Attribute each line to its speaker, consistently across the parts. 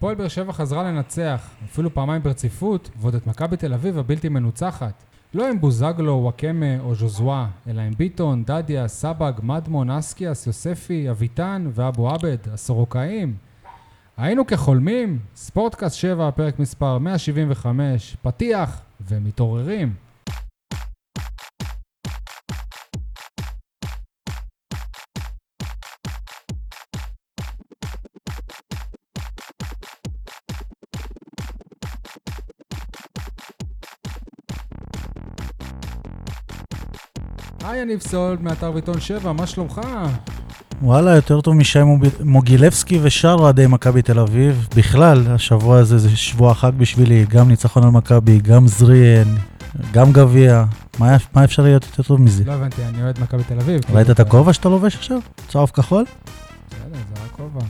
Speaker 1: הפועל באר שבע חזרה לנצח, אפילו פעמיים ברציפות, ועוד את מכבי תל אביב הבלתי מנוצחת. לא עם בוזגלו, וואקמה או ז'וזווה, אלא עם ביטון, דדיה, סבג, מדמון, אסקיאס, יוספי, אביטן ואבו עבד, הסורוקאים. היינו כחולמים, ספורטקאסט 7, פרק מספר 175, פתיח ומתעוררים. היי, יניב סולד, מאתר ביטון 7, מה שלומך?
Speaker 2: וואלה, יותר טוב משי מוג- מוגילבסקי ושאר אוהדי מכבי תל אביב. בכלל, השבוע הזה זה שבוע חג בשבילי, גם ניצחון על מכבי, גם זריאן, גם גביע. מה, מה אפשר להיות יותר טוב מזה?
Speaker 1: לא הבנתי, אני אוהד מכבי תל אביב.
Speaker 2: ראית
Speaker 1: כאילו,
Speaker 2: את הכובע שאתה לובש עכשיו? צהוב כחול?
Speaker 1: בסדר, זה רק כובע.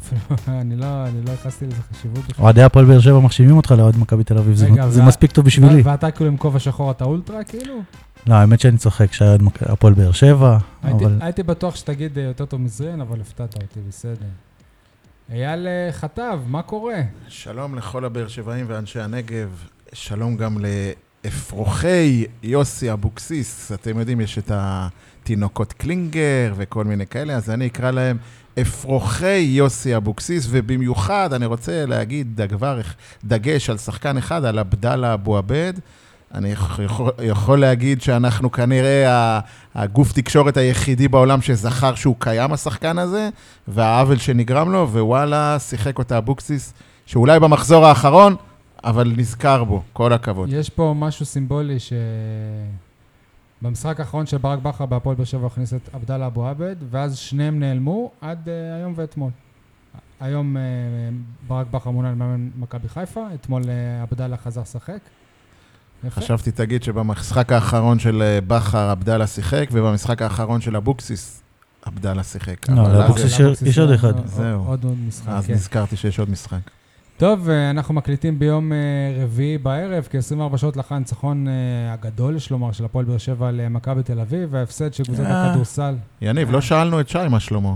Speaker 1: אפילו, אני לא אני לא ייחסתי לזה חשיבות בכלל.
Speaker 2: אוהדי הפועל באר שבע מחשיבים אותך לאוהד מכבי תל אביב, זה,
Speaker 1: רגע,
Speaker 2: זה
Speaker 1: וה-
Speaker 2: מספיק טוב בשבילי.
Speaker 1: ו- ואתה כאילו עם כובע שחור אתה אולטרה, כאילו?
Speaker 2: לא, האמת שאני צוחק שהיה אוהד מכ- הפועל באר שבע,
Speaker 1: הייתי-
Speaker 2: אבל
Speaker 1: הייתי בטוח שתגיד אה, יותר טוב מזריאן, אבל הפתעת אותי, בסדר. אייל אה, חטב, מה קורה?
Speaker 3: שלום לכל הבאר שבעים ואנשי הנגב, שלום גם לאפרוחי יוסי אבוקסיס. אתם יודעים, יש את התינוקות קלינגר וכל מיני כאלה, אז אני אקרא להם אפרוחי יוסי אבוקסיס, ובמיוחד אני רוצה להגיד דבר, דגש על שחקן אחד, על עבדאללה אבו עבד. אני יכול, יכול להגיד שאנחנו כנראה ה- הגוף תקשורת היחידי בעולם שזכר שהוא קיים, השחקן הזה, והעוול שנגרם לו, ווואלה, שיחק אותה אבוקסיס שאולי במחזור האחרון, אבל נזכר בו, כל הכבוד.
Speaker 1: יש פה משהו סימבולי ש... במשחק האחרון של ברק בכר בהפועל באר שבע הוא הכניס את עבדאללה אבו עבד, ואז שניהם נעלמו עד אה, היום ואתמול. היום אה, ברק בכר מונה למאמן מכבי חיפה, אתמול אה, עבדאללה חזר לשחק. יפה.
Speaker 3: חשבתי, תגיד, שבמשחק האחרון של אה, בכר עבדאללה שיחק, ובמשחק האחרון של אבוקסיס עבדאללה שיחק. אוקיי.
Speaker 2: לא,
Speaker 3: אבל אז-
Speaker 2: לאבוקסיס יש- יש עוד אחד.
Speaker 3: זהו.
Speaker 1: לא- עוד עוד משחק,
Speaker 3: אז
Speaker 1: כן.
Speaker 3: נזכרתי שיש עוד משחק.
Speaker 1: טוב, אה, אנחנו מקליטים ביום אה, רביעי בערב, כ-24 שעות לאחר הניצחון אה, הגדול, יש לומר, של הפועל באר שבע על אה, מכבי תל אביב, וההפסד של קבוצת
Speaker 2: אה.
Speaker 1: הכדורסל.
Speaker 3: יניב, לא שאלנו את שי מה שלמה.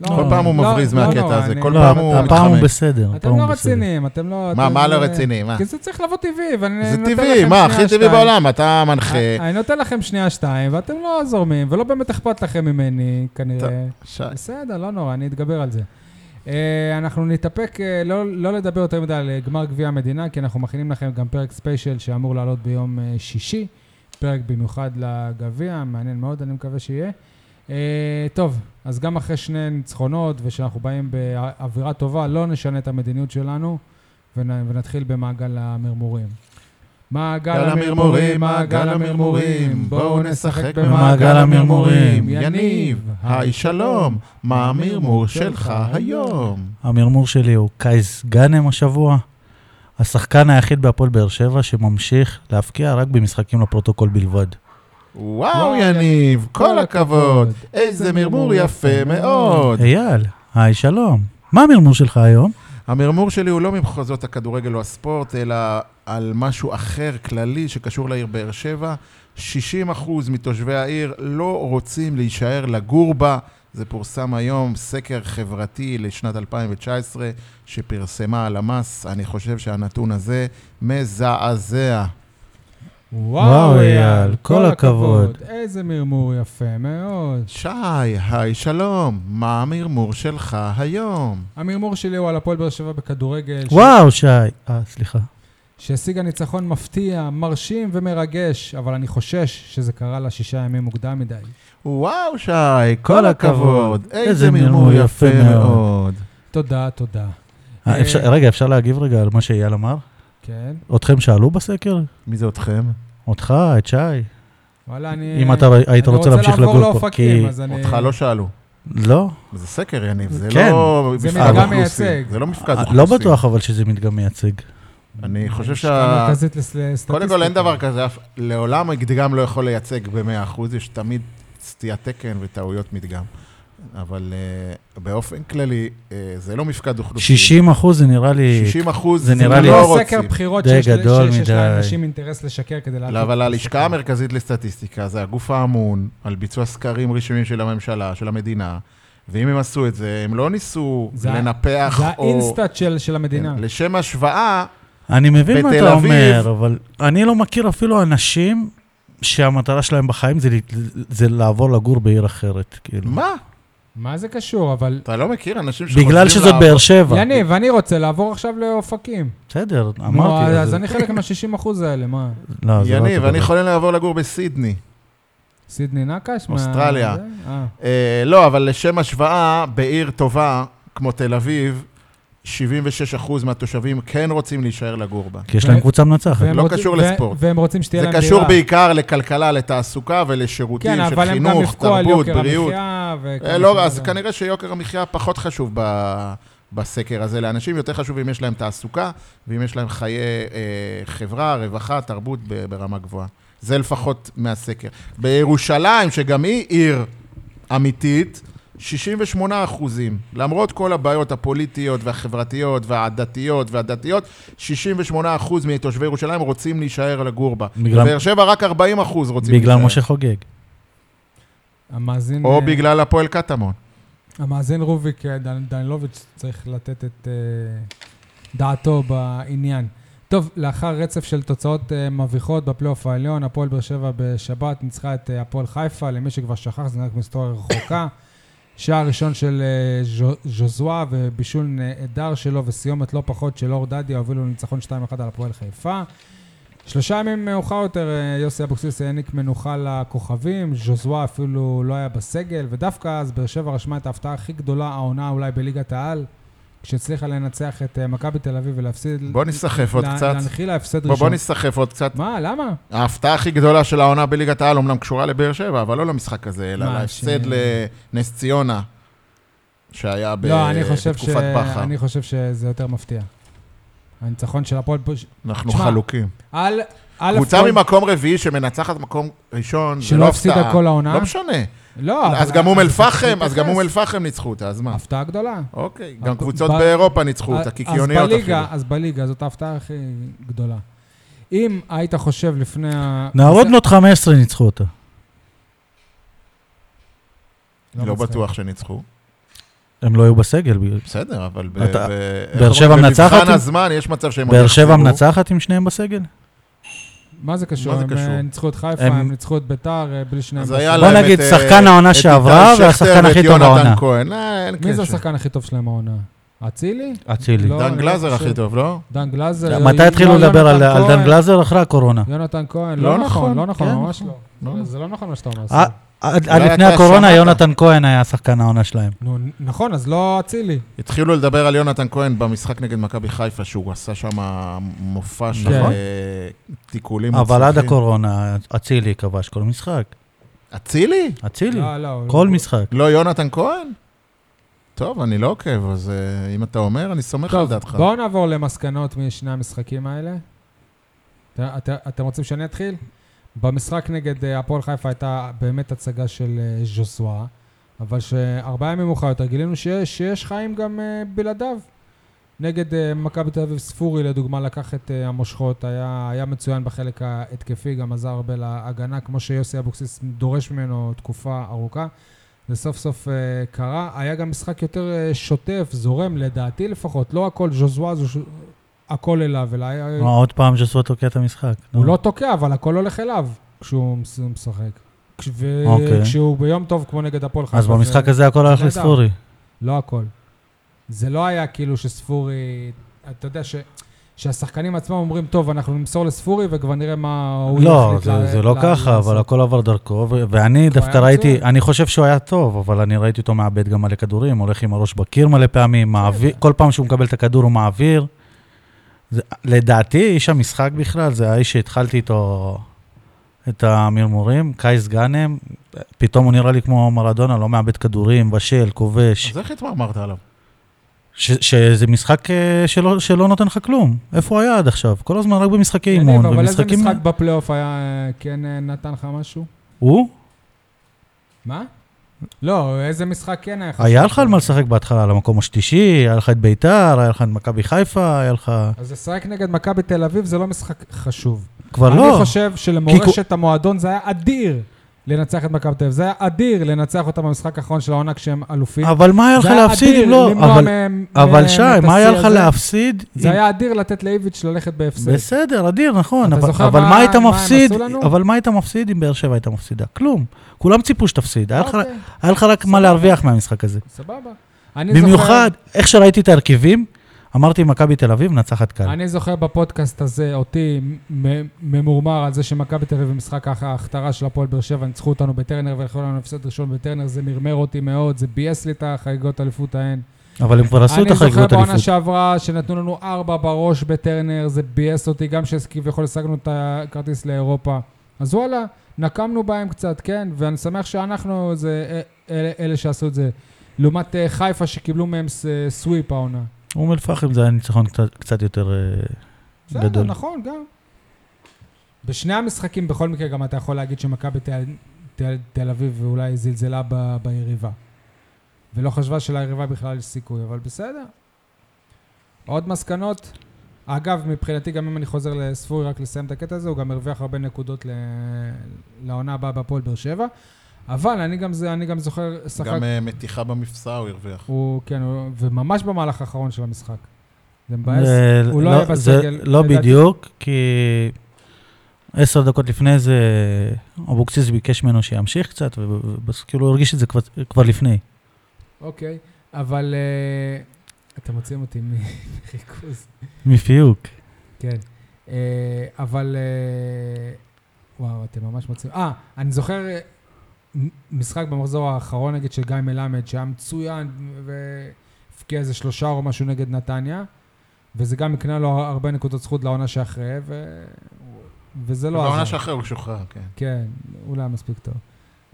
Speaker 1: לא,
Speaker 3: כל פעם הוא
Speaker 1: לא,
Speaker 3: מבריז
Speaker 1: לא,
Speaker 3: מהקטע
Speaker 1: לא,
Speaker 3: הזה,
Speaker 1: אני-
Speaker 3: כל
Speaker 2: לא,
Speaker 3: פעם הוא
Speaker 2: הפעם הוא
Speaker 3: מתחמק.
Speaker 2: בסדר. הפעם
Speaker 1: אתם לא
Speaker 2: הוא בסדר.
Speaker 1: רציניים, אתם לא...
Speaker 3: מה,
Speaker 1: אתם-
Speaker 3: מה לא רציני? מה?
Speaker 1: כי זה צריך לבוא טבעי, ואני
Speaker 3: זה
Speaker 1: נותן
Speaker 3: טבעי,
Speaker 1: לכם
Speaker 3: מה, הכי
Speaker 1: שנייה,
Speaker 3: טבעי
Speaker 1: שתיים. אה,
Speaker 3: בעולם, אתה מנחה.
Speaker 1: אני נותן לכם שנייה שתיים, ואתם לא זורמים, ולא באמת אכפת לכם ממני, כנראה.
Speaker 3: שי,
Speaker 1: בסדר, לא נורא, אני אתגבר על זה. אה, אנחנו נתאפק אה, לא, לא לדבר יותר מדי על אה, גמר גביע המדינה, כי אנחנו מכינים לכם גם פרק ספיישל שאמור לעלות ביום אה, שישי, פרק במיוחד לגביע, מעניין מאוד, אני מקווה שיהיה. אה, טוב, אז גם אחרי שני ניצחונות, ושאנחנו באים באווירה טובה, לא נשנה את המדיניות שלנו, ונ, ונתחיל במעגל המרמורים. מעגל
Speaker 3: מעגל המרמורים, מעגל המרמורים, בואו נשחק
Speaker 2: במעגל
Speaker 3: במעגל המרמורים. יניב, היי שלום, מה המרמור אה, שלך היום?
Speaker 2: המרמור שלי הוא קייס גאנם השבוע, השחקן היחיד בהפועל באר שבע שממשיך להפקיע רק במשחקים לפרוטוקול בלבד.
Speaker 3: וואו, יניב, כל הכבוד. איזה מרמור יפה מאוד.
Speaker 2: אייל, היי שלום, מה המרמור שלך היום?
Speaker 3: המרמור שלי הוא לא ממחוזות הכדורגל או הספורט, אלא על משהו אחר, כללי, שקשור לעיר באר שבע. 60% מתושבי העיר לא רוצים להישאר לגור בה. זה פורסם היום, סקר חברתי לשנת 2019, שפרסמה הלמ"ס. אני חושב שהנתון הזה מזעזע.
Speaker 1: וואו, אייל, כל הכבוד.
Speaker 2: הכבוד.
Speaker 1: איזה מרמור יפה מאוד.
Speaker 3: שי, היי שלום, מה המרמור שלך היום?
Speaker 1: המרמור שלי הוא על הפועל באר שבע בכדורגל, ש-
Speaker 2: וואו, שי, אה, סליחה.
Speaker 1: שהשיגה ניצחון מפתיע, מרשים ומרגש, אבל אני חושש שזה קרה לה שישה ימים מוקדם מדי.
Speaker 3: וואו, שי,
Speaker 2: כל
Speaker 3: כל
Speaker 2: הכבוד.
Speaker 3: הכבוד.
Speaker 2: איזה
Speaker 3: איזה מרמור
Speaker 2: מרמור
Speaker 3: יפה
Speaker 2: יפה מאוד.
Speaker 3: מאוד.
Speaker 1: תודה, תודה.
Speaker 2: אה, אפשר-
Speaker 1: אה.
Speaker 2: רגע, אפשר להגיב רגע על מה שאייל אמר?
Speaker 1: כן,
Speaker 2: אתכם שאלו בסקר?
Speaker 3: מי זה אתכם?
Speaker 2: אותך, את שי?
Speaker 1: וואלה, אני...
Speaker 2: אם אתה היית
Speaker 1: אני
Speaker 2: רוצה להמשיך
Speaker 1: לעבור
Speaker 2: לגור פה,
Speaker 1: לאופקים,
Speaker 2: כי...
Speaker 1: אז אני...
Speaker 3: אותך לא שאלו.
Speaker 2: לא,
Speaker 3: זה סקר, יניב, זה
Speaker 2: כן.
Speaker 3: לא
Speaker 1: זה
Speaker 3: מפקד
Speaker 1: מדגם
Speaker 3: אוכלוסין.
Speaker 1: מייצג.
Speaker 3: זה לא מפקד
Speaker 2: אה,
Speaker 3: אוכלוסין.
Speaker 2: לא בטוח אבל שזה מדגם מייצג.
Speaker 3: אני חושב
Speaker 1: לשכה
Speaker 3: שה...
Speaker 1: מרכזית לס- לסטטיסטיקה.
Speaker 3: קודם כל, אין דבר כזה, אף- לעולם מדגם לא יכול לייצג ב-100%, יש תמיד סטיית תקן וטעויות מדגם. אבל אה, באופן כללי, אה, זה לא מפקד אוכלוסין.
Speaker 2: 60 אחוז זה נראה לי...
Speaker 3: 60 אחוז,
Speaker 2: זה נראה
Speaker 1: זה
Speaker 2: לי-
Speaker 3: לא
Speaker 1: לא סקר
Speaker 3: רוצים.
Speaker 1: בחירות
Speaker 2: די
Speaker 1: שיש
Speaker 2: גדול
Speaker 1: שיש- שיש
Speaker 2: מדי.
Speaker 1: לאנשים אינטרס לשקר כדי
Speaker 3: לא,
Speaker 1: להפיק
Speaker 3: אבל
Speaker 1: את
Speaker 3: הלשכה
Speaker 1: השקר.
Speaker 3: המרכזית לסטטיסטיקה זה הגוף האמון על ביצוע סקרים רשמיים של הממשלה, של המדינה, ואם הם עשו את זה, הם לא ניסו
Speaker 1: זה ה-
Speaker 3: לנפח
Speaker 1: זה
Speaker 3: או...
Speaker 1: האינסטאט של, של המדינה.
Speaker 3: כן, לשם השוואה,
Speaker 2: אני מבין מה
Speaker 3: בתל
Speaker 2: אתה
Speaker 3: אביב-
Speaker 2: אומר, אבל אני לא מכיר אפילו אנשים שהמטרה שלהם בחיים זה, ל- זה לעבור לגור בעיר אחרת, כאילו.
Speaker 3: מה?
Speaker 1: מה זה קשור, אבל...
Speaker 3: אתה לא מכיר אנשים שחושבים...
Speaker 2: בגלל שזאת
Speaker 3: לעבור-
Speaker 2: באר שבע.
Speaker 1: יניב, אני רוצה לעבור עכשיו לאופקים.
Speaker 2: בסדר,
Speaker 1: נו,
Speaker 2: אמרתי.
Speaker 1: אז
Speaker 2: זה-
Speaker 1: אני חלק מה-60 אחוז האלה, מה?
Speaker 2: לא, זה לא
Speaker 3: יניב,
Speaker 2: אותו
Speaker 3: אני
Speaker 2: דבר.
Speaker 3: חולם לעבור לגור בסידני.
Speaker 1: סידני נקש? מה-
Speaker 3: אוסטרליה.
Speaker 1: זה? אה.
Speaker 3: אה, לא, אבל לשם השוואה, בעיר טובה כמו תל אביב, 76% מהתושבים כן רוצים להישאר לגור בה.
Speaker 2: כי יש להם
Speaker 1: ו-
Speaker 2: קבוצה מנצחת.
Speaker 1: אה, והם
Speaker 3: לא
Speaker 1: רוצים-
Speaker 3: קשור
Speaker 1: ו-
Speaker 3: לספורט.
Speaker 1: והם רוצים שתהיה
Speaker 3: זה
Speaker 1: להם דירה.
Speaker 3: קשור בעיקר לכלכלה, לתעסוקה ולשירותים
Speaker 1: כן,
Speaker 3: של
Speaker 1: אבל הם גם
Speaker 3: חינוך,
Speaker 1: יבכו על
Speaker 3: תרבות,
Speaker 1: יוקר
Speaker 3: בריאות.
Speaker 1: המחיה. וכל
Speaker 3: אה,
Speaker 1: מה
Speaker 3: לא, אז
Speaker 1: שזה.
Speaker 3: כנראה שיוקר המחיה פחות חשוב ב- בסקר הזה לאנשים. יותר חשוב אם יש להם תעסוקה, ואם יש להם חיי אה, חברה, רווחה, תרבות ב- ברמה גבוהה. זה לפחות מהסקר. בירושלים, שגם היא עיר אמיתית, 68 אחוזים. למרות כל הבעיות הפוליטיות והחברתיות והעדתיות והדתיות, 68 אחוז מתושבי ירושלים רוצים להישאר לגור בה.
Speaker 2: בגלל-
Speaker 3: בבאר שבע רק 40 אחוז רוצים
Speaker 2: בגלל משה חוגג.
Speaker 1: המאזין...
Speaker 3: או
Speaker 1: אה,
Speaker 3: בגלל הפועל קטמון.
Speaker 1: המאזין רוביק אה, דן- דנילוביץ' צריך לתת את אה, דעתו בעניין. טוב, לאחר רצף של תוצאות אה, מביכות בפלייאוף העליון, הפועל באר שבע בשבת ניצחה את אה, הפועל חיפה, למי שכבר שכח, זה רק מסתוריה רחוקה. שער ראשון של אה, ז'ו- ז'וזואה ובישול נהדר שלו וסיומת לא פחות של אור דדיה הובילו לניצחון 2-1 על הפועל חיפה. שלושה ימים מאוחר יותר אה, יוסי אבוקסיס העניק מנוחה לכוכבים, ז'וזואה אפילו לא היה בסגל, ודווקא אז באר שבע רשמה את ההפתעה הכי גדולה העונה אולי בליגת העל, כשהצליחה לנצח את אה, מכבי תל אביב ולהפסיד...
Speaker 3: בוא נסחף עוד
Speaker 1: לה-
Speaker 3: קצת.
Speaker 1: להנחיל להפסד
Speaker 3: בוא,
Speaker 1: ראשון.
Speaker 3: בוא נסחף עוד קצת.
Speaker 1: מה, למה?
Speaker 3: ההפתעה הכי גדולה של העונה בליגת העל אומנם קשורה לבאר שבע, אבל לא למשחק הזה, אלא
Speaker 1: מה,
Speaker 3: להפסד
Speaker 1: ש-
Speaker 3: לנס ציונה, שהיה ב...
Speaker 1: לא, אני חושב, ש...
Speaker 3: בתקופת בכר.
Speaker 1: אני חושב שזה יותר מפתיע. הניצחון של הפועל... פה-
Speaker 3: אנחנו
Speaker 1: תשמע,
Speaker 3: חלוקים.
Speaker 1: על... על
Speaker 3: קבוצה
Speaker 1: הפועל-
Speaker 3: ממקום רביעי שמנצחת מקום ראשון, זה
Speaker 1: שלא
Speaker 3: לא
Speaker 1: הפסידה
Speaker 3: הפתעה.
Speaker 1: כל העונה?
Speaker 3: לא משנה.
Speaker 1: לא, אבל-
Speaker 3: אז גם אום
Speaker 1: אבל-
Speaker 3: אל-פחם, אז גם
Speaker 1: תתייחס.
Speaker 3: אום אל-פחם ניצחו אותה, אז מה?
Speaker 1: הפתעה גדולה.
Speaker 3: אוקיי,
Speaker 1: אבל-
Speaker 3: גם קבוצות
Speaker 1: ב-
Speaker 3: באירופה ניצחו אותה,
Speaker 1: אז-
Speaker 3: קיקיוניות
Speaker 1: אז
Speaker 3: אפילו.
Speaker 1: בליגה, אז בליגה, זאת ההפתעה הכי גדולה. אם היית חושב לפני ה...
Speaker 2: נערות
Speaker 1: זה-
Speaker 2: בנות 15 ניצחו אותה.
Speaker 3: לא
Speaker 1: מצחיק.
Speaker 3: בטוח שניצחו.
Speaker 2: הם לא היו בסגל. בגלל-
Speaker 3: בסדר, אבל... ב-
Speaker 2: אתה-
Speaker 3: ב- איך
Speaker 2: באר שבע
Speaker 3: אומרים?
Speaker 2: מנצחת
Speaker 3: במבחן
Speaker 2: עם-
Speaker 3: הזמן יש מצב שהם... עוד
Speaker 2: באר שבע
Speaker 3: יחזרו.
Speaker 2: מנצחת עם שניהם בסגל?
Speaker 1: מה זה קשור?
Speaker 3: מה זה
Speaker 1: הם
Speaker 3: קשור?
Speaker 1: אה, ניצחו את חיפה,
Speaker 2: הם-
Speaker 1: הם ניצחו את ביתר אה, בלי שניהם.
Speaker 3: אז
Speaker 1: בסוף.
Speaker 3: היה
Speaker 2: בוא
Speaker 3: להם
Speaker 2: נגיד,
Speaker 3: את,
Speaker 2: שחקן
Speaker 3: אה,
Speaker 2: העונה
Speaker 3: את
Speaker 2: שעברה
Speaker 3: איתי
Speaker 2: והשחקן
Speaker 3: שכטר
Speaker 2: הכי
Speaker 3: ואת
Speaker 2: טוב
Speaker 3: יונתן
Speaker 2: בעונה.
Speaker 3: כהן, אה, אין קשר.
Speaker 1: מי זה השחקן הכי טוב שלהם העונה? אצילי?
Speaker 2: אצילי.
Speaker 1: כן, לא,
Speaker 3: דן
Speaker 1: אני
Speaker 3: גלזר
Speaker 1: חושב.
Speaker 3: הכי טוב, לא?
Speaker 1: דן גלאזר? אה,
Speaker 2: מתי
Speaker 1: יו-
Speaker 2: התחילו
Speaker 1: יונתן
Speaker 2: לדבר על על דן
Speaker 1: כהן?
Speaker 2: גלזר? אחרי הקורונה.
Speaker 1: יונתן כהן,
Speaker 3: לא
Speaker 1: לא נכון,
Speaker 3: נכון,
Speaker 1: לא נכון,
Speaker 2: כן,
Speaker 1: ממש
Speaker 2: נכון.
Speaker 1: לא. זה לא נכון מה שאתה אומר.
Speaker 2: אה,
Speaker 1: סליחה.
Speaker 2: עד
Speaker 3: אולי
Speaker 2: עד לפני
Speaker 3: אתה
Speaker 2: הקורונה
Speaker 3: שמעת.
Speaker 2: יונתן כהן היה שחקן העונה שלהם.
Speaker 1: נו, נכון, אז לא אצילי.
Speaker 3: התחילו לדבר על יונתן כהן במשחק נגד מכבי חיפה, שהוא עשה שם מופע של
Speaker 1: נכון.
Speaker 3: אה, תיקולים
Speaker 2: אבל עד
Speaker 3: מוצלחים.
Speaker 2: הקורונה אצילי כבש כל משחק.
Speaker 3: אצילי?
Speaker 2: אצילי,
Speaker 1: לא, לא.
Speaker 2: כל משחק.
Speaker 3: לא יונתן כהן? טוב, אני לא עוקב, אז אה, אם אתה אומר, אני סומך על
Speaker 1: טוב,
Speaker 3: דעתך.
Speaker 1: בואו נעבור למסקנות משני המשחקים האלה. את- את- אתם רוצים שאני אתחיל? במשחק נגד אה, הפועל חיפה הייתה באמת הצגה של אה, ז'וסואה, אבל שארבעה ימים מאוחר יותר גילינו שיש, שיש חיים גם אה, בלעדיו. נגד אה, מכבי תל אביב ספורי, לדוגמה, לקח את אה, המושכות, היה, היה מצוין בחלק ההתקפי, גם עזר הרבה להגנה, כמו שיוסי אבוקסיס דורש ממנו תקופה ארוכה. זה סוף סוף אה, קרה. היה גם משחק יותר אה, שוטף, זורם, לדעתי לפחות. לא הכל ז'וזואה, זו ש- הכל אליו, אלא היה...
Speaker 2: נו, עוד פעם ז'סווה תוקע את המשחק.
Speaker 1: אה, הוא
Speaker 2: נו.
Speaker 1: לא תוקע, אבל הכל הולך אליו כשהוא מס- משחק. כש- ו-
Speaker 2: אוקיי.
Speaker 1: כשהוא ביום טוב, כמו נגד הפועל חיפה.
Speaker 2: אז
Speaker 1: אה, זה-
Speaker 2: במשחק הזה הכל הלך
Speaker 1: נהדר.
Speaker 2: לספורי.
Speaker 1: לא הכל. זה לא היה כאילו שספורי... אתה יודע ש... שהשחקנים עצמם אומרים, טוב, אנחנו נמסור לספורי וכבר נראה מה הוא
Speaker 2: לא,
Speaker 1: יחליט
Speaker 2: זה-
Speaker 1: לה-
Speaker 2: זה לא
Speaker 1: לה-
Speaker 2: ככה,
Speaker 1: לעשות."
Speaker 2: אבל הכל עבר דרכו, ו- ואני דווקא
Speaker 1: היה
Speaker 2: ראיתי,
Speaker 1: מצוין.
Speaker 2: אני חושב שהוא היה טוב, אבל אני ראיתי אותו מאבד גם מלא כדורים, הולך עם הראש בקיר מלא פעמים, מעביר- כל פעם שהוא מקבל את הכדור הוא מעביר. זה- לדעתי, איש המשחק בכלל, זה האיש שהתחלתי איתו את המרמורים, קייס גאנם, פתאום הוא נראה לי כמו מרדונה, לא מאבד כדורים, בשל, כובש,
Speaker 3: אז איך התמרמרת עליו?
Speaker 2: ש- שזה משחק אה, שלא שלא נותן לך כלום. איפה הוא היה עד עכשיו? כל הזמן רק במשחקי
Speaker 1: יניב,
Speaker 2: אימון,
Speaker 1: אבל איזה
Speaker 2: ובמשחקים...
Speaker 1: משחק בפלייאוף היה, אה, כן אה, נתן לך משהו?
Speaker 2: הוא?
Speaker 1: מה? לא, איזה משחק כן היה חשוב?
Speaker 2: היה לך על מה לשחק בהתחלה, על המקום השלישי, היה לך את ביתר, היה לך את מכבי חיפה, היה לך...
Speaker 1: אז לשחק נגד מכבי תל אביב זה לא משחק חשוב.
Speaker 2: כבר
Speaker 1: אני
Speaker 2: לא.
Speaker 1: חושב שלמורשת המועדון זה היה אדיר. לנצח את מכבי תל אביב. זה היה אדיר לנצח אותם במשחק האחרון של העונה כשהם אלופים.
Speaker 2: אבל מה היה לך
Speaker 1: זה היה
Speaker 2: להפסיד
Speaker 1: אדיר
Speaker 2: אם לא...
Speaker 1: למנוע
Speaker 2: אבל-
Speaker 1: מהם- מהם אה,
Speaker 2: אבל שי,
Speaker 1: את
Speaker 2: מה היה
Speaker 1: השיא
Speaker 2: לך
Speaker 1: הזה.
Speaker 2: להפסיד?
Speaker 1: זה
Speaker 2: אם-
Speaker 1: היה אדיר לתת לאיביץ' ללכת בהפסד.
Speaker 2: בסדר, אדיר, נכון.
Speaker 1: אתה
Speaker 2: אבל,
Speaker 1: זוכר
Speaker 2: אבל
Speaker 1: מה-
Speaker 2: מה היית
Speaker 1: מה הם
Speaker 2: מפסיד?
Speaker 1: עשו לנו?
Speaker 2: אבל מה היית מפסיד אם באר שבע הייתה מפסידה? כלום. כולם ציפו שתפסיד. היה לך-
Speaker 1: אוקיי,
Speaker 2: היה לך רק
Speaker 1: סבבה.
Speaker 2: מה להרוויח מהמשחק הזה.
Speaker 1: סבבה. אני זוכר-
Speaker 2: במיוחד, איך שראיתי את ההרכבים, אמרתי מכבי תל אביב מנצחת קל.
Speaker 1: אני זוכר בפודקאסט הזה אותי מ- ממורמר על זה שמכבי תל אביב במשחק ההכ- ההכתרה של הפועל באר שבע ניצחו אותנו בטרנר ולכו לנו הפסד ראשון בטרנר, זה מרמר אותי מאוד, זה ביאס לי את החגיגות האליפות ההן.
Speaker 2: אבל הם כבר עשו את
Speaker 1: אני זוכר
Speaker 2: החגיגות
Speaker 1: בעונה
Speaker 2: אליפות.
Speaker 1: שעברה שנתנו לנו ארבע בראש בטרנר, זה ביאס אותי גם שכביכול השגנו את הכרטיס לאירופה. אז וואלה, נקמנו בהם קצת, כן? ואני שמח שאנחנו זה אה, אלה, אלה שעשו את זה. לעומת אה, חיפה שקיבלו מהם ס- סוויפ העונה.
Speaker 2: אום אל-פחם זה היה ניצחון קצת- קצת יותר אה,
Speaker 1: בסדר,
Speaker 2: גדול.
Speaker 1: נכון, גם. בשני המשחקים, בכל מקרה, גם אתה יכול להגיד שמכבי תל, תל, תל אביב אולי זלזלה ב, ביריבה. ולא חשבה שליריבה בכלל יש סיכוי, אבל בסדר. עוד מסקנות? אגב, מבחינתי, גם אם אני חוזר לספורי רק לסיים את הקטע הזה, הוא גם הרוויח הרבה נקודות ל... לעונה הבאה בהפועל באר שבע. אבל אני גם, זה, אני גם זוכר, שחק...
Speaker 3: גם אה, מתיחה במפסע הוא הרוויח.
Speaker 1: הוא, כן, הוא... וממש במהלך האחרון של המשחק. זה מבאס.
Speaker 2: זה
Speaker 1: הוא לא
Speaker 2: לא-
Speaker 1: היה
Speaker 2: זה
Speaker 1: בסגל,
Speaker 2: לא
Speaker 1: לדעתי.
Speaker 2: בדיוק, כי עשר דקות לפני זה אבוקסיס ביקש ממנו שימשיך קצת, וכאילו כאילו הוא הרגיש את זה כבר- כבר לפני.
Speaker 1: אוקיי, אבל אה, אתם מוצאים אותי מחיכוז.
Speaker 2: מפיוק.
Speaker 1: כן. אה, אבל... אה, וואו, אתם ממש מוצאים... אה, אני זוכר אה, מ- משחק במחזור האחרון, נגיד, של גיא מלמד, שהיה מצוין, והבקיע איזה שלושה או משהו נגד נתניה, וזה גם הקנה לו הרבה נקודות זכות לעונה שאחרי, ו... וזה לא
Speaker 3: בעונה שאחרי הוא שוחרר, כן.
Speaker 1: כן, הוא לא היה מספיק טוב.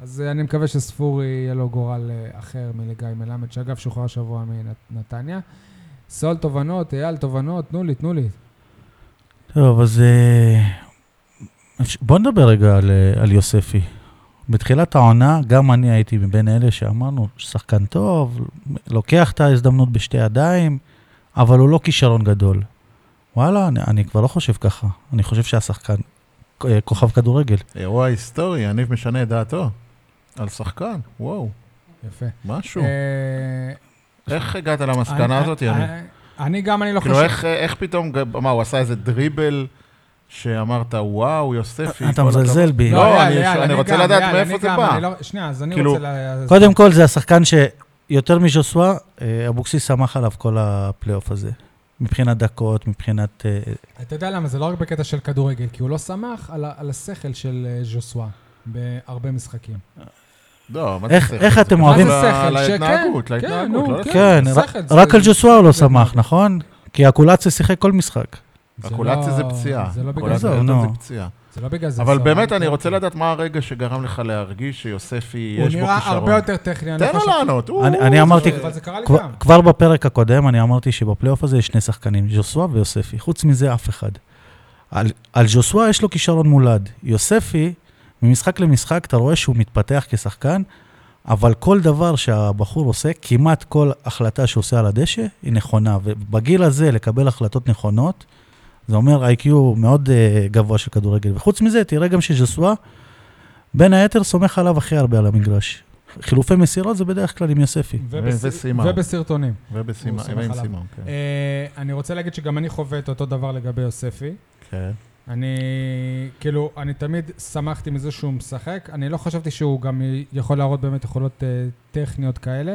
Speaker 1: אז אה, אני מקווה שספורי יהיה לו גורל אה, אחר מלגיא מלמד, שאגב שוחרר השבוע מנתניה. סול תובנות, אייל תובנות, תנו לי, תנו לי.
Speaker 2: טוב, אז אה, אפש- בוא נדבר רגע על, אה, על יוספי. בתחילת העונה, גם אני הייתי מבין אלה שאמרנו, שחקן טוב, לוקח את ההזדמנות בשתי ידיים, אבל הוא לא כישרון גדול. וואלה, אני, אני כבר לא חושב ככה. אני חושב שהשחקן אה, כוכב כדורגל.
Speaker 3: אירוע היסטורי, יניב משנה את דעתו. על שחקן, וואו,
Speaker 1: יפה.
Speaker 3: משהו.
Speaker 1: אה,
Speaker 3: איך הגעת למסקנה הזאת,
Speaker 1: אני- אה,
Speaker 3: יניב?
Speaker 1: אני גם, אני לא
Speaker 2: אוקיי,
Speaker 3: כאילו,
Speaker 1: חושב...
Speaker 3: איך- איך פתאום, ג- מה, הוא עשה איזה דריבל שאמרת, וואו, יוספי.
Speaker 2: אתה
Speaker 3: כל
Speaker 2: מזלזל בי.
Speaker 3: לא,
Speaker 1: אייל,
Speaker 3: אני-
Speaker 1: אייל,
Speaker 3: אני רוצה
Speaker 1: גם,
Speaker 3: לדעת
Speaker 1: אייל,
Speaker 3: מאיפה
Speaker 1: אני
Speaker 3: זה
Speaker 1: גם,
Speaker 3: בא.
Speaker 1: אני לא- שנייה, אז אני
Speaker 3: כאילו-
Speaker 1: רוצה... לה-
Speaker 2: קודם כל, זה השחקן שיותר מז'וסווה, אה, אבוקסיס שמח עליו כל הפלייאוף הזה. מבחינת דקות, מבחינת... אה,
Speaker 1: אתה יודע למה, זה לא רק בקטע של כדורגל, כי הוא לא שמח על ה- על השכל של אה, ז'וסווה בהרבה משחקים.
Speaker 3: לא, מה זה
Speaker 2: איך-
Speaker 3: שכל?
Speaker 2: איך אתם
Speaker 1: מה
Speaker 2: אוהבים...
Speaker 1: זה
Speaker 3: ל-
Speaker 1: שכל? שכן,
Speaker 3: להתנהגות,
Speaker 1: כן,
Speaker 3: להתנהגות,
Speaker 1: נו,
Speaker 3: לא לשכל.
Speaker 2: כן,
Speaker 1: שכל,
Speaker 2: רק-
Speaker 1: זה-
Speaker 2: רק על ג'וסווה הוא לא
Speaker 1: זה-
Speaker 2: שמח, נכון? כי הקולציה שיחק כל משחק.
Speaker 1: זה
Speaker 3: הקולציה זה
Speaker 1: לא-
Speaker 3: פציעה.
Speaker 1: זה לא בגלל
Speaker 3: הקולציה
Speaker 1: זה.
Speaker 2: זה,
Speaker 3: הזאת
Speaker 2: נו.
Speaker 3: זה פציעה.
Speaker 1: זה לא בגלל זה.
Speaker 3: אבל
Speaker 1: סול.
Speaker 3: באמת, אני רוצה לדעת מה הרגע שגרם לך להרגיש שיוספי,
Speaker 1: הוא
Speaker 3: יש בו
Speaker 1: נראה הרבה
Speaker 3: כישרון.
Speaker 1: יותר טכני. אני
Speaker 3: תן לו
Speaker 1: חושב-
Speaker 3: לענות. הוא-
Speaker 2: אני-
Speaker 3: הוא-
Speaker 2: אני אמרתי-
Speaker 1: אבל זה קרה לי
Speaker 2: כבר-
Speaker 1: גם.
Speaker 2: כבר בפרק הקודם אני אמרתי שבפלייאוף הזה יש שני שחקנים, ז'וסווה ויוספי. חוץ מזה, אף אחד. על על ז'וסווה יש לו כישרון מולד. יוספי, ממשחק למשחק, אתה רואה שהוא מתפתח כשחקן, אבל כל דבר שהבחור עושה, כמעט כל החלטה שהוא עושה על הדשא, היא נכונה. ובגיל הזה, לקבל החלטות נכונות, זה אומר איי-קיו מאוד uh, גבוה של כדורגל. וחוץ מזה, תראה גם שז'וסווה, בין היתר, סומך עליו הכי הרבה על המגרש. חילופי מסירות זה בדרך כלל עם יוספי.
Speaker 1: ובס-
Speaker 3: וסימן.
Speaker 1: ובסרטונים.
Speaker 3: ובסימן,
Speaker 1: הוא סומך
Speaker 3: עם
Speaker 1: עליו.
Speaker 3: סימון, כן.
Speaker 1: אה, אני רוצה להגיד שגם אני חווה את אותו דבר לגבי יוספי.
Speaker 3: כן.
Speaker 1: אני, כאילו, אני תמיד שמחתי מזה שהוא משחק. אני לא חשבתי שהוא גם יכול להראות באמת יכולות אה, טכניות כאלה,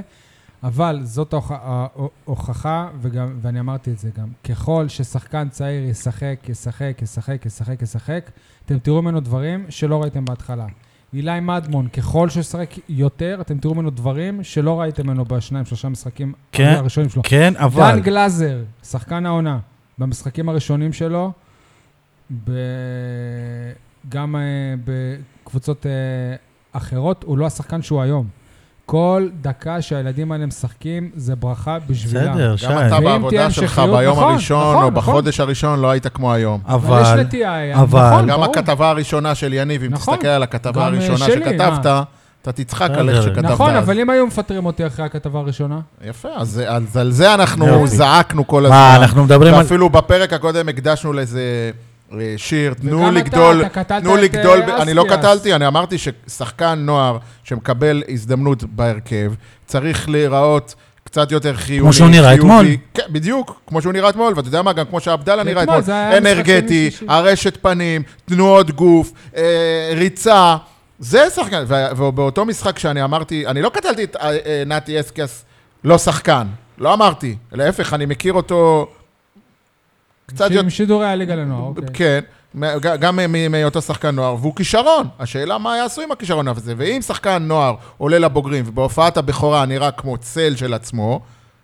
Speaker 1: אבל זאת ההוכ- ההוכחה, וגם, ואני אמרתי את זה גם. ככל ששחקן צעיר ישחק, ישחק, ישחק, ישחק, ישחק, אתם תראו ממנו דברים שלא ראיתם בהתחלה. אילי מדמון, ככל שהוא ישחק יותר, אתם תראו ממנו דברים שלא ראיתם ממנו בשניים, שלושה משחקים
Speaker 2: כן.
Speaker 1: הראשונים שלו.
Speaker 2: כן, אבל...
Speaker 1: דן גלאזר, שחקן העונה, במשחקים הראשונים שלו, ב... גם אה, בקבוצות אה, אחרות, הוא לא השחקן שהוא היום. כל דקה שהילדים האלה משחקים, זה ברכה בשבילם.
Speaker 2: בסדר, שי.
Speaker 3: גם אתה
Speaker 1: ואם תהיה
Speaker 3: בעבודה שלך
Speaker 1: המשכיות,
Speaker 3: ביום
Speaker 1: נכון,
Speaker 3: הראשון,
Speaker 1: נכון,
Speaker 3: או
Speaker 1: נכון.
Speaker 3: בחודש הראשון, לא היית כמו היום.
Speaker 1: אבל יש
Speaker 2: אבל...
Speaker 1: נטייה, אה,
Speaker 2: אבל-
Speaker 1: נכון,
Speaker 3: גם
Speaker 1: ברור.
Speaker 3: הכתבה הראשונה של יניב, אם
Speaker 1: נכון.
Speaker 3: תסתכל על הכתבה
Speaker 1: גם, אה,
Speaker 3: הראשונה
Speaker 1: שלי,
Speaker 3: שכתבת, אתה תצחק על איך
Speaker 2: בסדר.
Speaker 3: שכתבת.
Speaker 1: נכון,
Speaker 3: אז.
Speaker 1: אבל אם היו מפטרים אותי אחרי הכתבה הראשונה,
Speaker 3: יפה, אז זה- אז על זה אנחנו
Speaker 2: יופי.
Speaker 3: זעקנו כל הזמן.
Speaker 2: מה, אנחנו מדברים על...
Speaker 3: ואפילו בפרק הקודם הקדשנו לזה אה, שיר, תנו
Speaker 1: וגם אתה,
Speaker 3: לגדול,
Speaker 1: אתה קטלת
Speaker 3: תנו
Speaker 1: את,
Speaker 3: לגדול,
Speaker 1: אה,
Speaker 3: ב- אני לא
Speaker 1: אסקיאס.
Speaker 3: קטלתי, אני אמרתי ששחקן נוער שמקבל הזדמנות בהרכב, צריך להיראות קצת יותר חיוני.
Speaker 2: שהוא נראה
Speaker 3: חיובי.
Speaker 2: אתמול.
Speaker 3: כן, בדיוק, כמו שהוא נראה אתמול, ואתה יודע מה, גם כמו שעבדאללה נראה
Speaker 1: אתמול,
Speaker 3: אתמול.
Speaker 1: זה היה משחק
Speaker 3: אנרגטי,
Speaker 1: ימי שישי.
Speaker 3: הרשת פנים, תנועות גוף, אה, ריצה. זה שחקן, ו- ובאותו משחק שאני אמרתי, אני לא קטלתי את אה, אה, נתי אסקיאס לא שחקן, לא אמרתי. להפך, אני מכיר אותו קצת יותר...
Speaker 1: עם שידורי הליגה לנוער, אוקיי.
Speaker 3: כן, מה- ג- גם מ- מהיותו שחקן נוער, והוא כישרון. השאלה מה יעשו עם הכישרון הזה. ואם שחקן נוער עולה לבוגרים, ובהופעת הבכורה נראה כמו צל של עצמו,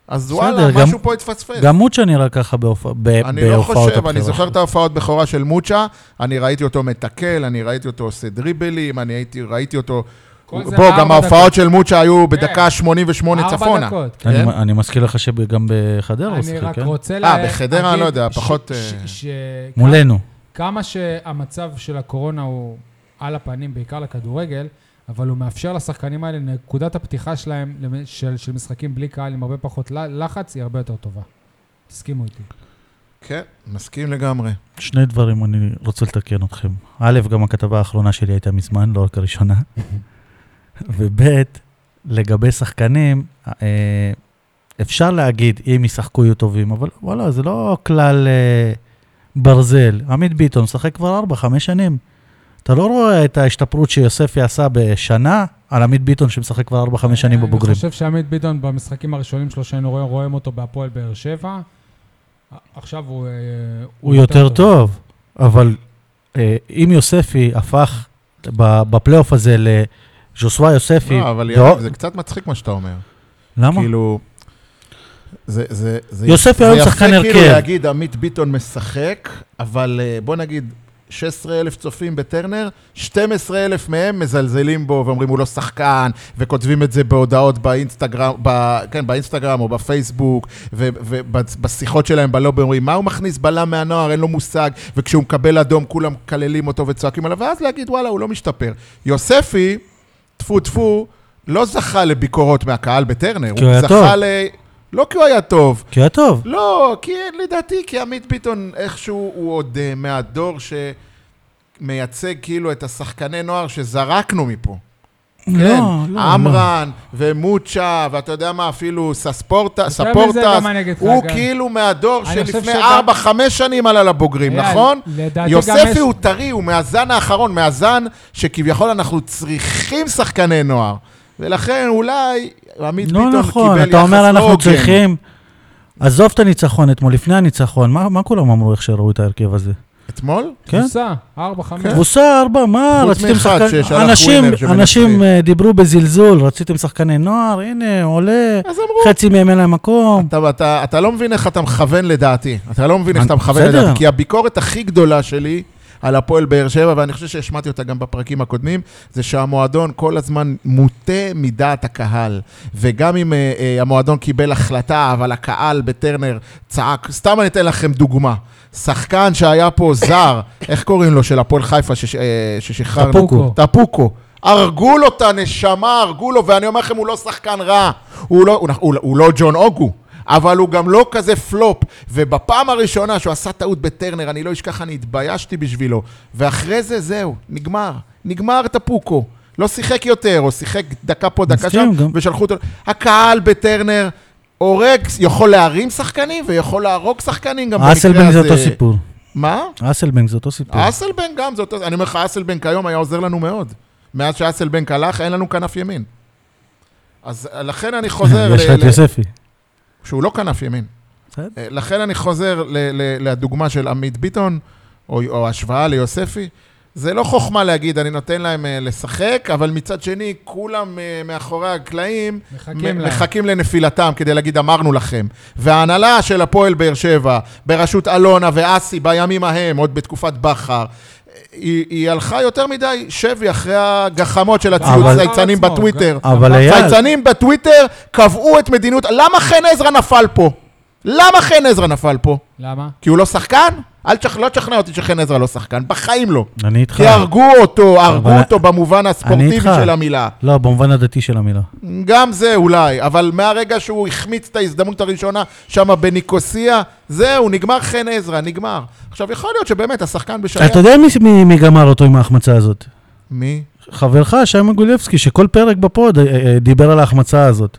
Speaker 3: אז
Speaker 2: בסדר,
Speaker 3: וואלה,
Speaker 2: גם-
Speaker 3: משהו פה התפספס.
Speaker 2: גם מוצ'ה נראה ככה בהופע- ב- בהופעות
Speaker 3: לא אני לא חושב, אני
Speaker 2: הבחירה.
Speaker 3: זוכר את ההופעות בכורה של מוצ'ה, אני ראיתי אותו מתקל, אני ראיתי אותו עושה דריבלים, אני הייתי, ראיתי אותו...
Speaker 1: כל זה
Speaker 3: בוא,
Speaker 1: ארבע
Speaker 3: גם
Speaker 1: דקות.
Speaker 3: ההופעות של מוצ'ה היו
Speaker 1: כן.
Speaker 3: בדקה 88
Speaker 1: ארבע
Speaker 3: צפונה.
Speaker 1: דקות.
Speaker 2: אני-
Speaker 3: כן?
Speaker 2: אני מזכיר לך שגם בחדרה הוא
Speaker 1: אני
Speaker 2: שיחק,
Speaker 1: רק
Speaker 2: כן?
Speaker 1: רוצה
Speaker 3: אה,
Speaker 1: לה-
Speaker 3: בחדרה,
Speaker 1: להגיד
Speaker 3: לא יודע,
Speaker 1: ש-
Speaker 3: פחות,
Speaker 1: ש-
Speaker 3: אה,
Speaker 1: ש-
Speaker 2: מולנו.
Speaker 1: כמה שהמצב של הקורונה הוא על הפנים, בעיקר לכדורגל, אבל הוא מאפשר לשחקנים האלה, נקודת הפתיחה שלהם למ- של, של משחקים בלי קהל עם הרבה פחות ל- לחץ, היא הרבה יותר טובה. תסכימו איתי.
Speaker 3: כן, מסכים לגמרי.
Speaker 2: שני דברים אני רוצה לתקן אתכם. א', גם הכתבה האחרונה שלי הייתה מזמן, לא רק הראשונה. וב', לגבי שחקנים, אה, אפשר להגיד, אם ישחקו יהיו טובים, אבל וואלה, זה לא כלל אה, ברזל. עמית ביטון משחק כבר 4-5 שנים. אתה לא רואה את ההשתפרות שיוספי עשה בשנה על עמית ביטון שמשחק כבר 4-5 שנים
Speaker 1: אה, אני
Speaker 2: בבוגרים.
Speaker 1: חושב שעמית ביטון במשחקים הראשונים שלו, שהיינו רואים- רואים אותו בהפועל באר שבע, עכשיו הוא... אה,
Speaker 2: הוא יותר טוב, אבל אה, אם יוספי הפך ב- בפלייאוף הזה לז'וסווה יוספי,
Speaker 3: לא, אבל
Speaker 2: לא-
Speaker 3: יאללה, זה קצת מצחיק מה שאתה אומר.
Speaker 2: למה?
Speaker 3: כאילו... זה, זה, זה,
Speaker 2: יוספי היום שחקן
Speaker 3: זה יפה כאילו
Speaker 2: הרכב.
Speaker 3: להגיד, עמית ביטון משחק, אבל אה, בוא נגיד, 16,000 צופים בטרנר, 12,000 מהם מזלזלים בו ואומרים הוא לא שחקן, וכותבים את זה בהודעות באינסטגרם, ב, כן, באינסטגרם או בפייסבוק, ובשיחות שלהם בלובי אומרים, מה הוא מכניס בלם מהנוער, אין לו מושג, וכשהוא מקבל אדום כולם מקללים אותו וצועקים עליו, ואז להגיד, וואלה, הוא לא משתפר. יוספי, טפו טפו, לא זכה לביקורות מהקהל בטרנר,
Speaker 2: כי הוא היה
Speaker 3: זכה
Speaker 2: טוב.
Speaker 3: ל... לא כי הוא היה טוב,
Speaker 2: כי הוא היה טוב.
Speaker 3: לא, כי לדעתי, כי עמית ביטון איכשהו הוא עוד אה, מהדור שמייצג כאילו את השחקני נוער שזרקנו מפה. כן,
Speaker 2: לא, לא.
Speaker 3: עמרן ומוצ'ה, ואתה יודע מה, אפילו סספורטה,
Speaker 1: יותר מזה,
Speaker 3: ספורטס,
Speaker 1: גם אני אגיד לך,
Speaker 3: הוא
Speaker 1: גם-
Speaker 3: כאילו מהדור
Speaker 1: אני חושב
Speaker 3: שלפני
Speaker 1: שגם-
Speaker 3: 4-5 שנים עלה לבוגרים,
Speaker 1: אייל,
Speaker 3: נכון?
Speaker 1: אה, לדעתי גם יש-
Speaker 3: יוספי הוא טרי, הוא מהזן האחרון, מהזן שכביכול אנחנו צריכים שחקני נוער. ולכן אולי עמית ביטון
Speaker 2: לא
Speaker 3: קיבל יחס לא הוגן.
Speaker 2: נכון, אתה אומר אנחנו צריכים... עזוב את הניצחון אתמול, לפני הניצחון, מה מה כולם אמרו איך שראו את ההרכב הזה?
Speaker 3: אתמול?
Speaker 2: כן?
Speaker 1: קבוצה, ארבע, חמש.
Speaker 3: כן.
Speaker 2: קבוצה ארבע, מה?
Speaker 3: חוץ
Speaker 2: רציתם
Speaker 3: מאחד
Speaker 2: שחקן...
Speaker 3: ששלח
Speaker 2: אנשים-
Speaker 3: ווינר שמנצחים.
Speaker 2: אנשים אה, דיברו בזלזול, רציתם שחקני נוער, הנה, עולה,
Speaker 3: אז אמרו,
Speaker 2: חצי מהם אין להם מקום.
Speaker 3: אתה, אתה, אתה לא מבין איך אתה מכוון לדעתי. אתה לא מבין איך
Speaker 2: אני-
Speaker 3: אתה מכוון
Speaker 2: בסדר.
Speaker 3: לדעתי. כי הביקורת הכי גדולה שלי על הפועל באר שבע, ואני חושב שהשמעתי אותה גם בפרקים הקודמים, זה שהמועדון כל הזמן מוטה מדעת הקהל. וגם אם אה, אה, המועדון קיבל החלטה, אבל הקהל בטרנר צעק, סתם אני אתן לכם דוגמה. שחקן שהיה פה זר, איך קוראים לו? של הפועל חיפה שש, אה, ששחררנו.
Speaker 1: טפוקו.
Speaker 3: טפוקו. הרגו לו את הנשמה, הרגו לו, ואני אומר לכם, הוא לא שחקן רע. הוא לא, הוא, הוא, הוא לא ג'ון אוגו, אבל הוא גם לא כזה פלופ. ובפעם הראשונה שהוא עשה טעות בטרנר, אני לא אשכח, אני התביישתי בשבילו. ואחרי זה, זהו, נגמר. נגמר טפוקו. לא שיחק יותר, או שיחק דקה פה, דקה
Speaker 2: מסכים,
Speaker 3: שם,
Speaker 2: גם-
Speaker 3: ושלחו אותו... הקהל בטרנר הורג, יכול להרים שחקנים, ויכול להרוג שחקנים גם במקרה הזה.
Speaker 2: אסלבנג זה אותו סיפור.
Speaker 3: מה?
Speaker 2: אסלבנג זה אותו סיפור.
Speaker 3: אסלבנק גם, זה אותו... אני אומר לך, אסלבנק היום היה עוזר לנו מאוד. מאז שאסלבנק הלך, אין לנו כנף ימין. אז לכן אני חוזר...
Speaker 2: יש לך
Speaker 3: ל-
Speaker 2: את
Speaker 3: ל-
Speaker 2: יוספי.
Speaker 3: שהוא לא כנף ימין.
Speaker 2: בסדר.
Speaker 1: כן.
Speaker 3: אה, לכן אני חוזר ל- ל- לדוגמה של עמית ביטון, או, או השוואה ליוספי. זה לא חוכמה להגיד, אני נותן להם אה, לשחק, אבל מצד שני, כולם אה, מאחורי הקלעים
Speaker 1: מחכים
Speaker 3: מ-
Speaker 1: להם.
Speaker 3: מחכים לנפילתם כדי להגיד, אמרנו לכם. וההנהלה של הפועל באר שבע, בראשות אלונה ואסי בימים ההם, עוד בתקופת בכר, אה, היא, היא הלכה יותר מדי שבי אחרי הגחמות של הציוד
Speaker 2: אבל-
Speaker 3: צייצנים
Speaker 1: עצמו, כן.
Speaker 3: בטוויטר.
Speaker 1: גם-
Speaker 2: אבל אייל,
Speaker 3: צייצנים בטוויטר קבעו את מדיניות... למה חן עזרא נפל פה? למה חן עזרא נפל פה?
Speaker 1: למה?
Speaker 3: כי הוא לא שחקן? אל תשכ... לא תשכנע אותי שחן עזרא לא שחקן, בחיים לא.
Speaker 2: אני איתך.
Speaker 3: כי הרגו אותו, הרגו
Speaker 2: כן. אבל-
Speaker 3: אותו במובן הספורטיבי
Speaker 2: איתך.
Speaker 3: של המילה.
Speaker 2: לא, במובן הדתי של המילה.
Speaker 3: כן. גם זה אולי, אבל מהרגע שהוא החמיץ את ההזדמנות הראשונה שם בניקוסיה, זהו, נגמר חן עזרא, נגמר. עכשיו, יכול להיות שבאמת השחקן בשייך...
Speaker 2: אתה יודע מי- מי- מי גמר אותו עם ההחמצה הזאת?
Speaker 3: מי?
Speaker 2: חברך, שי מגולבסקי, שכל פרק בפוד אה, אה, דיבר על ההחמצה הזאת.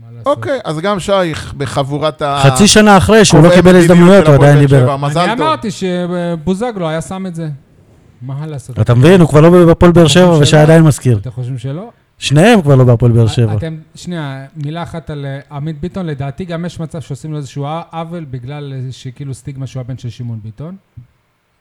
Speaker 1: מה לעשות?
Speaker 3: אוקיי, אז גם שייך בחבורת ה...
Speaker 2: חצי שנה אחרי שהוא לא
Speaker 3: קובעי
Speaker 2: קיבל
Speaker 3: מדיניות
Speaker 2: הזדמנויות,
Speaker 3: של
Speaker 2: הוא
Speaker 3: הפועל
Speaker 2: עדיין
Speaker 3: באר
Speaker 2: דיבר.
Speaker 3: שבע, מזל
Speaker 1: אני
Speaker 3: טוב.
Speaker 1: אמרתי שבוזגלו היה שם את זה. מה לעשות?
Speaker 2: אתה מבין, הוא כבר לא בהפועל באר שבע,
Speaker 1: חושב
Speaker 2: ושי
Speaker 1: שלא.
Speaker 2: עדיין מזכיר.
Speaker 1: אתם חושבים שלא?
Speaker 2: שניהם כבר לא בהפועל
Speaker 3: אה,
Speaker 2: באר שבע.
Speaker 1: אתם, שנייה, מילה אחת על אה, עמית ביטון. לדעתי גם יש מצב שעושים לו איזשהו עוול בגלל איזושהי כאילו סטיגמה שהוא הבן של שמעון ביטון.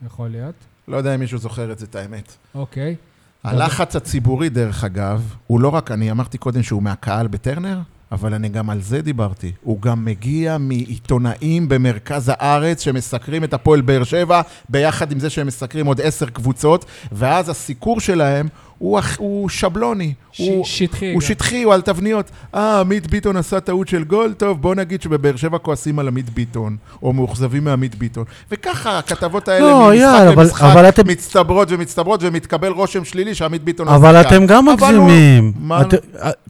Speaker 1: יכול להיות.
Speaker 3: לא יודע אם מישהו זוכר את זה, את האמת.
Speaker 1: אוקיי.
Speaker 3: הלחץ הציבורי, דרך אגב, הוא לא רק, אני אמרתי קודם שהוא מהקהל בטרנר, אבל אני גם על זה דיברתי. הוא גם מגיע מעיתונאים במרכז הארץ שמסקרים את הפועל באר שבע, ביחד עם זה שהם מסקרים עוד עשר קבוצות, ואז הסיקור שלהם הוא, אח- הוא שבלוני.
Speaker 1: ש-
Speaker 3: הוא...
Speaker 1: שטחי. גם.
Speaker 3: הוא שטחי, הוא על תבניות. אה, עמית ביטון עשה טעות של גול, טוב, בוא נגיד שבבאר שבע כועסים על עמית ביטון, או מאוכזבים מעמית ביטון. וככה הכתבות האלה
Speaker 2: לא,
Speaker 3: ממשחק
Speaker 2: יאללה, אבל-
Speaker 3: למשחק
Speaker 2: אבל אתם-
Speaker 3: מצטברות ומצטברות, ומתקבל רושם שלילי שעמית ביטון
Speaker 2: אבל
Speaker 3: השחקן.
Speaker 2: אתם גם
Speaker 3: כן. אבל הוא-
Speaker 2: מגזימים.
Speaker 3: מה-
Speaker 2: אתם-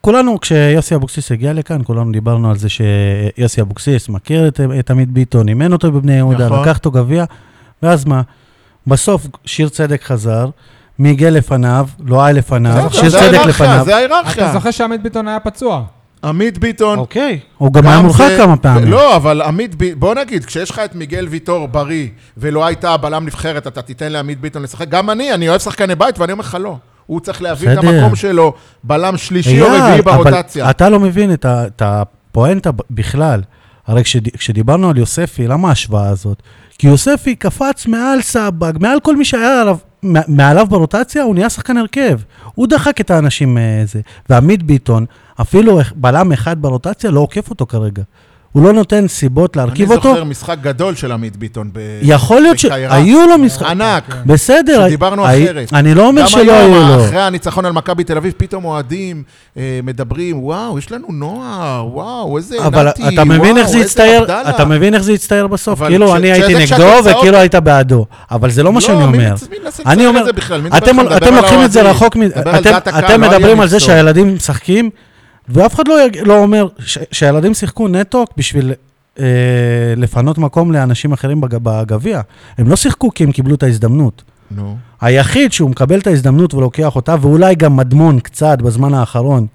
Speaker 2: כולנו, כשיוסי אבוקסיס הגיע לכאן, כולנו דיברנו על זה שיוסי אבוקסיס מכיר את- את עמית ביטון, אימן אותו בבני יהודה,
Speaker 3: נכון.
Speaker 2: לקח אותו גביע, ואז מה? בסוף שיר צדק חזר, מיגל לפניו, לואי לפניו,
Speaker 3: בסדר,
Speaker 2: שיר
Speaker 3: זה
Speaker 2: צדק
Speaker 3: ההיררכיה,
Speaker 2: לפניו.
Speaker 3: זה
Speaker 1: אתה
Speaker 3: ההיררכיה.
Speaker 1: זוכר שעמית ביטון היה פצוע.
Speaker 3: עמית ביטון...
Speaker 2: אוקיי. הוא גם
Speaker 3: גם
Speaker 2: היה מורחק
Speaker 3: זה-
Speaker 2: כמה פעמים.
Speaker 3: לא, אבל עמית ביטון, בוא נגיד, כשיש לך את מיגל ויטור בריא, ולא הייתה בלם נבחרת, אתה תיתן לעמית ביטון לשחק? גם אני, אני אוהב שחקני בית, ואני אומר לך לא. הוא צריך להביא את
Speaker 2: בסדר.
Speaker 3: המקום שלו, בלם שלישי או
Speaker 2: אייל,
Speaker 3: רביעי
Speaker 2: אבל
Speaker 3: ברוטציה.
Speaker 2: אתה לא מבין את ה- את הפואנטה ב- בכלל. הרי כשד- כשדיברנו על יוספי, למה ההשוואה הזאת? כי יוספי קפץ מעל סבג, מעל כל מי שהיה עליו, מע- מעליו ברוטציה, הוא נהיה שחקן הרכב. הוא דחק את האנשים מזה. ועמית ביטון, אפילו אח- בלם אחד ברוטציה, לא עוקף אותו כרגע. הוא לא נותן סיבות להרכיב
Speaker 3: אני
Speaker 2: אותו.
Speaker 3: זוכר משחק גדול של עמית ביטון ב...
Speaker 2: יכול להיות
Speaker 3: בקיירה.
Speaker 2: שהיו לו משחק...
Speaker 3: ענק.
Speaker 2: בסדר,
Speaker 3: אה, שדיברנו
Speaker 2: הי-
Speaker 3: אחרת.
Speaker 2: אני לא אומר
Speaker 3: גם
Speaker 2: שלא היו לו.
Speaker 3: היום, אחרי הניצחון על מכבי תל אביב, פתאום אוהדים אה, מדברים, וואו, יש לנו נוער, וואו, איזה נתי,
Speaker 2: אבל
Speaker 3: וואו,
Speaker 2: אתה מבין איך זה
Speaker 3: איזה
Speaker 2: הצטייר,
Speaker 3: עבדאללה."
Speaker 2: אתה מבין איך זה הצטייר בסוף?
Speaker 3: אבל
Speaker 2: כאילו
Speaker 3: כש-
Speaker 2: אני הייתי
Speaker 3: כשזה
Speaker 2: נגדו
Speaker 3: כשהתוצאות-
Speaker 2: וכאילו היית בעדו, אבל זה לא מה שאני
Speaker 3: מי
Speaker 2: אומר.
Speaker 3: מצ- מי מנסה
Speaker 2: אני
Speaker 3: לצייר
Speaker 2: אומר,
Speaker 3: את זה בכלל? מי
Speaker 2: אתם-
Speaker 3: מדבר עכשיו?
Speaker 2: אתם
Speaker 3: מדבר על
Speaker 2: לוקחים את זה
Speaker 3: האוהדים.
Speaker 2: רחוק, מ-
Speaker 3: מדבר על
Speaker 2: אתם-
Speaker 3: דעת הקהל,
Speaker 2: אתם
Speaker 3: לא
Speaker 2: מדברים על זה
Speaker 3: המקצוע.
Speaker 2: שהילדים משחקים, ואף אחד לא יג- לא אומר ש- שהילדים שיחקו נטו בשביל אה, לפנות מקום לאנשים אחרים בג- בגביע. הם לא שיחקו כי הם קיבלו את ההזדמנות.
Speaker 3: נו.
Speaker 2: היחיד שהוא מקבל את ההזדמנות ולוקח אותה, ואולי גם מדמון קצת בזמן האחרון,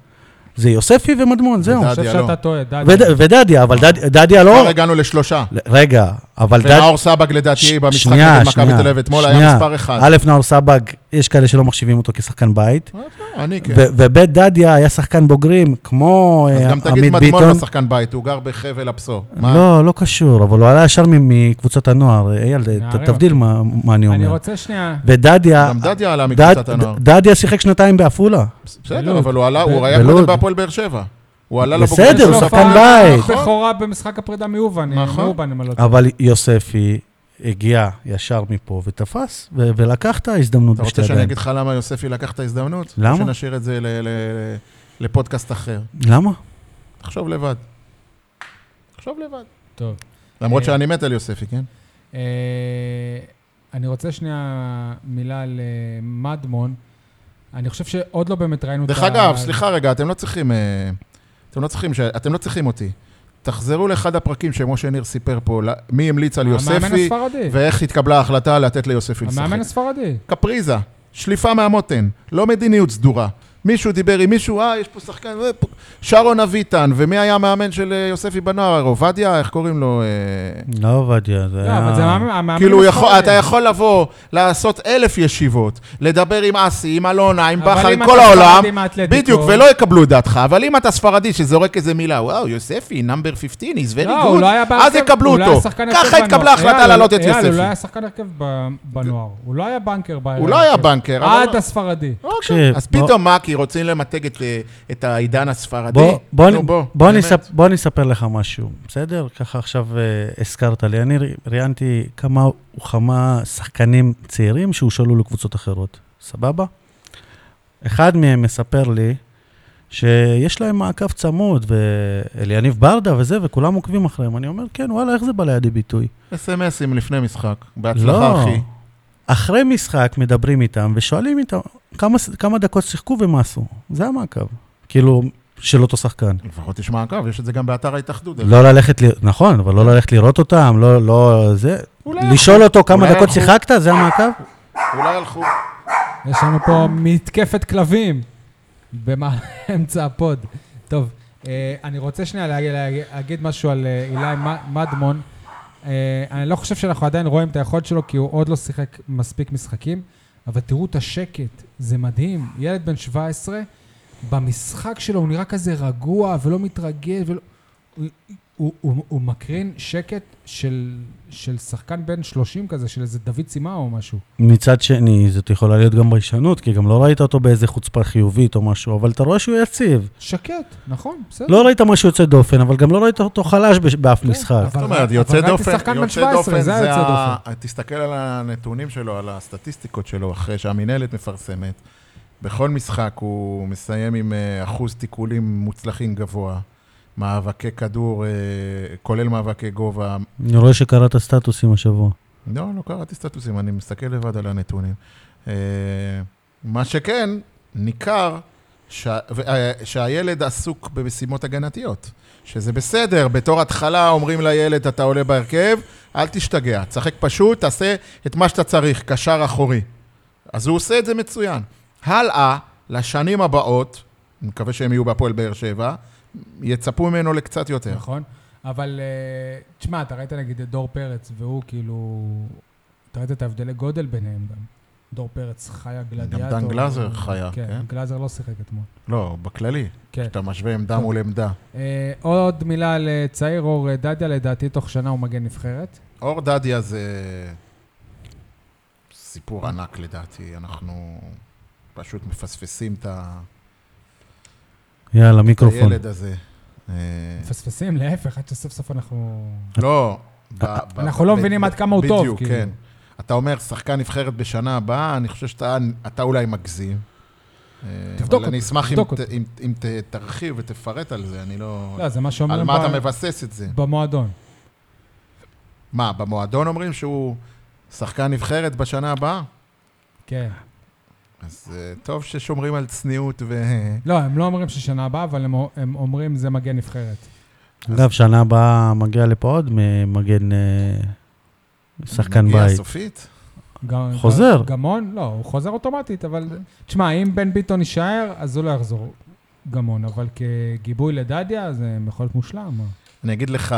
Speaker 2: זה יוספי ומדמון, זהו.
Speaker 1: אני חושב
Speaker 3: דדיה, לא.
Speaker 1: שאתה טועה, דדיה.
Speaker 2: וד- ודדיה, אבל דד- דדיה
Speaker 3: כבר
Speaker 2: לא...
Speaker 3: הגענו לשלושה.
Speaker 2: רגע, אבל דדיה...
Speaker 3: ונאור סבג
Speaker 2: ש-
Speaker 3: לדעתי במשחק
Speaker 2: שנייה,
Speaker 3: נגד מכבי
Speaker 2: שנייה,
Speaker 3: תל אביב אתמול
Speaker 2: שנייה.
Speaker 3: היה מספר אחד.
Speaker 2: א', נאור סבג, יש כאלה שלא מחשיבים אותו כשחקן בית,
Speaker 3: אני כן.
Speaker 2: ו- וב' דדיה היה שחקן בוגרים, כמו
Speaker 3: אז
Speaker 2: אה,
Speaker 3: גם תגיד
Speaker 2: עמית
Speaker 3: מדמון
Speaker 2: ביטון.
Speaker 3: לא שחקן בית, הוא גר בחבל הבשור. מה?
Speaker 2: לא, לא קשור, אבל הוא עלה ישר מ- מקבוצת הנוער. אה, אייל, ת-
Speaker 1: נערים.
Speaker 2: תבדיל מה מה אני
Speaker 1: אני
Speaker 2: אומר.
Speaker 1: רוצה שנייה...
Speaker 2: ודדיה,
Speaker 3: גם דדיה עלה
Speaker 2: אה, דד-
Speaker 3: מקבוצת הנוער.
Speaker 2: דדיה שיחק שנתיים בעפולה.
Speaker 3: בסדר,
Speaker 1: בלוד.
Speaker 3: אבל הוא עלה, הוא היה
Speaker 2: בלוד.
Speaker 3: קודם בהפועל באר שבע. הוא עלה לבוגרים.
Speaker 2: בסדר,
Speaker 3: של
Speaker 2: הוא
Speaker 3: הפועל.
Speaker 2: שחקן
Speaker 1: הופעה
Speaker 2: בית.
Speaker 1: בכורה במשחק הפרידה מאובן.
Speaker 3: נכון.
Speaker 1: מאובן, אם אני לא טועה.
Speaker 2: אבל יוספי הגיע ישר מפה ותפס, ו- ולקח את ההזדמנות
Speaker 3: אתה
Speaker 2: בשתי
Speaker 3: רוצה שאני
Speaker 2: ידיים.
Speaker 3: אגיד לך למה יוספי לקח את ההזדמנות?
Speaker 2: למה?
Speaker 3: או שנשאיר את זה ל- ל- לפודקאסט אחר.
Speaker 2: למה?
Speaker 3: תחשוב לבד. תחשוב לבד.
Speaker 2: נכון.
Speaker 1: טוב.
Speaker 3: למרות
Speaker 1: אה.
Speaker 3: שאני מת על יוספי, כן?
Speaker 1: אה, אני רוצה שנייה מילה על אה, מדמון. אני חושב שעוד לא באמת ראינו את
Speaker 3: דרך אגב, סליחה רגע, אתם לא צריכים... אה, אתם לא צריכים, ש- אתם לא צריכים אותי. תחזרו לאחד הפרקים שמשה ניר סיפר פה, ל- מי המליץ על
Speaker 1: המאמן
Speaker 3: יוספי,
Speaker 1: הספרדי.
Speaker 3: ואיך התקבלה ההחלטה לתת ליוספי לשחק.
Speaker 1: המאמן הספרדי.
Speaker 3: קפריזה, שליפה מהמותן, לא מדיניות סדורה. מישהו דיבר עם מישהו, אה, יש פה שחקן, אה, פה- שרון אביטן, ומי היה המאמן של אה, יוספי בנוער? עובדיה, איך קוראים לו? אה,
Speaker 2: לא עובדיה, זה
Speaker 1: לא, אבל זה
Speaker 2: היה...
Speaker 1: המאמן המאמן
Speaker 3: כאילו, הוא יכול,
Speaker 1: הספרדי.
Speaker 3: אתה יכול לבוא, לעשות אלף ישיבות, לדבר עם אסי, עם אלונה, עם
Speaker 1: אבל
Speaker 3: בכר,
Speaker 1: אם
Speaker 3: עם
Speaker 1: אתה
Speaker 3: כל העולם,
Speaker 1: ספרדי מהאתלטיקו-
Speaker 3: בדיוק, ולא יקבלו את דעתך, אבל אם אתה ספרדי שזורק איזה מילה, וואו, יוספי, נאמבר 15, is very
Speaker 1: לא, הוא
Speaker 3: good,
Speaker 1: לא היה בהרכב-
Speaker 3: אז יקבלו
Speaker 1: הוא לא
Speaker 3: אותו.
Speaker 1: היה שחקן הרכב
Speaker 3: ככה התקבלה
Speaker 1: בנוער.
Speaker 3: ההחלטה
Speaker 1: אייל,
Speaker 3: להעלות את
Speaker 1: אייל, הוא לא
Speaker 3: יוספי.
Speaker 1: היה שחקן הרכב ב- בנוער. הוא לא היה בנקר בהרכב.
Speaker 3: הוא לא היה בנקר, אבל-
Speaker 1: עד הספרדי.
Speaker 2: תקשיב,
Speaker 3: אז
Speaker 2: בוא-
Speaker 3: פתאום מה, כי רוצים למתג את, אה, את העידן הספרדי?
Speaker 2: בוא- בוא
Speaker 3: נו,
Speaker 2: אני-
Speaker 3: בוא,
Speaker 2: בוא אני
Speaker 3: באמת.
Speaker 2: אספ- בוא אני אספר לך משהו, בסדר? ככה עכשיו אה, הזכרת לי. אני ר- ראיינתי כמה וכמה שחקנים צעירים שהושאלו לקבוצות אחרות, סבבה? אחד מהם מספר לי שיש להם מעקב צמוד, ואליניב ברדה וזה, וכולם עוקבים אחריהם. אני אומר, כן, וואלה, איך זה בא לידי ביטוי?
Speaker 3: אס.אם.אסים לפני משחק.
Speaker 2: לא.
Speaker 3: בהצלחה, אחי.
Speaker 2: אחרי משחק מדברים איתם ושואלים איתם כמה, כמה דקות שיחקו ומה עשו. זה המעקב. כאילו, של אותו שחקן.
Speaker 3: לפחות תשמע עקב, יש את זה גם באתר ההתאחדות.
Speaker 2: לא ללכת, ל- נכון, אבל לא ללכת לראות אותם, לא, לא, זה...
Speaker 3: אולי
Speaker 2: לשאול אותו כמה
Speaker 3: אולי
Speaker 2: דקות
Speaker 3: אנחנו-
Speaker 2: שיחקת, זה המעקב?
Speaker 3: הלכו- אולי הלכו.
Speaker 1: יש לנו פה מתקפת כלבים באמצע הפוד. טוב, אה, אני רוצה שנייה להגיד, להגיד משהו על אה, אילי מ- מדמון. אה, אני לא חושב שאנחנו עדיין רואים את היכולת שלו, כי הוא עוד לא שיחק מספיק משחקים, אבל תראו את השקט, זה מדהים. ילד בן 17, במשחק שלו הוא נראה כזה רגוע ולא מתרגל, ולא... הוא, הוא, הוא, הוא מקרין שקט של, של שחקן בן 30 כזה, של איזה דוד סימאו או משהו.
Speaker 2: מצד שני, זאת יכולה להיות גם ביישנות, כי גם לא ראית אותו באיזה חוצפה חיובית או משהו, אבל אתה רואה שהוא יציב.
Speaker 1: שקט, נכון,
Speaker 3: כן.
Speaker 1: בסדר.
Speaker 2: לא ראית משהו יוצא דופן, אבל גם לא ראית אותו חלש בש- באף
Speaker 1: כן,
Speaker 2: משחק.
Speaker 1: אבל-
Speaker 3: זאת אומרת,
Speaker 1: אבל
Speaker 3: יוצא
Speaker 1: ראיתי
Speaker 3: דופן,
Speaker 1: שחקן בן
Speaker 3: יוצא
Speaker 1: 17,
Speaker 3: דופן,
Speaker 1: זה היה
Speaker 3: זה
Speaker 1: יוצא
Speaker 3: ה... תסתכל על הנתונים שלו, על הסטטיסטיקות שלו, אחרי שהמינהלת מפרסמת. בכל משחק הוא מסיים עם אה, אחוז תיקולים מוצלחים גבוה, מאבקי כדור, אה, כולל מאבקי גובה.
Speaker 2: אני רואה שקראת סטטוסים השבוע.
Speaker 3: לא, לא קראתי סטטוסים, אני מסתכל לבד על הנתונים. אה, מה שכן, ניכר שה- ו- אה, שהילד עסוק במשימות הגנתיות, שזה בסדר, בתור התחלה אומרים לילד, אתה עולה בהרכב, אל תשתגע, תשחק פשוט, תעשה את מה שאתה צריך, קשר אחורי. אז הוא עושה את זה מצוין. הלאה, לשנים הבאות, אני מקווה שהם יהיו בהפועל באר שבע, יצפו ממנו לקצת יותר.
Speaker 1: נכון. אבל אה, תשמע, אתה ראית נגיד את דור פרץ, והוא כאילו... אתה ראית את ההבדלי גודל ביניהם גם. דור פרץ חיה גלדיאטור.
Speaker 3: דן גלאזר חיה,
Speaker 1: כן,
Speaker 3: כן.
Speaker 1: גלאזר לא שיחק אתמול.
Speaker 3: לא, בכללי,
Speaker 1: כן.
Speaker 3: כשאתה משווה עמדה מול עמדה.
Speaker 1: אה, עוד מילה על אה, צעיר אור אה, דדיה, לדעתי תוך שנה הוא מגן נבחרת.
Speaker 3: אור דדיה זה סיפור ענק לדעתי, אנחנו פשוט מפספסים את ה-
Speaker 2: יאללה,
Speaker 3: את
Speaker 2: מיקרופון.
Speaker 3: הילד הזה. אה,
Speaker 1: מפספסים, להפך, עד שסוף סוף אנחנו...
Speaker 3: לא, ב- ב-
Speaker 1: אנחנו
Speaker 3: ב-
Speaker 1: לא
Speaker 3: ב-
Speaker 1: מבינים
Speaker 3: ב-
Speaker 1: עד כמה הוא טוב,
Speaker 3: בדיוק,
Speaker 1: כאילו.
Speaker 3: כן. אתה אומר, שחקן נבחרת בשנה הבאה, אני חושב שאתה אתה אולי מגזים. אה,
Speaker 1: תבדוק
Speaker 3: אבל אני
Speaker 1: אותו,
Speaker 3: אשמח אם
Speaker 1: תבדוק
Speaker 3: ת-
Speaker 1: אותו.
Speaker 3: אם- אם ת- תרחיב ותפרט על זה, אני לא...
Speaker 1: לא, זה מה
Speaker 3: על
Speaker 1: שאומרים
Speaker 3: מה אתה
Speaker 1: ב-
Speaker 3: מבסס את זה?
Speaker 1: במועדון.
Speaker 3: מה, במועדון אומרים שהוא שחקן נבחרת בשנה הבאה?
Speaker 1: כן.
Speaker 3: אז אה, טוב ששומרים על צניעות ו...
Speaker 1: לא, הם לא אומרים ששנה הבאה, אבל הם- הם אומרים זה מגן נבחרת.
Speaker 2: אגב, שנה הבאה מגיע לפה עוד מ- מגן אה, שחקן
Speaker 3: מגיע
Speaker 2: בית.
Speaker 3: סופית?
Speaker 1: גם-
Speaker 2: חוזר.
Speaker 1: גם הון? לא, הוא חוזר אוטומטית, אבל... תשמע, אם בן ביטון יישאר, אז הוא לא יחזור גמון, אבל כגיבוי לדדיה, זה יכול להיות מושלם.
Speaker 3: אני אגיד לך,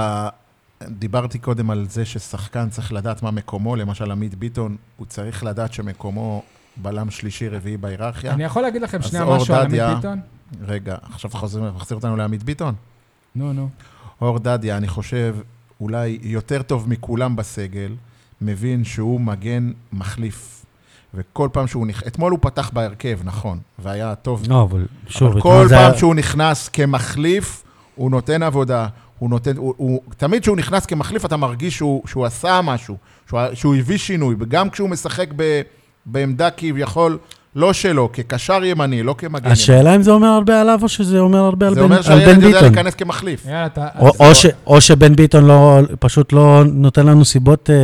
Speaker 3: דיברתי קודם על זה ששחקן צריך לדעת מה מקומו, למשל עמית ביטון, הוא צריך לדעת שמקומו בלם שלישי, רביעי בהיררכיה.
Speaker 1: אני יכול להגיד לכם
Speaker 3: אז
Speaker 1: שנייה
Speaker 3: אור
Speaker 1: משהו על עמית
Speaker 3: דדיה.
Speaker 1: ביטון?
Speaker 3: רגע, עכשיו חוזרים, מחזיר אותנו לעמית ביטון?
Speaker 1: נו, נו.
Speaker 3: אור דדיה, אני חושב, אולי יותר טוב מכולם בסגל, מבין שהוא מגן מחליף. וכל פעם שהוא נכנס, אתמול הוא פתח בהרכב, נכון, והיה טוב
Speaker 2: לא, אבל שוב,
Speaker 3: אבל
Speaker 2: אתמול
Speaker 3: כל
Speaker 2: זה היה-
Speaker 3: פעם שהוא נכנס כמחליף, הוא נותן עבודה. הוא נותן, הוא, הוא, תמיד כשהוא נכנס כמחליף, אתה מרגיש שהוא, שהוא עשה משהו, שהוא, שהוא הביא שינוי. גם כשהוא משחק ב, בעמדה כביכול לא שלו, כקשר ימני, לא כמגן ימני.
Speaker 2: השאלה אם זה אומר הרבה עליו, או שזה אומר הרבה על
Speaker 3: זה
Speaker 2: בן
Speaker 3: אומר
Speaker 2: על בן
Speaker 3: שהילד יודע
Speaker 2: ביטון.
Speaker 3: להיכנס כמחליף.
Speaker 1: יאללה, אתה...
Speaker 2: או- או ש- או שבן ביטון לא, פשוט לא נותן לנו סיבות אה,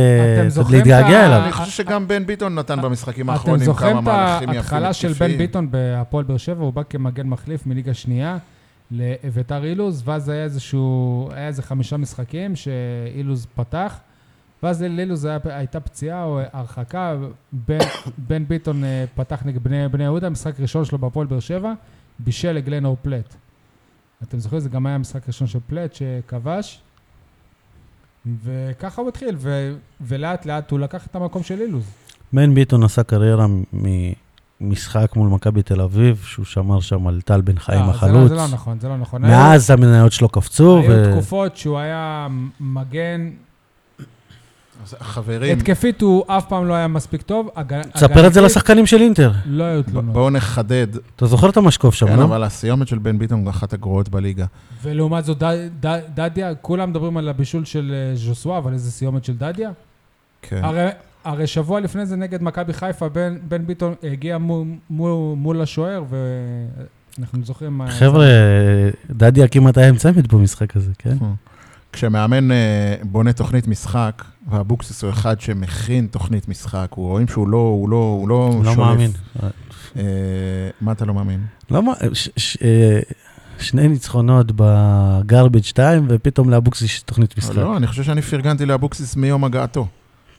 Speaker 1: אתם זוכרים את ה-
Speaker 2: להתגעגע אליו.
Speaker 3: אני חושב שגם בן ביטון נתן במשחקים
Speaker 1: אה, אתם
Speaker 3: האחרונים
Speaker 1: זוכרים
Speaker 3: כמה
Speaker 1: את
Speaker 3: מהלכים יפים.
Speaker 1: ההתחלה של בן
Speaker 3: התקפיים.
Speaker 1: ביטון בהפועל באר שבע? הוא בא כמגן מחליף מליגה שנייה לאביתר אילוז, ואז היה איזשהו... היה איזה חמישה משחקים שאילוז פתח. ואז לאילוז היה- הייתה פציעה או הרחקה, בן, בן ביטון אה, פתח נגד בני, בני יהודה, משחק ראשון שלו בהפועל באר שבע, בישל לגלנור פלט. אתם זוכרים, זה גם היה משחק ראשון של פלט שכבש, וככה הוא התחיל, ו, ולאט לאט הוא לקח את המקום של אילוז.
Speaker 2: בן ביטון עשה קריירה ממשחק מול מכבי תל אביב, שהוא שמר שם על טל בן חיים
Speaker 1: לא, זה לא-
Speaker 2: החלוץ.
Speaker 1: זה לא נכון, זה לא נכון.
Speaker 2: מאז המניות שלו קפצו,
Speaker 1: היו
Speaker 2: ו-
Speaker 1: היו תקופות שהוא היה מגן,
Speaker 3: אז חברים,
Speaker 1: התקפית הוא אף פעם לא היה מספיק טוב. הגנ-
Speaker 2: תספר את זה
Speaker 1: הגנתית,
Speaker 2: לשחקנים של אינטר.
Speaker 1: לא היו
Speaker 3: ב-
Speaker 1: תלונות.
Speaker 3: בואו נחדד.
Speaker 2: אתה זוכר את המשקוף שם,
Speaker 3: כן,
Speaker 2: לא?
Speaker 3: אבל הסיומת של בן ביטון היא אחת הגרועות בליגה.
Speaker 1: ולעומת זאת, ד- ד- דדיה, כולם מדברים על הבישול של אה, ז'וסווה, אבל איזה סיומת של דדיה.
Speaker 3: כן.
Speaker 1: הרי, הרי שבוע לפני זה נגד מכבי חיפה, בן, בן ביטון הגיע מול, מול, מול השוער, ו... אנחנו זוכרים אה, מה...
Speaker 2: חבר'ה, דדיה כמעט היה אמצעמת במשחק הזה, כן?
Speaker 3: כשמאמן אה, בונה תוכנית משחק, ואבוקסיס הוא אחד שמכין תוכנית משחק, הוא רואים שהוא לא, הוא לא, הוא לא
Speaker 2: לא
Speaker 3: שולף.
Speaker 2: מאמין.
Speaker 3: אה, מה אתה לא מאמין?
Speaker 2: לא מאמין. אה, שני ניצחונות בגרביג' 2, ופתאום לאבוקסיס יש תוכנית משחק.
Speaker 3: לא, אני חושב שאני פרגנתי לאבוקסיס מיום הגעתו.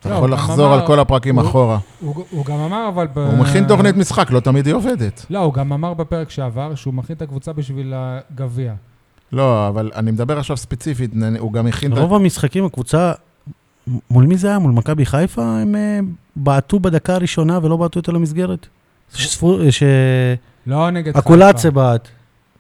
Speaker 3: אתה
Speaker 1: לא,
Speaker 3: יכול
Speaker 1: הוא גם
Speaker 3: לחזור
Speaker 1: אמר-
Speaker 3: על כל הפרקים
Speaker 1: הוא-
Speaker 3: אחורה.
Speaker 1: הוא הוא אה, גם אמר, אבל... ב-
Speaker 3: הוא מכין תוכנית משחק, לא תמיד היא עובדת.
Speaker 1: לא, הוא גם אמר בפרק שעבר שהוא מכין את הקבוצה בשביל הגביע.
Speaker 3: לא, אבל אני מדבר עכשיו ספציפית, נ- הוא גם הכין... את ה-
Speaker 2: רוב המשחקים, הקבוצה, מ- מול מי זה היה? מול מכבי חיפה? הם אה, בעטו בדקה הראשונה ולא בעטו יותר למסגרת.
Speaker 1: לא נגד... חיפה.
Speaker 2: שהקולצה בעט.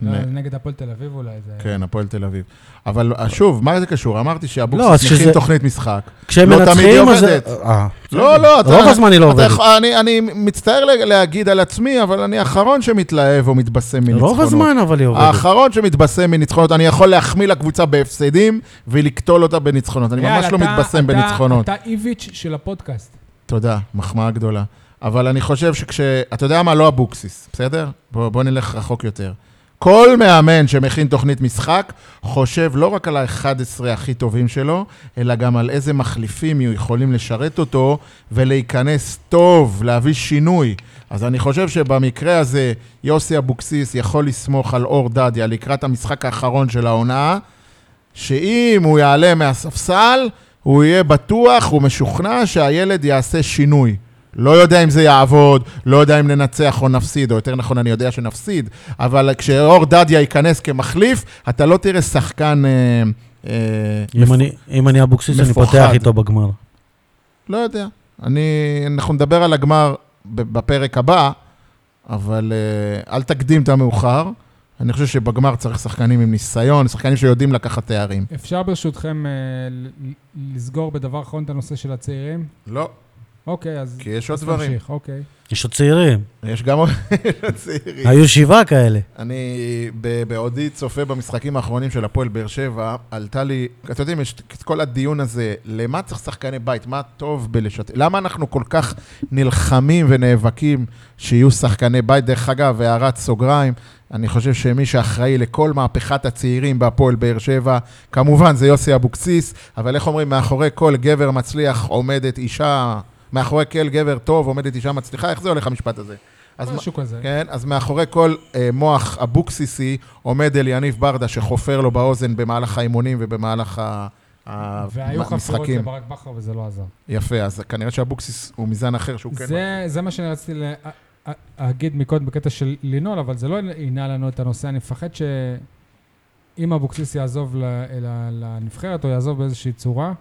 Speaker 1: לא,
Speaker 3: נ-
Speaker 1: נגד הפועל תל אביב אולי. זה-
Speaker 3: כן, הפועל תל אביב. אבל אה, שוב, מה זה קשור? אמרתי
Speaker 2: לא, אז
Speaker 3: שאבוקסיס
Speaker 2: שזה-
Speaker 3: מכין תוכנית משחק.
Speaker 2: כשהם
Speaker 3: לא תמיד היא
Speaker 2: מנצחים, אז...
Speaker 3: עובדת.
Speaker 2: אה,
Speaker 3: לא, לא, אתה...
Speaker 2: רוב הזמן היא לא
Speaker 3: אתה
Speaker 2: עובדת.
Speaker 3: יכול- אני- אני מצטער ל- להגיד על עצמי, אבל אני האחרון שמתלהב או מתבשם מניצחונות.
Speaker 2: רוב הזמן אבל היא עובדת.
Speaker 3: האחרון שמתבשם מניצחונות, אני יכול להחמיא לקבוצה בהפסדים ולקטול אותה בניצחונות. אני
Speaker 1: אייל,
Speaker 3: ממש לא
Speaker 1: אתה-
Speaker 3: מתבשם
Speaker 1: אתה-
Speaker 3: בניצחונות.
Speaker 1: אתה איביץ' של הפודקאסט.
Speaker 3: תודה, מחמאה גדולה. אבל אני חושב שכש... אתה יודע מה? לא אבוקסיס, בסדר? בוא, בוא נלך רחוק יותר. כל מאמן שמכין תוכנית משחק חושב לא רק על ה-11 הכי טובים שלו, אלא גם על איזה מחליפים יכולים לשרת אותו ולהיכנס טוב, להביא שינוי. אז אני חושב שבמקרה הזה יוסי אבוקסיס יכול לסמוך על אור דדיה לקראת המשחק האחרון של העונה, שאם הוא יעלה מהספסל, הוא יהיה בטוח, הוא משוכנע שהילד יעשה שינוי. לא יודע אם זה יעבוד, לא יודע אם ננצח או נפסיד, או יותר נכון, אני יודע שנפסיד, אבל כשאור דדיה ייכנס כמחליף, אתה לא תראה שחקן... אה, אה,
Speaker 2: אם אני- אם אני אבוקסיס, אני
Speaker 3: מפוחד.
Speaker 2: פותח איתו בגמר.
Speaker 3: לא יודע. אני, אנחנו נדבר על הגמר ב- בפרק הבא, אבל אה, אל תקדים את המאוחר. אני חושב שבגמר צריך שחקנים עם ניסיון, שחקנים שיודעים לקחת תארים.
Speaker 1: אפשר ברשותכם אה, ל- ל- לסגור בדבר אחרון את הנושא של הצעירים?
Speaker 3: לא,
Speaker 1: אוקיי, אז
Speaker 3: כי יש כן, עוד דברים.
Speaker 1: נמשיך, אוקיי.
Speaker 2: יש עוד צעירים.
Speaker 3: יש גם צעירים.
Speaker 2: היו שבעה כאלה.
Speaker 3: אני, ב- בעודי צופה במשחקים האחרונים של הפועל באר שבע, עלתה לי, אתם יודעים, יש את כל הדיון הזה, למה צריך שחקני בית? מה טוב בלשתף? למה אנחנו כל כך נלחמים ונאבקים שיהיו שחקני בית? דרך אגב, הערת סוגריים, אני חושב שמי שאחראי לכל מהפכת הצעירים בהפועל באר שבע, כמובן זה יוסי אבוקסיס, אבל איך אומרים, מאחורי כל גבר מצליח עומדת אישה, מאחורי כל גבר טוב עומדת אישה מצליחה, איך זה הולך המשפט הזה? אז מה-
Speaker 1: משהו כזה.
Speaker 3: כן, אז מאחורי כל אה, מוח אבוקסיסי עומד אל יניב ברדה שחופר לו באוזן במהלך האימונים ובמהלך ה- ה-
Speaker 1: והיו חפירות
Speaker 3: המשחקים.
Speaker 1: לברק בכר וזה לא עזר.
Speaker 3: יפה, אז כנראה שאבוקסיס הוא מזן אחר שהוא כן...
Speaker 1: זה, זה מה שאני רציתי לה, ה- להגיד מקודם בקטע של לנעול, אבל זה לא ינה לנו את הנושא. אני מפחד שאם אבוקסיס יעזוב ל, ל, לנבחרת או יעזוב באיזושהי צורה,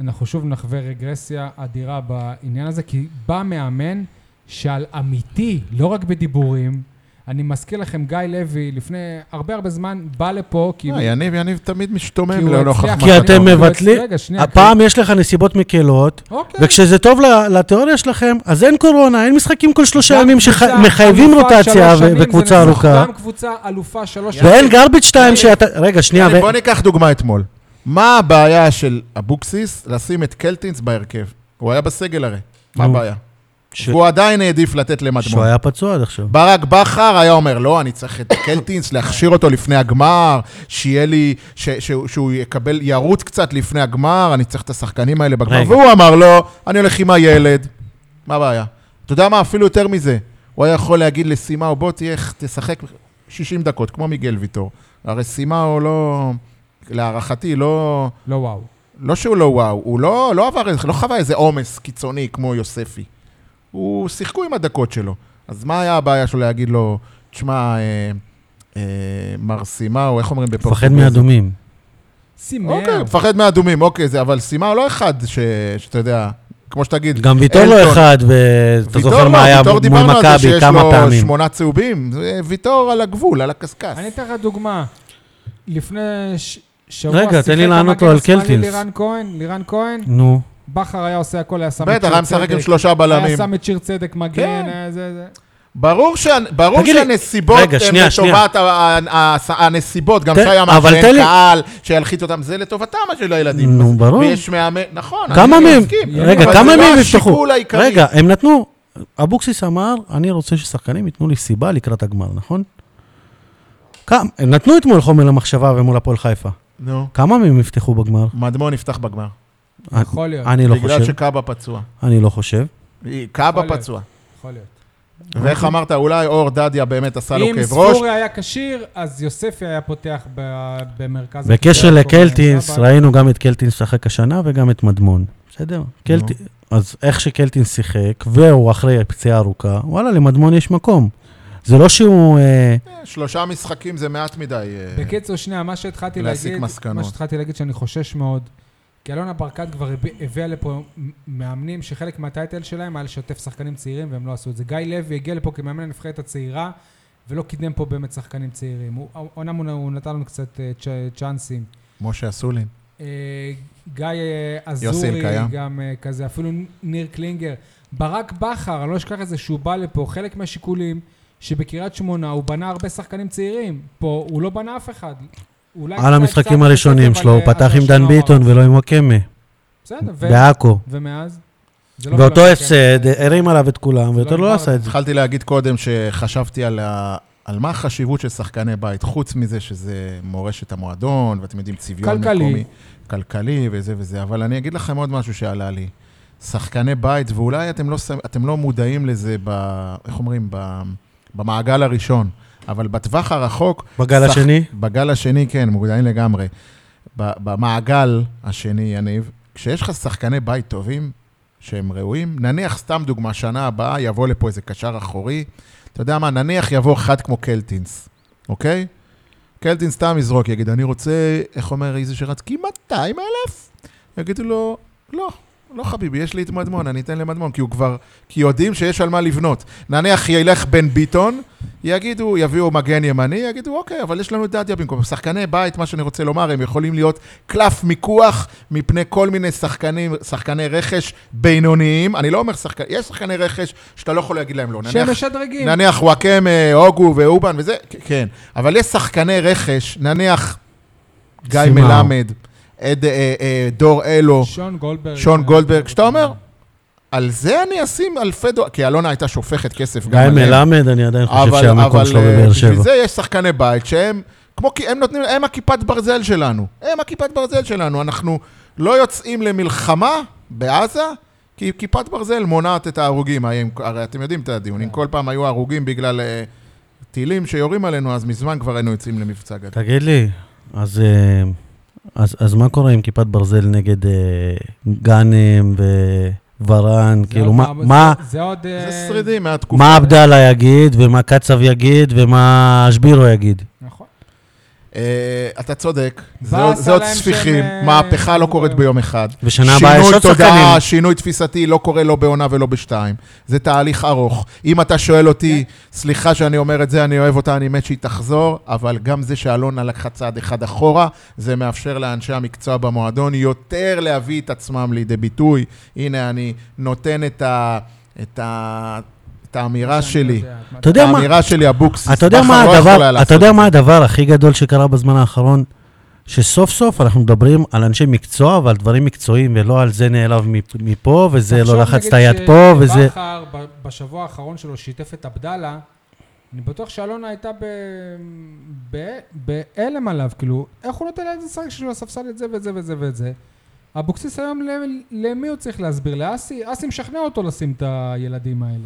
Speaker 1: אנחנו שוב נחווה רגרסיה אדירה בעניין הזה, כי בא מאמן שעל אמיתי, לא רק בדיבורים, אני מזכיר לכם, גיא לוי, לפני הרבה הרבה זמן, בא לפה כי...
Speaker 3: אה, יניב, יניב תמיד
Speaker 1: כאילו- כי
Speaker 3: משתומם
Speaker 1: הוא
Speaker 3: לנוכח
Speaker 1: הצליח-
Speaker 3: מה...
Speaker 2: כי
Speaker 1: הוא
Speaker 2: אתם
Speaker 1: הצליח-
Speaker 2: מבטלים-
Speaker 1: רגע, שנייה.
Speaker 2: הפעם יש לך נסיבות מקלות,
Speaker 1: אוקיי.
Speaker 3: כן.
Speaker 2: וכשזה טוב ל- לתיאוריה שלכם, אז אין קורונה, אין משחקים כל שלושה
Speaker 1: גם
Speaker 2: ימים
Speaker 1: קבוצה
Speaker 2: שמחייבים
Speaker 1: אלופה
Speaker 2: רוטציה
Speaker 1: שלוש
Speaker 2: ו-
Speaker 1: שנים, זה
Speaker 2: וקבוצה
Speaker 1: נכון.
Speaker 2: ארוכה.
Speaker 1: גם קבוצה אלופה שלוש שנים.
Speaker 2: ואין גרביץ' 2 שאתה... רגע, שנייה,
Speaker 3: יניב,
Speaker 2: ו-
Speaker 3: בוא ניקח דוגמה אתמול. מה הבעיה של אבוקסיס לשים את קלטינס בהרכב? הוא היה בסגל הרי. מה
Speaker 2: נו.
Speaker 3: הבעיה?
Speaker 2: ש-
Speaker 3: הוא עדיין העדיף לתת
Speaker 2: שהוא
Speaker 3: למדמון.
Speaker 2: היה פצוע עד עכשיו.
Speaker 3: ברק בכר היה אומר, לא, אני צריך את קלטינס, להכשיר אותו לפני הגמר, שיהיה לי, ש, ש, שהוא יקבל, ירוץ קצת לפני הגמר, אני צריך את השחקנים האלה בגמר.
Speaker 2: רגע.
Speaker 3: רגע. והוא אמר לו, אני הולך עם הילד, מה הבעיה? אתה יודע מה, אפילו יותר מזה, הוא היה יכול להגיד לסימאו, בוא תהיה, תשחק 60 דקות, כמו מיגל ויטור. הרי סימאו לא, להערכתי, לא,
Speaker 1: לא וואו.
Speaker 3: לא שהוא לא וואו, הוא לא, לא עבר, איזה- לא חווה איזה עומס קיצוני כמו יוספי. הוא, שיחקו עם הדקות שלו. אז מה היה הבעיה שלו להגיד לו, תשמע, אה, אה, מר סימאו, איך אומרים בפורטוגזית?
Speaker 2: מפחד מאדומים.
Speaker 1: סימר.
Speaker 3: אוקיי, מפחד מאדומים, אוקיי, זה, אבל סימאו לא אחד ש, שאתה יודע, כמו שתגיד.
Speaker 2: גם ויטור
Speaker 3: אלטון.
Speaker 2: לא אחד, ואתה זוכר מה היה
Speaker 3: ויטור
Speaker 2: מול
Speaker 3: דיברנו על זה
Speaker 2: מכבי
Speaker 3: שיש
Speaker 2: כמה
Speaker 3: לו
Speaker 2: פעמים.
Speaker 3: שמונה צהובים, זה ויטור על הגבול, על הקשקש.
Speaker 1: אני אתן לך דוגמה. לפני ש- שבוע
Speaker 2: רגע, תן לי
Speaker 1: שיחק
Speaker 2: לענות
Speaker 1: המגן
Speaker 2: לו על
Speaker 1: השמאלי
Speaker 2: קלטינס.
Speaker 1: לירן כהן, לירן כהן,
Speaker 2: נו,
Speaker 1: בכר היה עושה הכל, היה שם את
Speaker 3: בטח, היה משחק עם שלושה
Speaker 1: היה
Speaker 3: בלמים.
Speaker 1: שם את שיר צדק מגן,
Speaker 3: כן.
Speaker 1: היה זה, זה.
Speaker 3: ברור שה- ברור
Speaker 2: תגיד לי-
Speaker 3: שהנסיבות
Speaker 2: רגע,
Speaker 3: הן
Speaker 2: שנייה, שנייה.
Speaker 3: לטובת ה- ה- ה- הנסיבות, גם
Speaker 2: תן-
Speaker 3: שי אמר
Speaker 2: אבל תן
Speaker 3: שאין
Speaker 2: לי-
Speaker 3: קהל, שילחית אותם, זה לטובתם של הילדים.
Speaker 2: נו, ברור.
Speaker 3: ויש מאמן, נכון.
Speaker 2: כמה
Speaker 3: אני
Speaker 2: מהם?
Speaker 3: מסכים.
Speaker 2: רגע,
Speaker 3: אבל
Speaker 2: כמה
Speaker 3: זה לא
Speaker 2: מהם יפתחו?
Speaker 3: השיקול העיקרי.
Speaker 2: רגע, הם נתנו... אבוקסיס אמר, אני רוצה ששחקנים ייתנו לי סיבה לקראת הגמר, נכון? כמה- הם נתנו אתמול חומר למחשבה ומול הפועל חיפה.
Speaker 3: נו.
Speaker 2: כמה מהם יפתחו בגמר?
Speaker 3: מדמון יפתח בגמר.
Speaker 2: אני-
Speaker 1: יכול להיות,
Speaker 2: אני לא
Speaker 3: בגלל
Speaker 2: חושב.
Speaker 3: שקאבה פצוע.
Speaker 2: אני לא חושב.
Speaker 3: היא- קאבה
Speaker 1: יכול להיות.
Speaker 3: פצוע. אוקיי.
Speaker 1: יכול להיות.
Speaker 3: ואיך אמרת, אולי אור דדיה באמת עשה לו
Speaker 1: אם
Speaker 3: כאב ראש.
Speaker 1: ספורי היה כשיר, אז יוספי היה פותח ב- במרכז...
Speaker 2: בקשר
Speaker 1: הקבוצה,
Speaker 2: לקלטינס,
Speaker 1: קוראים לו
Speaker 2: ראינו גם את קלטינס שחק השנה וגם את מדמון. בסדר. קלטי- אז איך שקלטינס שיחק, והוא אחרי פציעה ארוכה, וואלה, למדמון יש מקום. זה לא שהוא... אה,
Speaker 3: שלושה משחקים זה מעט מדי. אה,
Speaker 1: בקיצור, שנייה, מה שהתחלתי
Speaker 3: להסיק
Speaker 1: להגיד,
Speaker 3: מסקנות.
Speaker 1: מה שהתחלתי להגיד שאני חושש מאוד, כי אלונה ברקת כבר הב- הביאה לפה מ- מאמנים שחלק מהטייטל שלהם היה לשתף שחקנים צעירים והם לא עשו את זה. גיא לוי הגיע לפה כמאמן הנבחרת הצעירה, ולא קידם פה באמת שחקנים צעירים. הוא- אומנם הוא- הוא נתן לנו קצת אה, צ'- צ'אנסים.
Speaker 3: משה אסולין.
Speaker 1: אה, גיא אה,
Speaker 3: יוסי
Speaker 1: אזורי,
Speaker 3: אלקיים.
Speaker 1: גם אה, כזה, אפילו ניר קלינגר. ברק בכר, אני לא אשכח את זה שהוא בא לפה, חלק מהשיקולים שבקריית שמונה הוא בנה הרבה שחקנים צעירים. פה הוא לא בנה אף אחד. אולי
Speaker 2: על
Speaker 1: קצת-
Speaker 2: המשחקים
Speaker 1: קצת
Speaker 2: הראשונים
Speaker 1: כסף,
Speaker 2: שלו, הוא
Speaker 1: אבל, אה,
Speaker 2: פתח עם
Speaker 1: אבל
Speaker 2: דן
Speaker 1: לא
Speaker 2: ביטון
Speaker 1: אמר.
Speaker 2: ולא עם וואקמה,
Speaker 1: בסדר, ו-
Speaker 2: בעכו.
Speaker 1: ומאז? זה לא
Speaker 2: ואותו
Speaker 1: קרה, כן.
Speaker 2: הפסד, הרים עליו את כולם, ויותר
Speaker 1: נגמר.
Speaker 2: לא עשה את זה.
Speaker 3: התחלתי להגיד קודם שחשבתי על, ה... על מה החשיבות של שחקני בית, חוץ מזה שזה מורשת המועדון, ואתם יודעים, צביון
Speaker 1: כלכלי.
Speaker 3: מקומי. כלכלי וזה וזה, אבל אני אגיד לכם עוד משהו שעלה לי. שחקני בית, ואולי אתם לא, שמ- אתם לא מודעים לזה, ב... איך אומרים? ב... במעגל הראשון, אבל בטווח הרחוק...
Speaker 2: בגל
Speaker 3: שח-
Speaker 2: השני?
Speaker 3: בגל השני, כן, מודעים לגמרי. ב- במעגל השני, יניב, כשיש לך שחקני בית טובים, שהם ראויים, נניח, סתם דוגמה, שנה הבאה יבוא לפה איזה קשר אחורי, אתה יודע מה, נניח יבוא אחד כמו קלטינס, אוקיי? קלטינס סתם יזרוק, יגיד, אני רוצה, איך אומר איזה שרץ? כמעט 200 אלף? יגידו לו, לא, לא חביבי, יש לי את מדמון, אני אתן למדמון, כי הוא כבר, כי יודעים שיש על מה לבנות. נניח ילך בן ביטון, יגידו, יביאו מגן ימני, יגידו, אוקיי, אבל יש לנו את דדיה במקום. שחקני בית, מה שאני רוצה לומר, הם יכולים להיות קלף מיקוח מפני כל מיני שחקנים, שחקני רכש בינוניים. אני לא אומר שחקנים, יש שחקני רכש שאתה לא יכול להגיד להם לא.
Speaker 1: שהם
Speaker 3: נניח
Speaker 1: משדרגים.
Speaker 3: נניח וואקם, אה, הוגו ואובן וזה, כ- כן. אבל יש שחקני רכש, נניח גיא
Speaker 2: סימאו.
Speaker 3: מלמד, עד, אה, אה, דור אלו,
Speaker 1: שון גולדברג.
Speaker 3: שון גולדברג, שאתה אומר, על זה אני אשים אלפי דולר, כי אלונה הייתה שופכת כסף
Speaker 2: גיא
Speaker 3: גם עליהם.
Speaker 2: מלמד, אני עדיין חושב שהמקום שלו
Speaker 3: אה,
Speaker 2: בבאר
Speaker 3: בשביל
Speaker 2: שבע.
Speaker 3: זה יש שחקני בית שהם, כמו כי הם נותנים, הם הכיפת ברזל שלנו. הם הכיפת ברזל שלנו. אנחנו לא יוצאים למלחמה בעזה, כי כיפת ברזל מונעת את ההרוגים. הרי הם- הרי אתם יודעים את הדיונים,
Speaker 2: כן.
Speaker 3: כל פעם היו הרוגים בגלל אה, טילים שיורים עלינו, אז מזמן כבר היינו יוצאים למבצע גדול.
Speaker 2: תגיד לי, אז, אה, אז, אז מה קורה עם כיפת ברזל נגד אה, גאנם וורן?
Speaker 1: זה
Speaker 2: כאילו,
Speaker 1: עוד
Speaker 2: מה, מה,
Speaker 1: זה עוד... אה,
Speaker 3: זה שרידים מהתקופה.
Speaker 2: מה עבדאללה יגיד, ומה קצב יגיד, ומה שבירו יגיד?
Speaker 1: נכון.
Speaker 3: אה, אתה צודק, זה
Speaker 1: באסה
Speaker 3: עוד- זה עוד
Speaker 1: להם
Speaker 3: ספיחים,
Speaker 1: שהם, אה,
Speaker 3: מהפכה לא קורית ביום אחד.
Speaker 2: ושנה הבאה יש
Speaker 3: שינוי
Speaker 2: עוד
Speaker 3: תודעה,
Speaker 2: שחקנים.
Speaker 3: שינוי תפיסתי לא קורה לא בעונה ולא בשתיים. זה תהליך ארוך. אם אתה שואל אותי, סליחה שאני אומר את זה, אני אוהב אותה, אני מת שהיא תחזור, אבל גם זה שאלונה לקחה צעד אחד אחורה, זה מאפשר לאנשי המקצוע במועדון יותר להביא את עצמם לידי ביטוי. הנה, אני נותן את ה... את ה... את האמירה
Speaker 1: שאני
Speaker 3: שלי,
Speaker 1: יודע,
Speaker 2: אתה יודע מה,
Speaker 3: האמירה שלי, אבוקסיס.
Speaker 2: אתה יודע
Speaker 3: בכר
Speaker 2: מה
Speaker 3: לא יכול היה
Speaker 2: הדבר, אתה
Speaker 3: לעשות
Speaker 2: יודע
Speaker 3: את
Speaker 2: מה
Speaker 3: זה.
Speaker 2: הדבר הכי גדול שקרה בזמן האחרון? שסוף סוף אנחנו מדברים על אנשי מקצוע ועל דברים מקצועיים, ולא על זה נעלב מפ- מפה, וזה
Speaker 1: תחשוב
Speaker 2: לא לחץ
Speaker 1: נגיד
Speaker 2: את היד פה, וזה...
Speaker 1: שבכר ב- בשבוע האחרון שלו שיתף את עבדאללה, אני בטוח שאלונה הייתה ב... ב... בהלם עליו, כאילו, איך הוא נותן לאיזה שחק שלו לספסל את זה ואת זה ואת זה ואת זה. אבוקסיס היום, ל- למי הוא צריך להסביר? לאסי? אסי משכנע אותו לשים את הילדים האלה.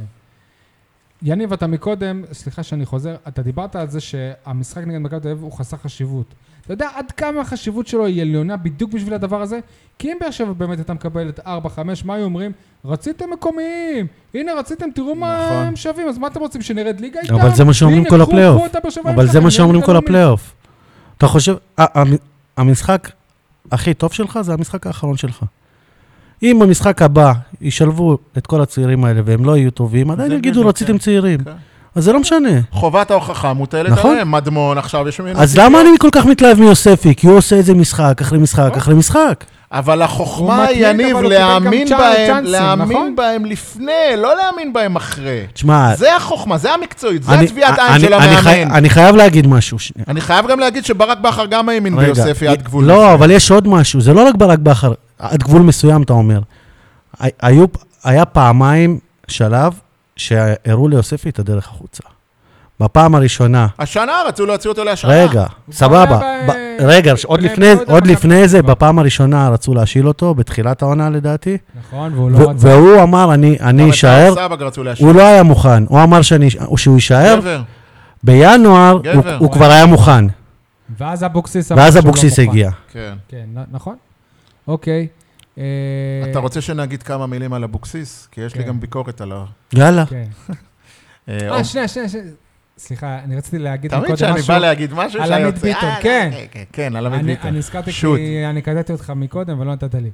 Speaker 1: יניב, אתה מקודם, סליחה שאני חוזר, אתה דיברת על זה שהמשחק נגד מכבי תל אביב הוא חסר חשיבות. אתה יודע עד כמה החשיבות שלו היא עליונה בדיוק בשביל הדבר הזה? כי אם באר שבע באמת הייתה מקבלת 4-5, מה היו אומרים? רציתם מקומיים, הנה רציתם, תראו מה
Speaker 3: נכון.
Speaker 1: הם שווים, אז מה אתם רוצים, שנרד ליגה איתם?
Speaker 2: אבל זה מה שאומרים
Speaker 1: הנה,
Speaker 2: כל
Speaker 1: קחו-
Speaker 2: הפלייאוף.
Speaker 1: קחו את באר שבעים
Speaker 2: אבל זה
Speaker 1: שלכם,
Speaker 2: מה שאומרים
Speaker 1: נראית
Speaker 2: כל
Speaker 1: לאומית.
Speaker 2: הפלייאוף. אתה חושב, ה- המ- המשחק הכי טוב שלך זה המשחק האחרון שלך. אם במשחק הבא ישלבו את כל הצעירים האלה והם לא יהיו טובים, עדיין
Speaker 3: זה
Speaker 2: יגידו
Speaker 3: בדיוק,
Speaker 2: רציתם
Speaker 3: כן.
Speaker 2: צעירים.
Speaker 3: כן.
Speaker 2: אז זה לא משנה.
Speaker 3: חובת ההוכחה מוטלת
Speaker 2: נכון.
Speaker 3: עליהם, מדמון עכשיו, יש ממנו...
Speaker 2: אז למה אני כל כך מתלהב מיוספי? כי הוא עושה את זה משחק אחרי משחק אחרי משחק.
Speaker 3: אבל החוכמה
Speaker 1: הוא מתמיד,
Speaker 3: היא, יניב,
Speaker 1: אבל הוא קיבל גם
Speaker 3: להאמין
Speaker 1: צ'אנ-
Speaker 3: בהם,
Speaker 1: צ'אנסים,
Speaker 3: להאמין
Speaker 1: נכון?
Speaker 3: בהם לפני, לא להאמין בהם אחרי.
Speaker 2: תשמע,
Speaker 3: זה החוכמה, זה המקצועיות, זה
Speaker 2: אני-
Speaker 3: הטביעת עין
Speaker 2: אני-
Speaker 3: של
Speaker 2: אני חי-
Speaker 3: המאמן.
Speaker 2: אני חייב להגיד משהו. שנייה.
Speaker 3: אני חייב גם להגיד שברק בכר גם האמין
Speaker 2: רגע,
Speaker 3: ביוספי עד גבול.
Speaker 2: לא,
Speaker 3: מסוים.
Speaker 2: אבל יש עוד משהו, זה לא רק ברק בכר, עד גבול מסוים אתה אומר. הי- היו, היה פעמיים שלב שהראו ליוספי את הדרך החוצה. בפעם הראשונה.
Speaker 3: השנה רצו להוציא אותו להשאלה.
Speaker 2: רגע,
Speaker 1: הוא
Speaker 2: סבבה.
Speaker 1: כבר היה
Speaker 2: ב-
Speaker 1: אה, ב-
Speaker 2: רגע, ש- עוד
Speaker 1: בני-
Speaker 2: לפני-
Speaker 1: בני-
Speaker 2: עוד
Speaker 1: בני-
Speaker 2: לפני זה,
Speaker 1: כבר.
Speaker 2: בפעם הראשונה רצו להשיל אותו, בתחילת העונה לדעתי,
Speaker 1: נכון, והוא
Speaker 2: ו-
Speaker 1: לא רצה.
Speaker 2: והוא אמר, "אני- אני אשאר,
Speaker 3: סבג רצו להשאלה.
Speaker 2: הוא לא היה מוכן, הוא אמר שאני- שהוא יישאר,
Speaker 3: גבר.
Speaker 2: בינואר
Speaker 3: גבר,
Speaker 2: הוא-
Speaker 3: הוא
Speaker 2: הוא כבר היה מוכן,
Speaker 1: ואז אבוקסיס אמר
Speaker 2: ואז
Speaker 1: שהוא לא
Speaker 2: אבוקסיס
Speaker 1: מוכן.
Speaker 2: הגיע.
Speaker 3: כן.
Speaker 1: כן, נ- נכון. אוקיי. אה,
Speaker 3: אתה רוצה שנגיד כמה מילים על אבוקסיס? כי יש לי
Speaker 1: כן.
Speaker 3: גם ביקורת עליו.
Speaker 2: יאללה.
Speaker 1: כן.
Speaker 3: אה,
Speaker 1: אה, שנייה, שנייה, שנייה. סליחה, אני רציתי להגיד
Speaker 3: תמיד
Speaker 1: מקודם
Speaker 3: כשאני
Speaker 1: משהו.
Speaker 3: בא להגיד משהו,
Speaker 1: על
Speaker 3: שי
Speaker 1: עמית
Speaker 3: יוצא,
Speaker 1: ביטון,
Speaker 3: "אה,
Speaker 1: כן.
Speaker 3: כן, כן, על עמית
Speaker 1: אני-
Speaker 3: ביטון.
Speaker 1: אני הזכרתי
Speaker 3: שוט.
Speaker 1: כי אני קטעתי אותך מקודם ולא נתת לי.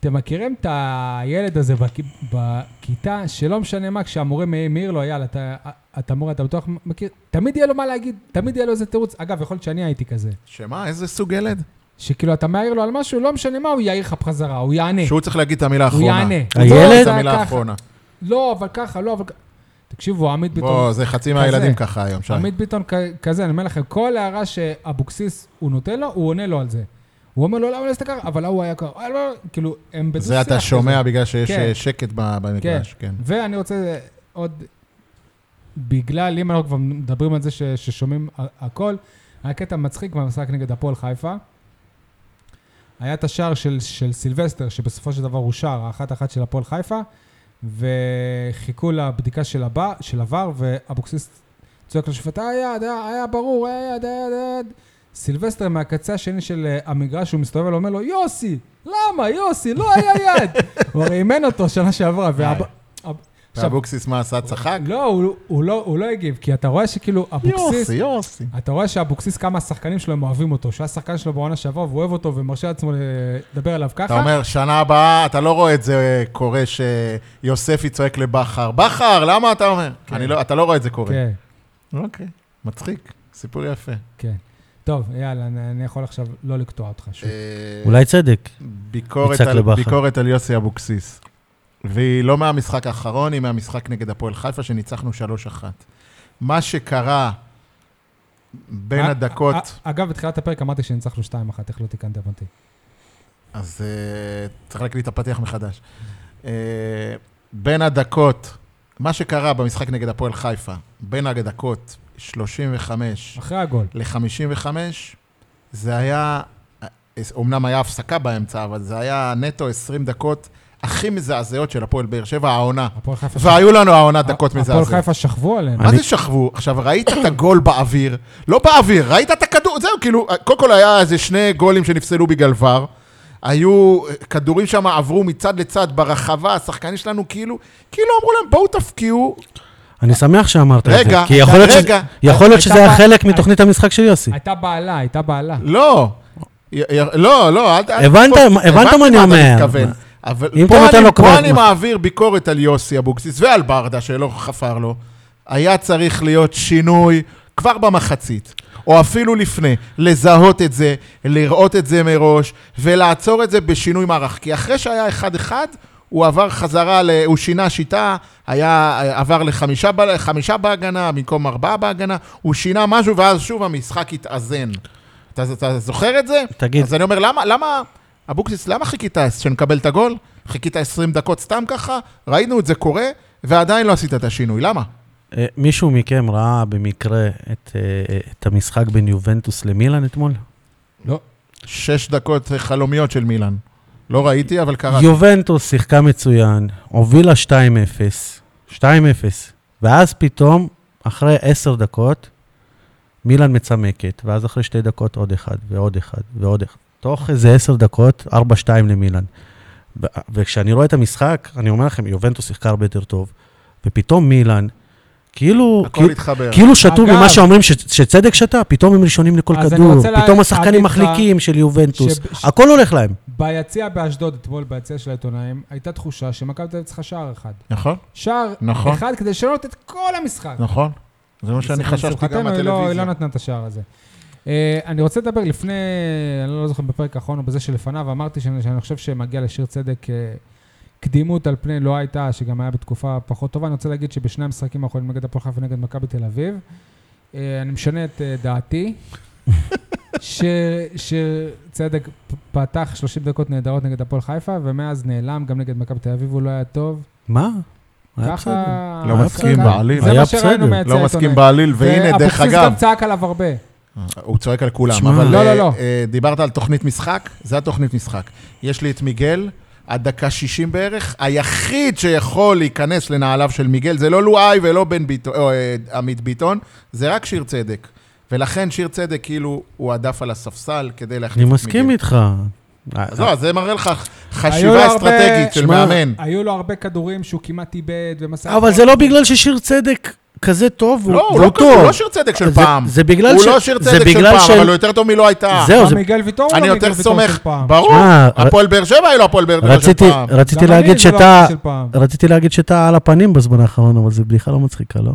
Speaker 1: אתם מכירים את הילד הזה בכ- בכיתה, שלא משנה מה, כשהמורה מ- מעיר לו, יאללה, אתה, אתה מורה, אתה בטוח מכיר, תמיד יהיה לו מה להגיד, תמיד יהיה לו איזה תירוץ. אגב, יכול להיות שאני הייתי כזה.
Speaker 3: שמה, איזה סוג ילד?
Speaker 1: שכאילו, אתה מעיר לו על משהו, לא משנה מה, הוא יעיר לך בחזרה, הוא יענה.
Speaker 3: שהוא צריך להגיד את המילה
Speaker 1: הוא
Speaker 3: האחרונה.
Speaker 1: יענה.
Speaker 3: הוא צריך
Speaker 2: הילד?
Speaker 3: להגיד את
Speaker 1: ככה.
Speaker 3: המילה האחרונה.
Speaker 1: לא, אבל ככה, לא, אבל... כ- תקשיבו, עמית ביטון,
Speaker 3: בוא, זה חצי מהילדים ככה היום, שי.
Speaker 1: עמית ביטון כ- כזה, אני אומר לכם, כל הערה שאבוקסיס הוא נותן לו, הוא עונה לו על זה. הוא אומר לו, למה לא הסתכל? אבל ההוא היה ככה, "אה, לא", כאילו, הם בדו-שיח.
Speaker 3: זה אתה
Speaker 1: כזה.
Speaker 3: שומע בגלל שיש
Speaker 1: כן.
Speaker 3: אה, שקט ב- במגרש, כן.
Speaker 1: ואני רוצה עוד, בגלל, אם אנחנו כבר מדברים על זה ש, ששומעים ה- הכל, היה קטע מצחיק במשחק נגד הפועל חיפה. היה את השער של, של סילבסטר, שבסופו של דבר הוא שער, האחת-אחת של הפועל חיפה, וחיכו לבדיקה של, הבא, של עבר, ואבוקסיס צועק לשופט, היה יד, היה, היה ברור, היה יד, היה יד, היה יד. סילבסטר מהקצה השני של אה, המגרש, הוא מסתובב ואומר לו, יוסי, למה, יוסי, לא היה יד. הוא הרי אימן אותו שנה שעברה, ואב... אב- עכשיו,
Speaker 3: ואבוקסיס מה עשה? צחק?
Speaker 1: לא, הוא- הוא לא- הוא לא הגיב, כי אתה רואה שכאילו, לא, אבוקסיס,
Speaker 3: יוסי, יוסי.
Speaker 1: אתה רואה שאבוקסיס, כמה השחקנים שלו הם אוהבים אותו, שהוא היה שחקן שלו בעונה שעברה, והוא אוהב אותו ומרשה לעצמו לדבר עליו ככה.
Speaker 3: אתה אומר, שנה הבאה, אתה לא רואה את זה אה, קורה שיוספי צועק לבכר, בכר, למה אתה אומר?
Speaker 1: כן.
Speaker 3: אני לא- אתה לא רואה את זה קורה.
Speaker 1: כן,
Speaker 3: אוקיי, מצחיק, סיפור יפה.
Speaker 1: כן. טוב, יאללה, אני אני יכול עכשיו לא לקטוע אותך שוב.
Speaker 3: אה,
Speaker 2: אולי צדק.
Speaker 3: ביקורת
Speaker 2: יצחק
Speaker 3: על,
Speaker 2: לבכר.
Speaker 3: ביקורת על יוסי אבוקסיס. והיא לא מהמשחק האחרון, היא מהמשחק נגד הפועל חיפה, שניצחנו 3-1. מה שקרה בין
Speaker 1: אה,
Speaker 3: הדקות,
Speaker 1: אה, אגב, בתחילת הפרק אמרתי שניצחנו 2-1, איך לא תיקנתם אותי?
Speaker 3: אז uh, צריך להקליט את הפתיח מחדש. Uh, בין הדקות, מה שקרה במשחק נגד הפועל חיפה, בין הדקות 35
Speaker 1: אחרי הגול.
Speaker 3: ל-55, זה היה, אומנם היה הפסקה באמצע, אבל זה היה נטו 20 דקות הכי מזעזעות של הפועל באר שבע, העונה.
Speaker 1: הפועל חיפה
Speaker 3: והיו לנו העונה
Speaker 1: שכ-
Speaker 3: דקות אה.
Speaker 1: הפועל
Speaker 3: מזעזעות.
Speaker 1: חיפה שכבו עליהם.
Speaker 3: מה
Speaker 2: אני-
Speaker 3: זה שכבו? עכשיו, ראית את הגול באוויר? לא באוויר, ראית את הכדור, זהו, כאילו, קודם כל היה איזה שני גולים שנפסלו בגלל ור. היו, אה, כדורים שם עברו מצד לצד ברחבה, השחקנים שלנו כאילו, כאילו אמרו להם, בואו תפקיעו.
Speaker 2: אני שמח שאמרת את זה.
Speaker 3: רגע,
Speaker 2: כי יכול להיות שזה-
Speaker 3: רגע.
Speaker 2: יכול להיות שזה
Speaker 1: הייתה
Speaker 2: היה
Speaker 1: פעם-
Speaker 2: חלק מתוכנית המשחק של יוסי.
Speaker 1: הייתה בעלה, הייתה בעלה.
Speaker 3: לא. י- י- לא, לא, אל ת... אל
Speaker 2: הבנת-
Speaker 3: תתפוס.
Speaker 2: הבנת מה אני אומר.
Speaker 3: מתכוון. אבל
Speaker 2: אם אתה
Speaker 3: פה
Speaker 2: נותן
Speaker 3: אני,
Speaker 2: לו
Speaker 3: פה
Speaker 2: קרדיט,
Speaker 3: אני
Speaker 2: מה?
Speaker 3: מעביר ביקורת על יוסי אבוקסיס ועל ברדה, שלא חפר לו. היה צריך להיות שינוי כבר במחצית, או אפילו לפני, לזהות את זה, לראות את זה מראש, ולעצור את זה בשינוי מערך. כי אחרי שהיה 1-1, הוא עבר חזרה, ל... הוא שינה שיטה, היה, עבר לחמישה ב... חמישה בהגנה במקום ארבעה בהגנה, הוא שינה משהו ואז שוב המשחק התאזן. אתה, אתה זוכר את זה?
Speaker 2: תגיד.
Speaker 3: אז אני אומר, למה, למה, אבוקסיס, למה חיכית שנקבל את הגול? חיכית 20 דקות סתם ככה? ראינו את זה קורה, ועדיין לא עשית את השינוי, למה?
Speaker 2: אה, מישהו מכם ראה במקרה את, אה, את המשחק בין יובנטוס למילאן אתמול?
Speaker 1: לא.
Speaker 3: שש דקות חלומיות של מילאן. לא ראיתי, אבל קראתי.
Speaker 2: יובנטוס שיחקה מצוין, הובילה 2-0, 2-0, ואז פתאום, אחרי עשר דקות, מילאן מצמקת, ואז אחרי שתי דקות עוד אחד, ועוד אחד, ועוד אחד. תוך איזה עשר דקות, 4-2 למילאן. ו- וכשאני רואה את המשחק, אני אומר לכם, יובנטוס שיחקה הרבה יותר טוב, ופתאום מילאן, כאילו...
Speaker 3: הכל התחבר.
Speaker 2: כאילו שתו
Speaker 1: אגב-
Speaker 2: ממה שאומרים ש- שצדק שתה, פתאום הם ראשונים לכל
Speaker 1: אז אני
Speaker 2: כדור,
Speaker 1: רוצה לה-
Speaker 2: פתאום השחקנים
Speaker 1: להגיד לך
Speaker 2: מחליקים של יובנטוס,
Speaker 1: ש-
Speaker 2: הכל הולך להם.
Speaker 1: ביציע באשדוד, אתמול ביציע של העיתונאים, הייתה תחושה שמכבי תל אביב צריכה שער אחד.
Speaker 3: נכון,
Speaker 1: שער
Speaker 3: נכון.
Speaker 1: אחד כדי לשנות את כל המשחק.
Speaker 3: נכון. זה מה שאני חשבתי גם
Speaker 1: לשמחתנו, היא לא- היא
Speaker 3: מהטלוויזיה.
Speaker 1: לא נתנה את השער הזה. אה, אני רוצה לדבר לפני, אני לא זוכר בפרק האחרון או בזה שלפניו, אמרתי שאני שאני חושב שמגיע לשיר צדק אה, קדימות על פני לא הייתה, שגם היה בתקופה פחות טובה. אני רוצה להגיד שבשני המשחקים האחרונים נגד הפועל חיפה ונגד מכבי תל אביב, אה, אני משנה את אה, דעתי. ש- שצדק פ- פתח 30 דקות נהדרות נגד הפועל חיפה, ומאז נעלם גם נגד מכבי תל אביב, הוא לא היה טוב.
Speaker 2: מה? היה בסדר.
Speaker 1: ככה...
Speaker 3: לא
Speaker 1: ככה-
Speaker 3: מסכים בעליל.
Speaker 1: זה
Speaker 2: היה
Speaker 1: מה שראינו
Speaker 2: בסדר.
Speaker 1: מהיציע
Speaker 3: לא מסכים
Speaker 1: העיתונאי.
Speaker 3: בעליל, והנה, דרך
Speaker 1: אבוקסיס גם
Speaker 3: אגב,
Speaker 1: צעק עליו הרבה.
Speaker 3: הוא צועק על כולם,
Speaker 2: שמע.
Speaker 3: אבל
Speaker 1: לא, לא,
Speaker 3: אה,
Speaker 1: לא.
Speaker 3: אה, דיברת על תוכנית משחק, זה התוכנית משחק. יש לי את מיגל, עד דקה 60 בערך, היחיד שיכול להיכנס לנעליו של מיגל, זה לא לואי ולא בן ביטון, או אה, עמית ביטון, זה רק שיר צדק. ולכן שיר צדק, כאילו, הוא עדף על הספסל כדי להחליף
Speaker 2: אני
Speaker 3: את מיגל.
Speaker 2: מסכים איתך. אה,
Speaker 3: אז לא, זה מראה לך
Speaker 1: היו לו
Speaker 3: חשיבה
Speaker 1: הרבה-
Speaker 3: אסטרטגית של
Speaker 2: שמע,
Speaker 3: מאמן.
Speaker 1: היו לו הרבה כדורים שהוא כמעט איבד ומסע...
Speaker 2: אבל זה לא בגלל ששיר צדק כזה טוב, הוא
Speaker 3: לא,
Speaker 2: הוא
Speaker 3: הוא לא כזה,
Speaker 2: טוב.
Speaker 3: הוא לא שיר צדק של
Speaker 2: זה-
Speaker 3: פעם.
Speaker 2: זה בגלל
Speaker 3: הוא
Speaker 2: ש-
Speaker 3: לא שיר
Speaker 2: זה
Speaker 3: צדק של
Speaker 2: בגלל
Speaker 3: פעם,
Speaker 2: של-
Speaker 3: אבל הוא יותר טוב מלא הייתה.
Speaker 1: זהו,
Speaker 2: זהו,
Speaker 1: זה...
Speaker 2: זה-
Speaker 1: מיגל ויטור
Speaker 3: אני
Speaker 1: לא
Speaker 3: יותר
Speaker 1: מיגל ויטור של
Speaker 3: סומך,
Speaker 1: פעם.
Speaker 3: ברור.
Speaker 2: שמע,
Speaker 3: הפועל באר שבע היא לא הפועל באר שבע של
Speaker 2: רציתי,
Speaker 3: פעם.
Speaker 2: רציתי
Speaker 1: גם אני
Speaker 2: להגיד
Speaker 1: זה לא
Speaker 2: שאתה,
Speaker 1: של פעם.
Speaker 2: רציתי להגיד שאתה על הפנים בזמן האחרון, אבל זו בדיחה לא מצחיקה, לא?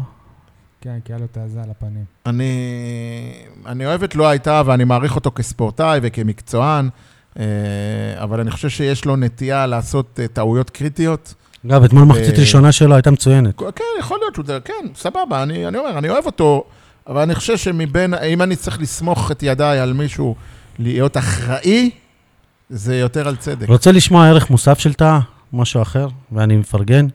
Speaker 1: כן, כי היה לו את הזה על הפנים.
Speaker 3: אני, אני אוהב את לא הייתה, ואני מעריך אותו כספורטאי וכמקצוען, אה, אבל אני חושב שיש לו נטייה לעשות אה, טעויות קריטיות.
Speaker 2: אגב, אתמול מחצית
Speaker 3: אה,
Speaker 2: ראשונה שלו הייתה מצוינת.
Speaker 3: כן, יכול להיות שהוא, כן, סבבה, אני, אני אומר, אני אוהב אותו, אבל אני חושב שמבין, אם אני צריך לסמוך את ידיי על מישהו להיות אחראי, זה יותר על צדק.
Speaker 2: רוצה לשמוע ערך מוסף של טאה, משהו אחר, ואני מפרגן.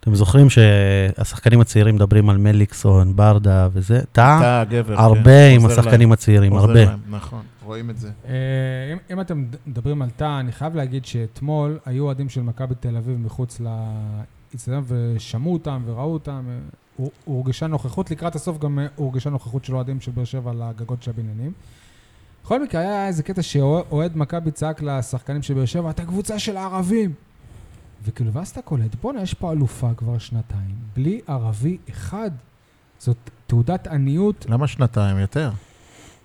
Speaker 2: אתם זוכרים שהשחקנים הצעירים מדברים על מליקסון, ברדה וזה? טאה,
Speaker 3: אתה גבר. כן,
Speaker 2: אה? הרבה עם
Speaker 3: עוזר
Speaker 2: השחקנים הצעירים,
Speaker 3: להם, עוזר
Speaker 2: הרבה.
Speaker 3: להם, נכון, רואים את זה.
Speaker 1: אה, אם, אם אתם מדברים על תא, אני חייב להגיד שאתמול היו אוהדים של מכבי תל אביב מחוץ לאצטדיון ושמעו אותם וראו אותם. אה, הור- הורגשה נוכחות, לקראת הסוף גם אה, הורגשה נוכחות של אוהדים של באר שבע על הגגות של הבניינים. בכל מקרה, היה איזה קטע שאוהד מכבי צעק לשחקנים של באר שבע, אתה קבוצה של הערבים! וכאילו, ואז אתה קולט, בואנה, יש פה אלופה כבר שנתיים, בלי ערבי אחד. זאת תעודת עניות,
Speaker 3: למה שנתיים יותר?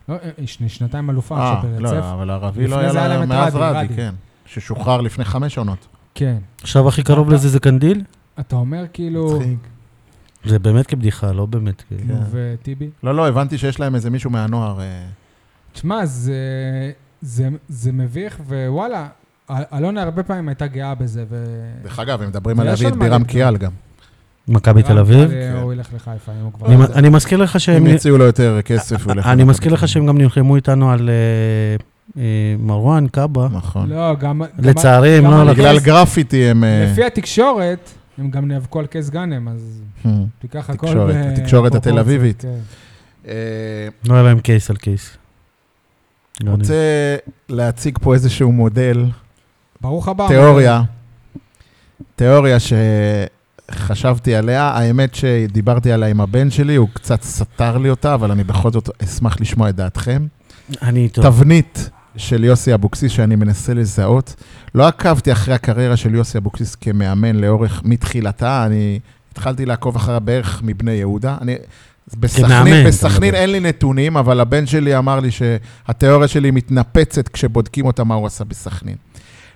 Speaker 1: לא, אה, אה, שני- שנתיים אלופה
Speaker 3: אה,
Speaker 1: עכשיו ברצף.
Speaker 3: לא, אבל הערבי
Speaker 1: לפני
Speaker 3: לא היה
Speaker 1: זה היה להם
Speaker 3: לה
Speaker 1: את
Speaker 3: מאז
Speaker 1: רדי,
Speaker 3: רדי,
Speaker 1: רדי.
Speaker 3: כן. ששוחרר לפני חמש עונות.
Speaker 1: כן.
Speaker 2: עכשיו הכי קרוב לזה זה קנדיל?
Speaker 1: אתה אומר כאילו...
Speaker 3: מצחיק.
Speaker 2: זה באמת כבדיחה, לא באמת. כאילו.
Speaker 3: כן.
Speaker 1: נו, וטיבי?
Speaker 3: לא, לא, הבנתי שיש להם איזה מישהו מהנוער. אה,
Speaker 1: תשמע, זה, זה, זה מביך, ווואלה, אל- אלונה הרבה פעמים הייתה גאה בזה, ו...
Speaker 3: דרך אגב, הם מדברים על
Speaker 1: יש
Speaker 3: להביא
Speaker 1: על
Speaker 3: את
Speaker 1: מה
Speaker 3: בירם
Speaker 1: לבדוק.
Speaker 3: קיאל גם.
Speaker 2: מכבי תל אביב?
Speaker 1: אבל, אה, הוא
Speaker 3: כן.
Speaker 1: ילך לחיפה, אם הוא כבר... לא
Speaker 2: אני- אני מזכיר לך שהם...
Speaker 3: אם יציעו לו יותר כסף, הוא ילך
Speaker 2: כן, אני
Speaker 3: למכבי
Speaker 2: מזכיר לך
Speaker 3: תל
Speaker 2: שהם גם נלחמו איתנו על אה, אה, מרואן קאבה.
Speaker 3: אביב. נכון.
Speaker 1: לא, גם... גם-
Speaker 2: לצערי, הם
Speaker 1: גם
Speaker 2: לא
Speaker 1: על
Speaker 3: בגלל
Speaker 1: הקייס-
Speaker 3: גרפיטי הם... אה,
Speaker 1: לפי התקשורת, הם גם נאבקו על קייס גאנם, אז
Speaker 3: הם-
Speaker 1: תיקח הכל...
Speaker 3: תקשורת,
Speaker 1: ב-
Speaker 3: התקשורת התל אביבית.
Speaker 1: כן.
Speaker 3: אה,
Speaker 2: לא היה להם קייס על קייס. לא
Speaker 3: רוצה להציג פה איזשהו
Speaker 1: אה,
Speaker 3: מודל,
Speaker 1: ברוך הבא.
Speaker 3: תיאוריה, תיאוריה שחשבתי עליה. האמת שדיברתי עליה עם הבן שלי, הוא קצת סתר לי אותה, אבל אני בכל זאת אשמח לשמוע את דעתכם.
Speaker 2: אני איתו.
Speaker 3: תבנית של יוסי אבוקסיס שאני מנסה לזהות. לא עקבתי אחרי הקריירה של יוסי אבוקסיס כמאמן לאורך, מתחילתה, אני התחלתי לעקוב אחריה בערך מבני יהודה. אני...
Speaker 2: כמאמן,
Speaker 3: בסכנין,
Speaker 2: אתה
Speaker 3: בסכנין
Speaker 2: מדבר.
Speaker 3: אין לי נתונים, אבל הבן שלי אמר לי שהתיאוריה שלי מתנפצת כשבודקים אותה מה הוא עשה בסכנין.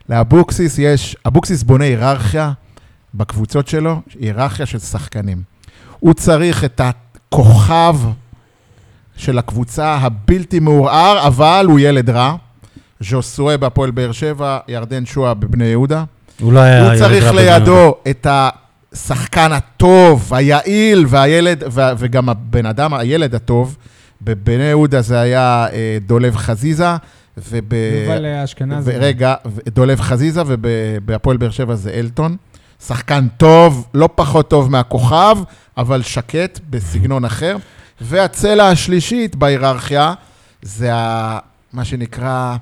Speaker 3: לאבוקסיס יש, אבוקסיס בונה היררכיה בקבוצות שלו, היררכיה של שחקנים. הוא צריך את הכוכב של הקבוצה הבלתי מעורער, אבל הוא ילד רע. ז'וסואה בהפועל באר שבע, ירדן שואה בבני יהודה.
Speaker 2: הוא לא היה...
Speaker 3: הוא
Speaker 2: ילד
Speaker 3: צריך
Speaker 2: רע בבני יהודה.
Speaker 3: לידו את השחקן הטוב, היעיל, והילד, ו- וגם הבן אדם, הילד הטוב. בבני יהודה זה היה אה, דולב חזיזה, וב...
Speaker 1: יובל אה, אשכנזי.
Speaker 3: רגע, דולב חזיזה, ובהפועל באר שבע זה אלטון. שחקן טוב, לא פחות טוב מהכוכב, אבל שקט, בסגנון אחר. והצלע השלישית בהיררכיה זה ה, מה שנקרא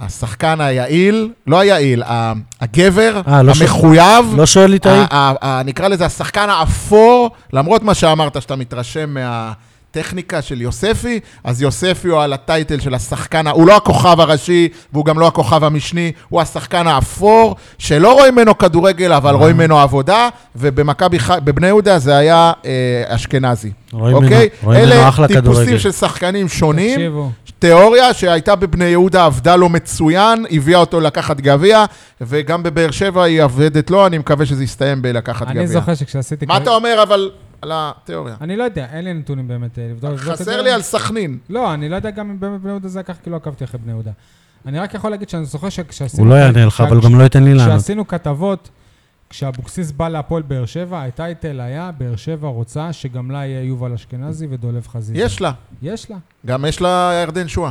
Speaker 3: השחקן היעיל, לא היעיל, ה- הגבר,
Speaker 2: אה, לא ש-
Speaker 3: המחויב.
Speaker 2: לא שואל ליטאי?
Speaker 3: ה- ה- ה- נקרא לזה השחקן האפור, למרות מה שאמרת, שאתה מתרשם מהטכניקה של יוספי, אז יוספי הוא על הטייטל של השחקן, ה- הוא לא הכוכב הראשי, והוא גם לא הכוכב המשני, הוא השחקן האפור, שלא רואים ממנו כדורגל,
Speaker 2: אה.
Speaker 3: אבל רואים ממנו עבודה, ובמכבי חיפה, בבני יהודה זה היה אה, אשכנזי,
Speaker 2: רואים
Speaker 3: אוקיי?
Speaker 2: ממנו- רואים ממנו אחלה
Speaker 3: אלה
Speaker 2: כדורגל.
Speaker 3: טיפוסים של שחקנים שונים.
Speaker 1: תקשיבו,
Speaker 3: תיאוריה שהייתה בבני יהודה, עבדה לו מצוין, הביאה אותו לקחת גביע, וגם בבאר שבע היא עובדת לו, אני מקווה שזה יסתיים בלקחת גביע.
Speaker 1: אני זוכר שכשעשיתי...
Speaker 3: מה
Speaker 1: קרי-
Speaker 3: אתה אומר אבל על התיאוריה?
Speaker 1: אני לא יודע, אין לי נתונים באמת אה, לבדוק. לבדוק את
Speaker 3: חסר
Speaker 1: זה.
Speaker 3: לי על סכנין.
Speaker 1: לא, אני לא יודע גם אם באמת בני יהודה זה היה ככה, כי לא עקבתי אחרי בני יהודה. אני רק יכול להגיד שאני זוכר שכשעשינו...
Speaker 2: הוא לא יענה לך, אבל גם לא ייתן לי לענות.
Speaker 1: כשעשינו כתבות, כשאבוקסיס בא להפועל באר שבע, הטייטל היה, באר שבע רוצה שגם לה יהיה יובל אשכנזי ודולב חזיזה.
Speaker 3: יש לה.
Speaker 1: יש לה.
Speaker 3: גם יש לה ירדן שואה.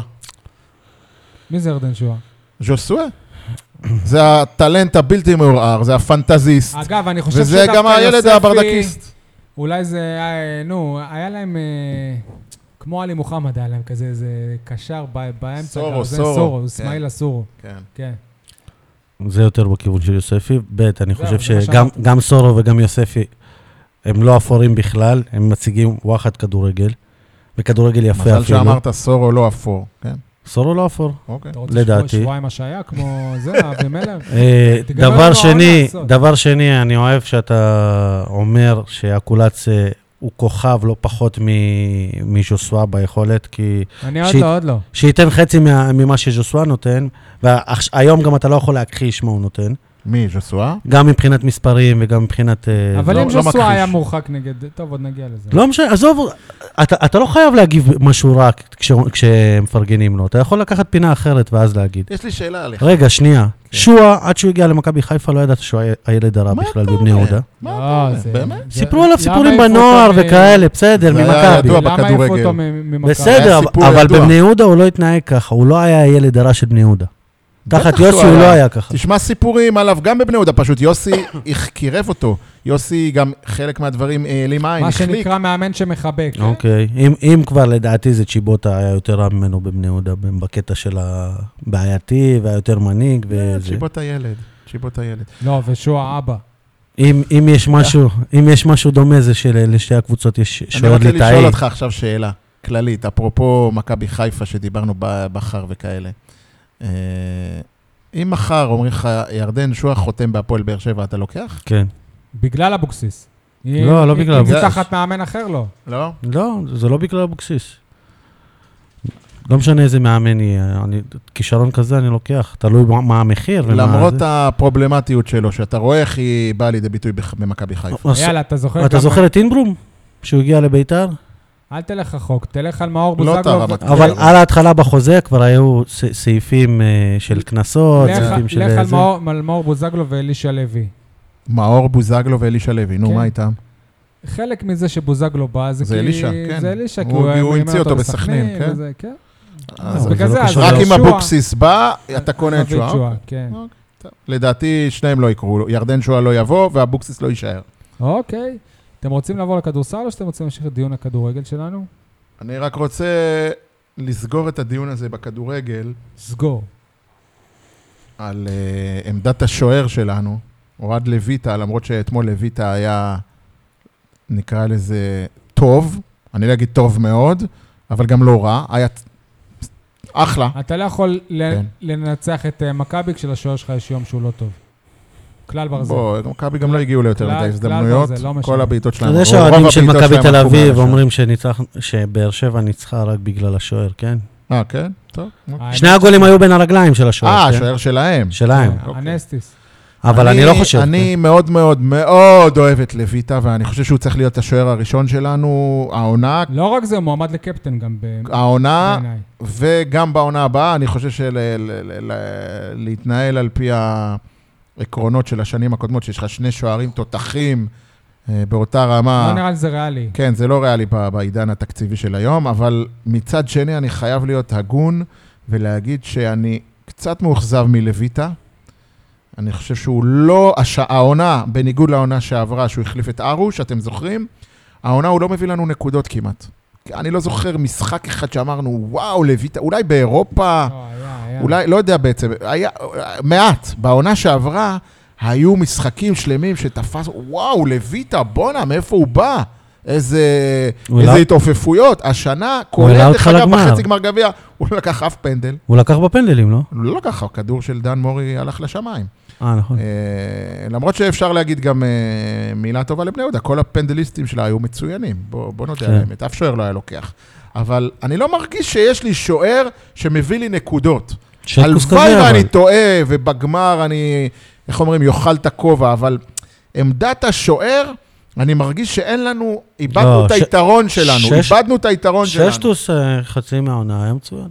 Speaker 1: מי זה ירדן שואה?
Speaker 3: ז'וסואה? זה הטלנט הבלתי מעורער, זה הפנטזיסט,
Speaker 1: אגב, אני חושב
Speaker 3: וזה גם הילד הברדקיסט.
Speaker 1: אולי זה, היה- נו, היה להם, אה, כמו עלי מוחמד היה להם כזה, איזה קשר ב- באמצע.
Speaker 3: סורו,
Speaker 1: גם, זה
Speaker 3: סורו,
Speaker 1: סורו,
Speaker 3: כן.
Speaker 1: אסמאעיל הסורו,
Speaker 3: כן.
Speaker 1: כן.
Speaker 2: זה יותר בכיוון של יוספי. ב', אני
Speaker 1: זהו,
Speaker 2: חושב
Speaker 1: זה מה
Speaker 2: שגם
Speaker 1: שאמרתי.
Speaker 2: גם סורו וגם יוספי הם לא אפורים בכלל, הם מציגים וואחד כדורגל, וכדורגל יפה אפילו.
Speaker 3: מזל שאמרת סורו לא אפור, כן?
Speaker 2: סורו לא אפור.
Speaker 3: אוקיי.
Speaker 1: אתה רוצה שבוע-
Speaker 2: לדעתי.
Speaker 1: שבועיים השעיה, כמו זה, אבימלך?
Speaker 2: אה,
Speaker 1: תגלה לנו
Speaker 2: דבר
Speaker 1: העונה
Speaker 2: שני,
Speaker 1: הזאת.
Speaker 2: דבר שני, אני אוהב שאתה אומר שהקולץ אה, הוא כוכב לא פחות מ- מז'וסואה ביכולת, כי
Speaker 1: אני עוד
Speaker 2: שיט.
Speaker 1: לא, עוד לא.
Speaker 2: שייתן חצי מה- ממה שז'וסואה נותן, והיום גם אתה לא יכול להכחיש מה הוא נותן,
Speaker 3: מי, ז'סואה?
Speaker 2: גם מבחינת מספרים וגם מבחינת... אה,
Speaker 1: אבל
Speaker 3: לא-
Speaker 1: אם
Speaker 3: לא
Speaker 1: ז'וסואה
Speaker 3: מכחיש.
Speaker 1: היה מורחק נגד, טוב, עוד נגיע לזה.
Speaker 2: לא משנה, עזוב, אתה, אתה לא חייב להגיב משהו רע כש, כשמפרגנים לו, אתה יכול לקחת פינה אחרת ואז להגיד.
Speaker 3: יש לי שאלה עליך.
Speaker 2: רגע, שנייה. שועה, עד שהוא הגיע למכבי חיפה, לא ידעת שהוא ה- הילד הרע
Speaker 3: כן. מה
Speaker 2: בכלל
Speaker 3: אתה
Speaker 2: בבני
Speaker 3: אומר?
Speaker 2: יהודה.
Speaker 3: מה אתה
Speaker 1: לא, זה-
Speaker 3: אומר? באמת?
Speaker 1: זה-
Speaker 2: סיפרו עליו
Speaker 1: למה
Speaker 2: סיפורים
Speaker 1: העיפו אותו
Speaker 2: בנוער
Speaker 1: מ-
Speaker 2: וכאלה, בסדר,
Speaker 3: זה היה
Speaker 2: ממכבי.
Speaker 3: ידוע
Speaker 1: למה העיפו
Speaker 3: בכדורגל.
Speaker 1: אותו מ- ממכבי?
Speaker 2: לא בסדר,
Speaker 3: היה
Speaker 2: אבל-
Speaker 3: סיפור
Speaker 2: אבל
Speaker 3: ידוע.
Speaker 2: בבני יהודה הוא לא התנהג ככה, הוא לא היה הילד הרע של בני יהודה.
Speaker 3: בטח
Speaker 2: תחת
Speaker 3: שהוא
Speaker 2: יוסי הוא
Speaker 3: היה.
Speaker 2: לא היה ככה.
Speaker 3: תשמע סיפורים עליו גם בבני יהודה, פשוט יוסי הכ- קירב אותו. יוסי גם חלק מהדברים אה, העלים עין,
Speaker 1: מה
Speaker 3: החליק.
Speaker 1: שנקרא מאמן שמחבק.
Speaker 2: אוקיי, אם- אם כבר לדעתי זה צ'יבוטה היה יותר רע ממנו בבני יהודה, בקטע של הבעייתי והיה יותר מנהיג
Speaker 3: לא,
Speaker 2: וזה.
Speaker 3: צ'יבוט הילד, צ'יבוט הילד.
Speaker 1: לא, ושועה אבא.
Speaker 2: אם, אם יש משהו, אם יש משהו דומה זה שלשתי הקבוצות יש
Speaker 3: אני
Speaker 2: שוער
Speaker 3: רוצה לשאול
Speaker 2: ליטאי.
Speaker 3: אותך עכשיו שאלה כללית, אפרופו מכבי חיפה שדיברנו ב- בחר וכאלה. אה, אם מחר אומרים לך, ירדן שועה חותם בהפועל באר שבע, אתה לוקח?
Speaker 2: כן.
Speaker 1: בגלל אבוקסיס.
Speaker 2: לא,
Speaker 1: אם-
Speaker 2: לא בגלל
Speaker 1: אם זה
Speaker 2: אבוקסיס.
Speaker 1: תחת מאמן אחר, לא.
Speaker 3: לא?
Speaker 2: לא, זה לא בגלל אבוקסיס. לא משנה איזה מאמן יהיה, אני, כישרון כזה אני לוקח, תלוי מה- מה המחיר. ומה
Speaker 3: למרות
Speaker 2: זה.
Speaker 3: הפרובלמטיות שלו, שאתה רואה איך היא באה לידי ביטוי בח- במכבי חיפה.
Speaker 2: אז-
Speaker 1: יאללה, אתה זוכר
Speaker 2: לא, אתה
Speaker 1: כמה-
Speaker 2: זוכר את אינברום? שהוא הגיע לביתר?
Speaker 1: אל תלך רחוק, תלך על מאור
Speaker 3: לא את
Speaker 1: בוזגלו.
Speaker 3: הרמת.
Speaker 2: אבל
Speaker 3: כן.
Speaker 2: על ההתחלה בחוזה כבר היו ס- סעיפים אה, של קנסות,
Speaker 1: לך-
Speaker 2: סעיפים של...
Speaker 1: לך על
Speaker 2: זה.
Speaker 1: מאור- על מאור בוזגלו ואלישע לוי.
Speaker 3: מאור בוזגלו ואלישע לוי, נו,
Speaker 1: כן.
Speaker 3: מה איתם?
Speaker 1: חלק מזה שבוזגלו בא, זה כי...
Speaker 3: זה אלישע, כן.
Speaker 1: זה אלישע, כי
Speaker 3: הוא-
Speaker 1: הוא היה
Speaker 3: הוא
Speaker 1: מאמן
Speaker 3: המציא אותו בסכנין, כן.
Speaker 1: וזה, כן.
Speaker 2: אבל
Speaker 3: אז
Speaker 1: אז
Speaker 2: זה
Speaker 1: בגלל
Speaker 2: לא
Speaker 1: זה, אז
Speaker 2: קשור
Speaker 3: רק אם
Speaker 1: שועה-
Speaker 3: אבוקסיס בא, אתה קונה את
Speaker 1: מביא
Speaker 3: שועה.
Speaker 1: כן.
Speaker 3: טוב, לדעתי, שניהם לא יקרו. ירדן שועה לא יבוא, ואבוקסיס לא יישאר.
Speaker 1: אוקיי. אתם רוצים לעבור לכדורסל או שאתם רוצים להמשיך את דיון הכדורגל שלנו?
Speaker 3: אני רק רוצה לסגור את הדיון הזה בכדורגל
Speaker 1: סגור.
Speaker 3: על uh, עמדת השוער שלנו, אוהד לויטה, למרות שאתמול לויטה היה, נקרא לזה, טוב, אני לא אגיד טוב מאוד, אבל גם לא רע, היה אחלה.
Speaker 1: אתה לא יכול ל-
Speaker 3: כן.
Speaker 1: לנצח את אה, מכבי כשלשוער שלך יש יום שהוא לא טוב. כלל ברזל.
Speaker 3: בוא, מכבי גם לא הגיעו ליותר
Speaker 1: כלל-
Speaker 3: מדי
Speaker 1: כלל
Speaker 3: הזדמנויות,
Speaker 1: זה לא משנה.
Speaker 3: כל הבעיטות
Speaker 2: אתה
Speaker 3: שלהם,
Speaker 2: יודע
Speaker 3: רוב
Speaker 2: שהאוהדים
Speaker 3: הבעיטות
Speaker 2: של מכבי
Speaker 3: שלהם
Speaker 2: תל
Speaker 3: עפו
Speaker 2: אביב
Speaker 3: מהשער.
Speaker 2: אומרים שניצח- שבאר שבע ניצחה רק בגלל השוער, כן?
Speaker 3: אה, כן? טוב. אוקיי.
Speaker 1: האמת-
Speaker 2: שני הגולים היו בין הרגליים של
Speaker 3: אה,
Speaker 2: השוער, כן?
Speaker 3: השוער שלהם.
Speaker 2: שלהם.
Speaker 1: אה,
Speaker 3: אוקיי.
Speaker 1: הנסטיס.
Speaker 2: אבל אני לא חושב.
Speaker 3: אני מאוד מאוד מאוד אוהב את לויטה, ואני חושב שהוא צריך להיות השוער הראשון שלנו, העונה,
Speaker 1: לא רק זה, הוא מועמד לקפטן גם ב-
Speaker 3: העונה,
Speaker 2: כן.
Speaker 1: בעיניי.
Speaker 3: וגם בעונה הבאה, אני חושב שלהתנהל על פי העקרונות של השנים הקודמות, שיש לך שני שוערים תותחים אה, באותה
Speaker 1: לא
Speaker 3: רמה.
Speaker 1: נראה לי זה ריאלי.
Speaker 3: כן, זה לא ריאלי ב- בעידן התקציבי של היום, אבל מצד שני, אני חייב להיות הגון ולהגיד שאני קצת מאוכזב מלויטה. אני חושב שהוא לא, הש... העונה, בניגוד לעונה שעברה, שהוא החליף את ארוש, אתם זוכרים? העונה הוא לא מביא לנו נקודות כמעט. אני לא זוכר משחק אחד שאמרנו, וואו, לויטה, אולי באירופה...
Speaker 1: לא, היה,
Speaker 2: כן.
Speaker 1: היה.
Speaker 3: אולי, לא יודע בעצם, היה מעט. בעונה שעברה היו משחקים שלמים שתפס, וואו, לויטה, בואנה, מאיפה הוא בא? איזה,
Speaker 2: הוא
Speaker 3: איזה
Speaker 2: העלה-
Speaker 3: התעופפויות. השנה,
Speaker 2: העלה
Speaker 3: כולל, דרך
Speaker 2: אותך
Speaker 3: אגב,
Speaker 2: לגמר.
Speaker 3: בחצי גמר גביע, הוא לא לקח אף פנדל.
Speaker 2: הוא לקח בפנדלים, לא?
Speaker 3: הוא לא לקח, הכדור של דן מורי הלך לשמיים.
Speaker 2: אה, נכון.
Speaker 3: אה, למרות שאפשר להגיד גם אה, מילה טובה לבני יהודה, כל הפנדליסטים שלה היו מצוינים, בוא, בוא נודה
Speaker 2: כן.
Speaker 3: על האמת, אף שוער לא היה לוקח. אבל אני לא מרגיש שיש לי שוער שמביא לי נקודות.
Speaker 2: שטקוס
Speaker 3: הלוואי
Speaker 2: כזה,
Speaker 3: ואני
Speaker 2: אבל.
Speaker 3: טועה, ובגמר אני, איך אומרים, יאכל את הכובע, אבל עמדת השוער, אני מרגיש שאין לנו, איבדנו
Speaker 2: לא,
Speaker 3: את
Speaker 2: ש-
Speaker 3: היתרון שלנו,
Speaker 2: שש-
Speaker 3: איבדנו את היתרון שלנו.
Speaker 2: ששטוס אה, חצי מהעונה היה מצוין.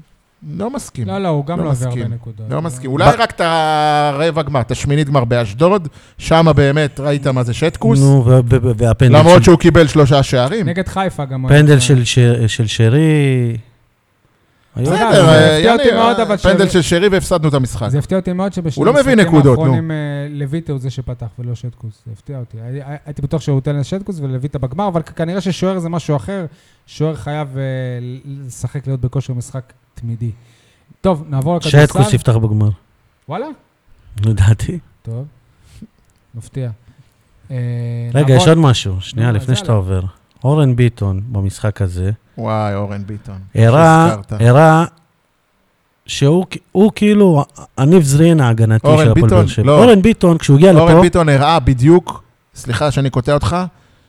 Speaker 3: לא מסכים.
Speaker 1: לא, לא, הוא גם
Speaker 3: לא
Speaker 1: לא עובר
Speaker 3: מסכים.
Speaker 1: הרבה נקודות.
Speaker 3: לא מסכים. אולי רק את הרבע גמר, את השמינית גמר באשדוד, שם באמת ראית מה זה שטקוס,
Speaker 2: נו, ו- ו- ו- והפנדל
Speaker 3: למרות
Speaker 2: של-
Speaker 3: שהוא קיבל שלושה שערים.
Speaker 1: נגד חיפה גם.
Speaker 2: פנדל
Speaker 1: היה-
Speaker 2: של ש- של שרי,
Speaker 1: היו
Speaker 3: בסדר,
Speaker 1: גם,
Speaker 3: אה,
Speaker 1: זה הפתיע אותי
Speaker 3: יאללה,
Speaker 1: מאוד, אבל
Speaker 3: פנדל
Speaker 1: ש-
Speaker 3: של שרי והפסדנו את המשחק.
Speaker 1: זה הפתיע אותי מאוד שבשני
Speaker 3: הוא לא מביא נקודות, נו.
Speaker 1: האחרונים אה, לויטה הוא זה שפתח ולא שטקוס, זה הפתיע אותי. הי- הי- הייתי בטוח שהוא ייתן לשטקוס ולויטה בגמר, אבל כ- כנראה ששוער זה משהו אחר, שוער חייב אה, לשחק להיות בכושר משחק תמידי. טוב, נעבור
Speaker 3: אה,
Speaker 1: לכדורסל.
Speaker 2: שטקוס יפתח בגמר,
Speaker 1: וואלה?
Speaker 2: לדעתי.
Speaker 3: כן,
Speaker 1: טוב, מפתיע. אה,
Speaker 2: רגע,
Speaker 3: נכון.
Speaker 1: נעבור-
Speaker 2: יש עוד משהו, שנייה,
Speaker 3: אה,
Speaker 1: נו, אז
Speaker 2: לפני שאתה
Speaker 1: יאללה.
Speaker 2: עובר. אורן ביטון, במשחק הזה,
Speaker 3: וואי, אורן ביטון.
Speaker 2: הראה,
Speaker 3: שהזכרת.
Speaker 2: הראה שהוא כ- הוא כאילו הניב זרין ההגנתי
Speaker 3: אורן
Speaker 2: של הפועל
Speaker 3: ביטון,
Speaker 2: באר שבע.
Speaker 3: לא.
Speaker 2: אורן ביטון, כשהוא הגיע
Speaker 3: אורן
Speaker 2: כן, לפה,
Speaker 3: ביטון הראה בדיוק, סליחה שאני קוטע אותך,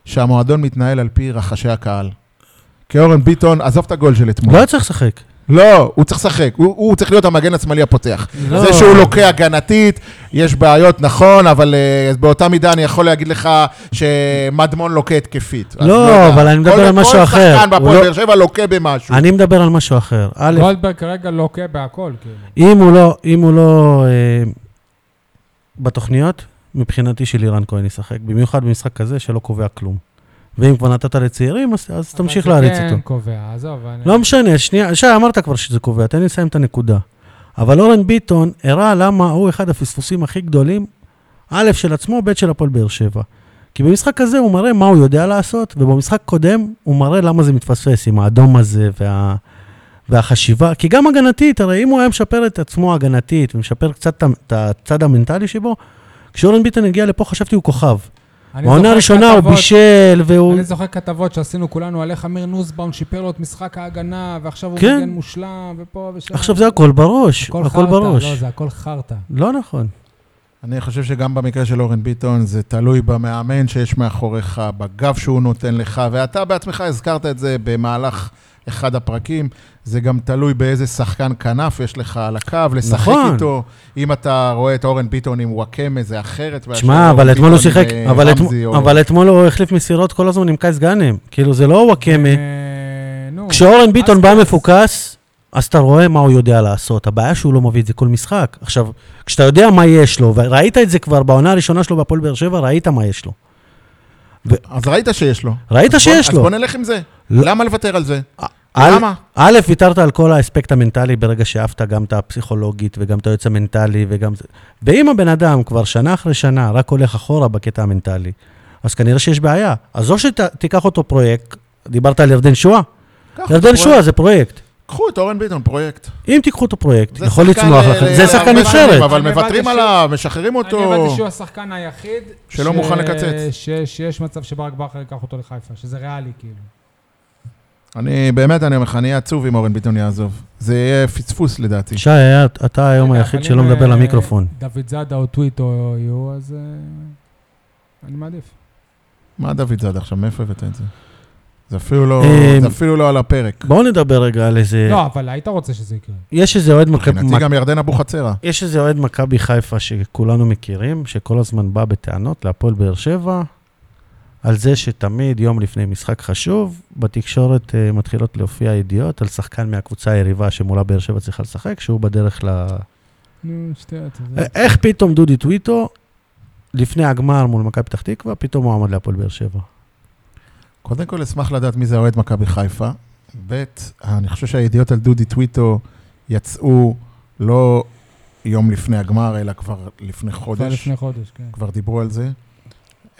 Speaker 3: שהמועדון מתנהל על פי רחשי הקהל. כי אורן ביטון, עזוב את הגול של אתמול.
Speaker 2: לא היה צריך לשחק.
Speaker 3: לא, הוא צריך לשחק, הוא, הוא צריך להיות המגן השמאלי הפותח.
Speaker 2: לא.
Speaker 3: זה שהוא לוקה הגנתית, יש בעיות, נכון, אבל אה, אז באותה מידה אני יכול להגיד לך שמדמון לוקה התקפית. אז
Speaker 2: לא,
Speaker 3: יודע.
Speaker 2: אבל אני מדבר
Speaker 3: כל-
Speaker 2: על משהו
Speaker 3: כל
Speaker 2: אחר.
Speaker 3: שחקן
Speaker 2: הוא לא-
Speaker 3: בהפועל באר שבע לוקה במשהו.
Speaker 2: אני מדבר על משהו אחר. א',
Speaker 3: לא.
Speaker 1: גולדברג כרגע לוקה בהכל, כאילו.
Speaker 2: אם הוא לא, אם הוא לא אה, בתוכניות, מבחינתי שלירן כהן ישחק, במיוחד במשחק כזה שלא קובע כלום. ואם כבר נתת לצעירים, אז, אז תמשיך להריץ
Speaker 1: אבל זה
Speaker 2: אותו.
Speaker 1: כן קובע, עזוב. אני-
Speaker 2: לא משנה, שנייה, שי, אמרת כבר שזה קובע, תן לי לסיים את הנקודה. אבל אורן ביטון הראה למה הוא אחד הפספוסים הכי גדולים, א' של עצמו, ב' של הפועל באר שבע. כי במשחק הזה הוא מראה מה הוא יודע לעשות, ובמשחק קודם הוא מראה למה זה מתפספס עם האדום הזה וה... והחשיבה, כי גם הגנתית, הרי אם הוא היה משפר את עצמו הגנתית ומשפר קצת את ה- את הצד המנטלי שבו, כשאורן ביטן הגיע לפה חשבתי הוא כוכב.
Speaker 1: אני
Speaker 2: בעונה
Speaker 1: זוכר
Speaker 2: הראשונה הוא
Speaker 1: כתבות-
Speaker 2: בישל, והוא...
Speaker 1: אני זוכר כתבות שעשינו כולנו על איך אמיר נוסבאום שיפר לו את משחק ההגנה, ועכשיו הוא
Speaker 2: כן.
Speaker 1: מגן מושלם, ופה ושם.
Speaker 2: עכשיו זה הכל בראש, הכל
Speaker 1: חרטא,
Speaker 2: בראש.
Speaker 1: לא, זה הכל חרטא.
Speaker 2: לא נכון.
Speaker 3: אני חושב שגם במקרה של אורן ביטון, זה תלוי במאמן שיש מאחוריך, בגב שהוא נותן לך, ואתה בעצמך הזכרת את זה במהלך אחד הפרקים. זה גם תלוי באיזה שחקן כנף יש לך על הקו, לשחק
Speaker 2: נכון.
Speaker 3: איתו. אם אתה רואה את אורן ביטון עם וואקמה, זה אחרת. מאשר
Speaker 2: תשמע,
Speaker 3: אורן
Speaker 2: אבל אתמול הוא
Speaker 3: ביטון
Speaker 2: שיחק,
Speaker 3: עם, אה,
Speaker 2: אבל
Speaker 3: רמזי
Speaker 2: אתמול-
Speaker 3: או-
Speaker 2: אבל אתמול הוא החליף מסירות כל הזמן עם קייס גאנם. כאילו, זה לא
Speaker 3: אה,
Speaker 2: וואקמה.
Speaker 1: אה, נו.
Speaker 2: כשאורן ביטון בא
Speaker 3: כן.
Speaker 1: אספרס.
Speaker 2: מפוקס, אז אתה רואה מה הוא יודע לעשות. הבעיה שהוא לא מביא את זה כל משחק. עכשיו, כשאתה יודע מה יש לו, וראית את זה כבר בעונה הראשונה שלו בהפועל באר שבע, ראית מה יש לו.
Speaker 3: אז ראית שיש לו.
Speaker 2: ראית
Speaker 3: אז בוא-
Speaker 2: שיש
Speaker 3: אז
Speaker 2: לו.
Speaker 3: בוא נלך עם זה.
Speaker 2: לא.
Speaker 3: למה לוותר על זה?
Speaker 2: א',
Speaker 3: למה?
Speaker 2: א', ויתרת על כל האספקט המנטלי ברגע שאהבת גם את הפסיכולוגית וגם את היועץ המנטלי וגם זה. ואם הבן אדם כבר שנה אחרי שנה רק הולך אחורה בקטע המנטלי, אז כנראה שיש בעיה. אז או שתיקח אותו פרויקט, דיברת על ירדן
Speaker 1: אה,
Speaker 2: שואה?
Speaker 3: קח את
Speaker 2: ירדן
Speaker 3: הפרויקט.
Speaker 2: שואה זה פרויקט.
Speaker 3: קחו את אורן ביטון, פרויקט.
Speaker 2: אם תיקחו את הפרויקט,
Speaker 3: זה
Speaker 2: יכול
Speaker 3: שחקן
Speaker 2: לצמוח
Speaker 3: ל-
Speaker 1: אה,
Speaker 2: לכם.
Speaker 3: ל-
Speaker 2: זה שחקן
Speaker 3: להרבה שנים,
Speaker 2: נבחרת.
Speaker 3: אבל
Speaker 1: אני
Speaker 3: מוותרים
Speaker 1: הבנתי ש-
Speaker 3: עליו, משחררים
Speaker 1: אני
Speaker 3: אותו.
Speaker 1: הבנתי שהוא השחקן היחיד...
Speaker 3: שלא
Speaker 1: ש-
Speaker 3: מוכן לקצץ.
Speaker 1: ש- שיש מצב שברק בכר ייקח אותו לחיפה, שזה ריאלי, כאילו.
Speaker 3: אני באמת, אני אומר לך, אני אהיה עצוב אם אורן ביטון יעזוב. זה יהיה פספוס לדעתי.
Speaker 2: שי, היה- אתה היום
Speaker 1: רגע,
Speaker 2: היחיד
Speaker 1: אבל
Speaker 2: שלא
Speaker 1: אם,
Speaker 2: מדבר
Speaker 1: אה,
Speaker 2: למיקרופון.
Speaker 1: דוד זאדה או טוויטו יהיו, אז... אה, אני מעדיף.
Speaker 3: מה דוד זאד עכשיו, מאיפה הבאת את זה? זה אפילו לא,
Speaker 2: אמ,
Speaker 3: זה אפילו לא על הפרק.
Speaker 2: בואו נדבר רגע על איזה...
Speaker 1: לא, אבל היית רוצה שזה יקרה.
Speaker 2: יש איזה אוהד מכבי-
Speaker 3: מבחינתי גם ירדן אבוחצירא.
Speaker 2: יש איזה אוהד מכבי חיפה שכולנו מכירים, שכל הזמן בא בטענות להפועל באר שבע, על זה שתמיד יום לפני משחק חשוב, בתקשורת אה, מתחילות להופיע ידיעות על שחקן מהקבוצה היריבה שמולה באר שבע צריכה לשחק, שהוא בדרך ל...
Speaker 1: נו, שטויות. זה-
Speaker 2: אה, איך פתאום דודי טוויטו, לפני הגמר מול מכבי פתח תקווה, פתאום הוא עמד להפועל באר שבע.
Speaker 3: קודם כל, אשמח לדעת מי זה אוהד מכבי חיפה. ב', אני חושב שהידיעות על דודי טוויטו יצאו לא יום לפני הגמר, אלא כבר לפני
Speaker 1: כבר
Speaker 3: חודש.
Speaker 1: לפני חודש, כן.
Speaker 3: כבר דיברו על זה.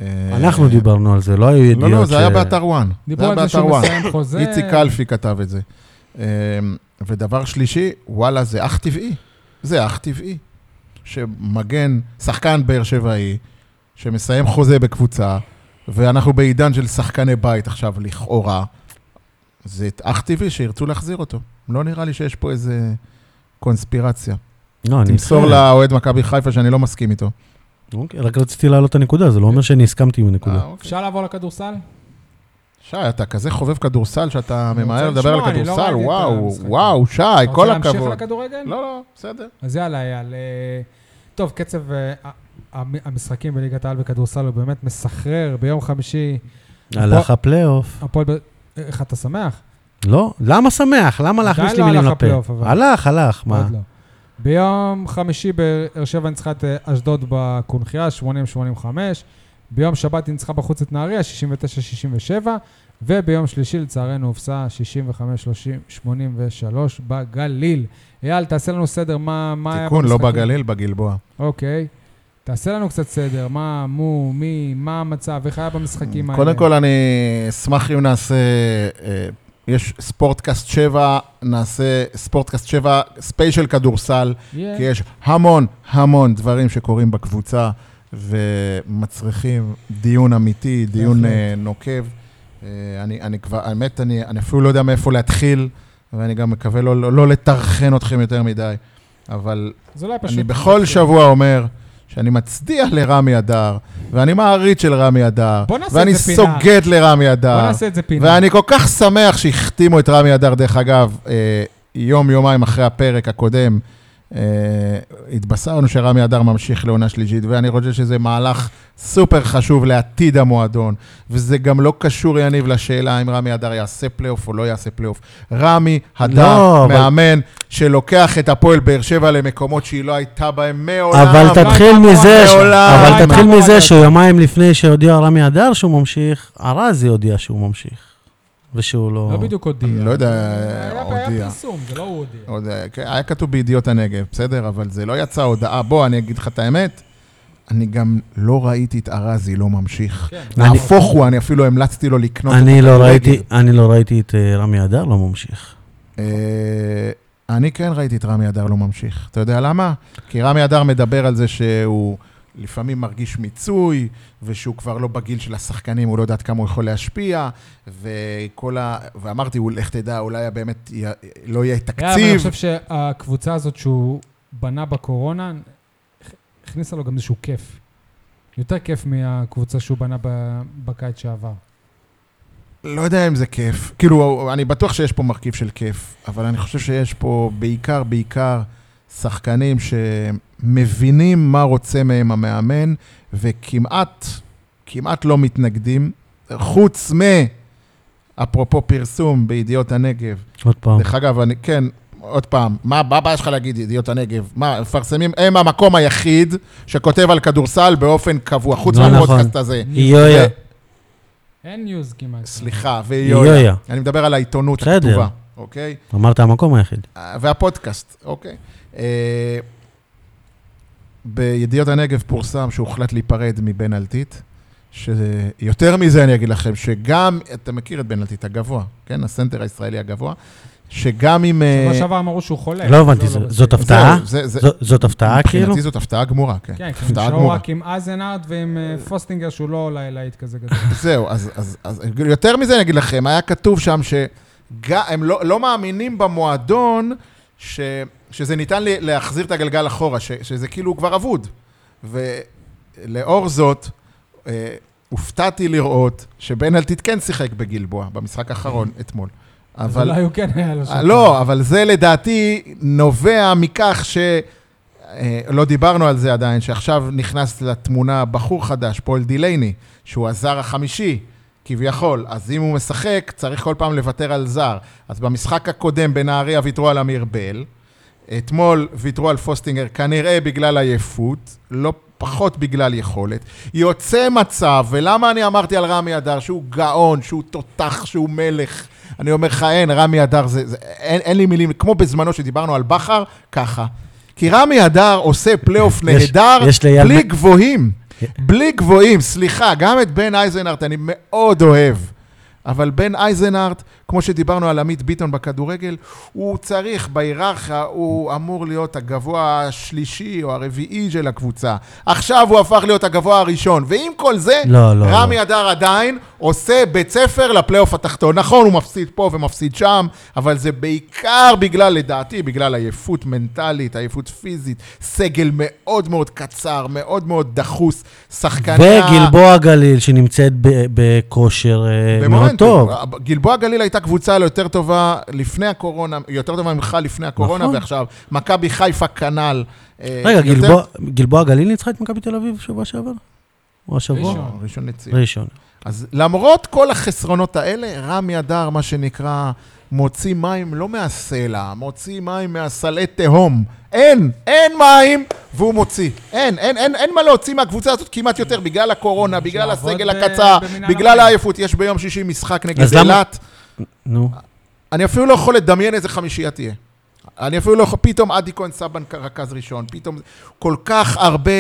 Speaker 3: אה,
Speaker 2: אנחנו דיברנו על זה, לא היו ידיעות
Speaker 3: לא, לא, זה היה
Speaker 2: ש-
Speaker 3: באתר וואן.
Speaker 1: דיברו על זה שהוא מסיים חוזה.
Speaker 3: איציק קלפי כתב את זה. אמ, ודבר שלישי, וואלה, זה אך טבעי. זה אך טבעי. שמגן, שחקן באר שבעי, שמסיים חוזה בקבוצה, ואנחנו בעידן של שחקני בית עכשיו, לכאורה, זה אך טבעי שירצו להחזיר אותו. לא נראה לי שיש פה איזה קונספירציה.
Speaker 2: לא, אני...
Speaker 3: תמסור
Speaker 2: איתך.
Speaker 3: לאוהד מכבי חיפה שאני לא מסכים איתו.
Speaker 2: אוקיי, רק רציתי להעלות את הנקודה, זה לא אומר שאני הסכמתי עם הנקודה.
Speaker 3: אה, אוקיי.
Speaker 1: אפשר לעבור לכדורסל?
Speaker 3: שי, אתה כזה חובב כדורסל שאתה
Speaker 1: אני
Speaker 3: ממהר
Speaker 1: רוצה
Speaker 3: לדבר על
Speaker 1: לשמוע, אני לא
Speaker 3: כדורסל,
Speaker 1: ראיתי את
Speaker 3: וואו,
Speaker 1: המשחק.
Speaker 3: וואו, שי,
Speaker 1: אתה
Speaker 3: כל
Speaker 1: רוצה להמשיך
Speaker 3: הכבוד.
Speaker 1: לכדורגל?
Speaker 3: לא, לא, בסדר.
Speaker 1: אז יאללה, אייל. אה, טוב, קצב אה, המ- המשחקים בליגת העל בכדורסל הוא באמת מסחרר. ביום חמישי,
Speaker 3: אה,
Speaker 2: הלך הפלייאוף.
Speaker 1: הפועל... ב- אה, איך אתה שמח?
Speaker 2: לא? למה שמח? למה
Speaker 1: עדיין
Speaker 2: להכניס לי
Speaker 1: לא
Speaker 2: מילים
Speaker 1: הלך
Speaker 2: לפה?
Speaker 1: הפלייאוף, אבל.
Speaker 2: הלך, הלך, מה?
Speaker 1: עוד לא. ביום חמישי באר שבע ניצחה את אה, אשדוד בקונחייה, 80-85. ביום שבת היא ניצחה בחוץ את נהריה, 69-67, וביום שלישי לצערנו הופסה 65-83 בגליל. אייל, תעשה לנו סדר, מה, מה היה
Speaker 3: תיקון, לא
Speaker 1: במשחקים?
Speaker 3: בגליל, בגלבוע.
Speaker 1: אוקיי. תעשה לנו קצת סדר, מה, מו, מי, מה המצב, איך היה במשחקים האלה?
Speaker 3: קודם כל, אני אשמח אם נעשה... אה, יש ספורטקאסט 7, נעשה ספורטקאסט 7, ספיישל כדורסל,
Speaker 1: יהיה.
Speaker 3: כי יש המון המון דברים שקורים בקבוצה ומצריכים דיון אמיתי, דיון
Speaker 1: בהחלט.
Speaker 3: אה, נוקב. אה, אני, אני כבר, האמת, אני, אני אפילו לא יודע מאיפה להתחיל, ואני גם מקווה לא, לא, לא לטרחן אתכם יותר מדי, אבל
Speaker 1: זה אולי פשוט... לא אוקיי.
Speaker 3: אני בכל שבוע אומר שאני מצדיע לרמי אדר, ואני מעריץ של רמי אדר,
Speaker 1: בוא נעשה
Speaker 3: ואני
Speaker 1: את זה פינה.
Speaker 3: סוגד לרמי
Speaker 1: בוא
Speaker 3: אדר,
Speaker 1: נעשה את זה פינה.
Speaker 3: ואני כל כך שמח שהחתימו את רמי אדר, דרך אגב, אה, יום-יומיים אחרי הפרק הקודם. אה, התבשרנו שרמי אדר ממשיך לעונה שלישית, ואני חושב שזה מהלך סופר חשוב לעתיד המועדון, וזה גם לא קשור, יניב, לשאלה אם רמי אדר יעשה פלייאוף או לא יעשה פלייאוף. רמי אדר,
Speaker 2: לא, אבל-
Speaker 3: מאמן שלוקח את הפועל באר שבע למקומות שהיא לא הייתה בהם מעולם.
Speaker 2: אבל תתחיל
Speaker 1: לא,
Speaker 2: מזה, ש-
Speaker 3: לעולם.
Speaker 2: אבל תתחיל
Speaker 1: לא, לא.
Speaker 2: מזה שיומיים לפני שהודיע רמי אדר שהוא ממשיך, ארזי הודיע שהוא ממשיך. ושהוא לא...
Speaker 1: לא בדיוק הודיע.
Speaker 3: אני לא יודע,
Speaker 1: היה- היה
Speaker 3: הודיע.
Speaker 1: פרסום, זה לא הוא הודיע.
Speaker 3: עוד, אה, כן, היה כתוב בידיעות הנגב, בסדר? אבל זה לא יצא הודעה. בוא, אני אגיד לך את האמת, אני גם לא ראיתי את ארזי לא ממשיך.
Speaker 1: כן.
Speaker 2: אני-
Speaker 3: נהפוך הוא, אני אפילו המלצתי לו לקנות את
Speaker 2: אני לא
Speaker 3: הכדורגל.
Speaker 2: ראיתי- אני לא ראיתי את אה, רמי אדר לא ממשיך.
Speaker 3: אה, אני כן ראיתי את רמי אדר לא ממשיך. אתה יודע למה? כי רמי אדר מדבר על זה שהוא לפעמים מרגיש מיצוי, ושהוא כבר לא בגיל של השחקנים, הוא לא יודע עד כמה הוא יכול להשפיע, וכל ה... ואמרתי, "הוא- לך תדע, אולי באמת י... לא יהיה
Speaker 1: יאללה, אבל אני
Speaker 3: תקציב.
Speaker 1: חושב שהקבוצה הזאת שהוא בנה בקורונה, הכ- הכניסה לו גם איזשהו כיף. יותר כיף מהקבוצה שהוא בנה ב- בקיץ שעבר.
Speaker 3: לא יודע אם זה כיף. כאילו, אני בטוח שיש פה מרכיב של כיף, אבל אני חושב שיש פה בעיקר, בעיקר שחקנים שמבינים מה רוצה מהם המאמן, וכמעט, כמעט לא מתנגדים, חוץ מ... אפרופו פרסום בידיעות הנגב.
Speaker 2: עוד פעם.
Speaker 3: דרך אגב, אני, כן, עוד פעם, מה מה הבעיה שלך להגיד ידיעות הנגב? מה, מפרסמים, הם המקום היחיד שכותב על כדורסל באופן קבוע, חוץ
Speaker 2: לא
Speaker 3: מהפודקאסט
Speaker 2: נכון.
Speaker 3: הזה.
Speaker 2: יויה.
Speaker 1: אין ניוז כמעט.
Speaker 3: סליחה,
Speaker 2: יויה.
Speaker 3: ויויה. אני מדבר על העיתונות
Speaker 2: בסדר.
Speaker 3: הכתובה, אוקיי?
Speaker 2: אמרת המקום היחיד.
Speaker 3: אה, והפודקאסט, אוקיי? אה, בידיעות הנגב פורסם שהוחלט להיפרד מבן אלטית, שיותר מזה אני אגיד לכם, שגם, אתה מכיר את בן אלטית הגבוה, כן? הסנטר הישראלי הגבוה, שגם אם... אה,
Speaker 1: שבוע שעבר אמרו שהוא חולה.
Speaker 2: לא הבנתי,
Speaker 1: זה
Speaker 2: זו-
Speaker 1: לא
Speaker 2: זאת
Speaker 1: בסדר.
Speaker 2: הפתעה?
Speaker 3: זהו, זה- זה-
Speaker 2: זו- זאת הפתעה כאילו?
Speaker 3: מבחינתי זאת הפתעה גמורה, כן.
Speaker 1: כן, כי
Speaker 3: הפתעה
Speaker 1: הם נשארו
Speaker 3: גמורה.
Speaker 1: רק עם אייזנארט ועם אה, פוסטינגר, שהוא לא עולה להיט כזה גדול.
Speaker 3: זהו, אז, אז, אז יותר מזה אני אגיד לכם, היה כתוב שם שהם לא, לא מאמינים במועדון ש, שזה ניתן ל- להחזיר את הגלגל אחורה, ש, שזה כאילו כבר אבוד. ולאור זאת, אה, הופתעתי לראות שבן אלטיט כן שיחק בגלבוע, במשחק האחרון אתמול.
Speaker 1: אבל...
Speaker 3: אבל...
Speaker 1: אולי הוא כן היה לו
Speaker 3: אה, לא, אבל זה לדעתי נובע מכך ש... אה, לא דיברנו על זה עדיין, שעכשיו נכנס לתמונה בחור חדש, פול דילייני, שהוא הזר החמישי, כביכול. אז אם הוא משחק, צריך כל פעם לוותר על זר. אז במשחק הקודם בנהריה ויתרו על אמיר בל, אתמול ויתרו על פוסטינגר, כנראה בגלל עייפות, לא פחות בגלל יכולת. יוצא מצב, ולמה אני אמרתי על רמי אדר שהוא גאון, שהוא תותח, שהוא מלך? אני אומר לך, אין, רמי אדר זה... זה אין, אין לי מילים, כמו בזמנו שדיברנו על בכר, ככה. כי רמי אדר עושה פלייאוף
Speaker 2: יש-
Speaker 3: נהדר,
Speaker 2: יש לאייל
Speaker 3: בלי
Speaker 2: בן-
Speaker 3: גבוהים.
Speaker 2: כן.
Speaker 3: בלי גבוהים, סליחה, גם את בן אייזנארט אני מאוד אוהב. אבל בן אייזנארט, כמו שדיברנו על עמית ביטון בכדורגל, הוא צריך, בהיררכיה, הוא אמור להיות הגבוה השלישי או הרביעי של הקבוצה. עכשיו הוא הפך להיות הגבוה הראשון. ועם כל זה,
Speaker 2: לא, לא,
Speaker 3: רמי
Speaker 2: לא.
Speaker 3: אדר עדיין עושה בית ספר לפלייאוף התחתון. נכון, הוא מפסיד פה ומפסיד שם, אבל זה בעיקר בגלל, לדעתי, בגלל עייפות מנטלית, עייפות פיזית, סגל מאוד מאוד קצר, מאוד מאוד דחוס, שחקני... ה-
Speaker 2: וגלבוע גליל שנמצאת ב- בכושר אה, מאוד
Speaker 3: במומנטום.
Speaker 2: טוב.
Speaker 3: גלבוע גליל הייתה קבוצה לא יותר טובה לפני הקורונה, יותר טובה ממך לפני הקורונה,
Speaker 2: נכון.
Speaker 3: ועכשיו מכבי חיפה כנ"ל. אה,
Speaker 2: רגע,
Speaker 3: יותר-
Speaker 2: גלבוע- גלבוע גליל ניצחה את מכבי תל אביב שבוע שעבר? או השבוע?
Speaker 1: ראשון.
Speaker 3: לא, ראשון לציון.
Speaker 2: ראשון.
Speaker 3: אז למרות כל החסרונות האלה, רמי אדר, מה שנקרא, מוציא מים לא מהסלע, מוציא מים מהסלעי תהום. אין, אין מים, והוא מוציא. אין, אין, אין, אין מה להוציא מהקבוצה הזאת כמעט יותר, בגלל הקורונה, בגלל
Speaker 1: שיעבוד
Speaker 3: הסגל
Speaker 1: ב-
Speaker 3: הקצר,
Speaker 1: אה, במינהל
Speaker 3: בגלל
Speaker 1: המים.
Speaker 3: העייפות. יש ביום שישי משחק נגד
Speaker 4: אז למה-
Speaker 3: אילת.
Speaker 4: נו.
Speaker 3: אני אפילו לא יכול לדמיין איזה חמישייה תהיה. אני אפילו לא יכול, פתאום עדי כהן סבן רכז ראשון, פתאום כל כך הרבה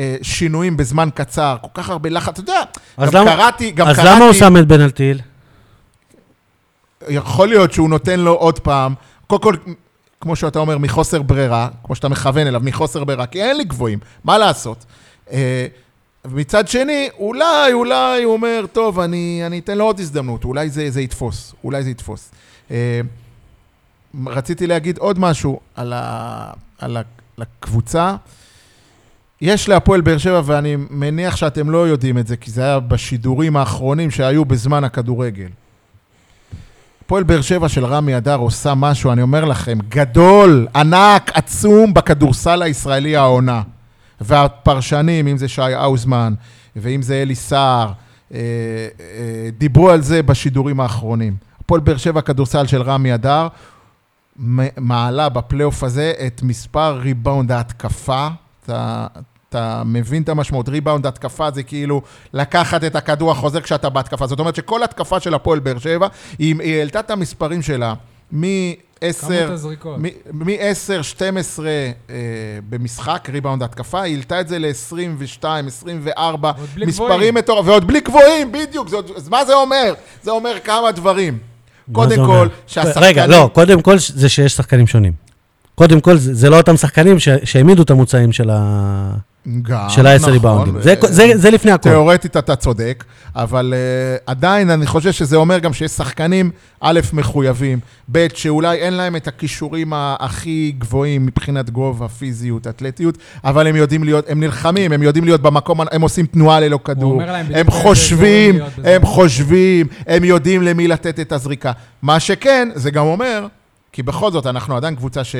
Speaker 3: אה, שינויים בזמן קצר, כל כך הרבה לחץ, אתה יודע, גם
Speaker 4: אז למה-
Speaker 3: קראתי, גם
Speaker 4: אז
Speaker 3: קראתי,
Speaker 4: למה הוא שם את בנלטיל?
Speaker 3: יכול להיות שהוא נותן לו עוד פעם, קודם כל, כמו שאתה אומר, מחוסר ברירה, כמו שאתה מכוון אליו, מחוסר ברירה, כי אין לי גבוהים, מה לעשות? אה, מצד שני, אולי, אולי הוא אומר, טוב, אני, אני אתן לו עוד הזדמנות, אולי זה, זה יתפוס, אולי זה יתפוס. אה, רציתי להגיד עוד משהו על, ה, על, ה, על הקבוצה. יש להפועל באר שבע, ואני מניח שאתם לא יודעים את זה, כי זה היה בשידורים האחרונים שהיו בזמן הכדורגל. הפועל באר שבע של רמי אדר עושה משהו, אני אומר לכם, גדול, ענק, עצום בכדורסל הישראלי העונה. והפרשנים, אם זה שי האוזמן, ואם זה אלי סער, אה, אה, דיברו על זה בשידורים האחרונים. הפועל באר שבע, כדורסל של רמי אדר, מ- מעלה בפלייאוף הזה את מספר ריבאונד ההתקפה. אתה, אתה מבין את המשמעות, ריבאונד התקפה זה כאילו לקחת את הכדור החוזר כשאתה בהתקפה. זאת אומרת שכל התקפה של הפועל באר שבע, היא, היא העלתה את המספרים שלה
Speaker 1: כמות
Speaker 3: מ-10...
Speaker 1: הזריקות.
Speaker 3: מ-10, 12 אה, במשחק, ריבאונד התקפה, היא העלתה את זה ל-22, 24,
Speaker 1: ועוד בלי גבוהים.
Speaker 3: מספרים מטורפים, ועוד בלי גבוהים, בדיוק, זה עוד- אז מה זה אומר? זה אומר כמה דברים.
Speaker 4: מה זה
Speaker 3: קודם
Speaker 4: אומר?
Speaker 3: כל, שהשחקנים...
Speaker 4: רגע, לא, קודם כל ש- זה שיש שחקנים שונים. קודם כל, זה זה לא אותם שחקנים ש- שהעמידו את המוצאים של ה-
Speaker 3: גם,
Speaker 4: של ה-10
Speaker 3: נכון,
Speaker 4: ריבאונדים.
Speaker 3: ו-
Speaker 4: זה כל- זה- זה לפני הכל.
Speaker 3: תיאורטית אתה צודק, אבל uh, עדיין אני חושב שזה אומר גם שיש שחקנים, א', מחויבים, ב', שאולי אין להם את הכישורים ה- הכי גבוהים מבחינת גובה, פיזיות, אתלטיות, אבל הם יודעים להיות, הם נלחמים, הם יודעים להיות במקום, הנ- הם עושים תנועה ללא כדור,
Speaker 1: אומר להם בדיוק
Speaker 3: הם
Speaker 1: באיזה
Speaker 3: חושבים,
Speaker 1: אזורים לא להיות בזה.
Speaker 3: הם חושבים, הם יודעים למי לתת את הזריקה. מה שכן, זה גם אומר, כי בכל זאת אנחנו עדיין קבוצה ש...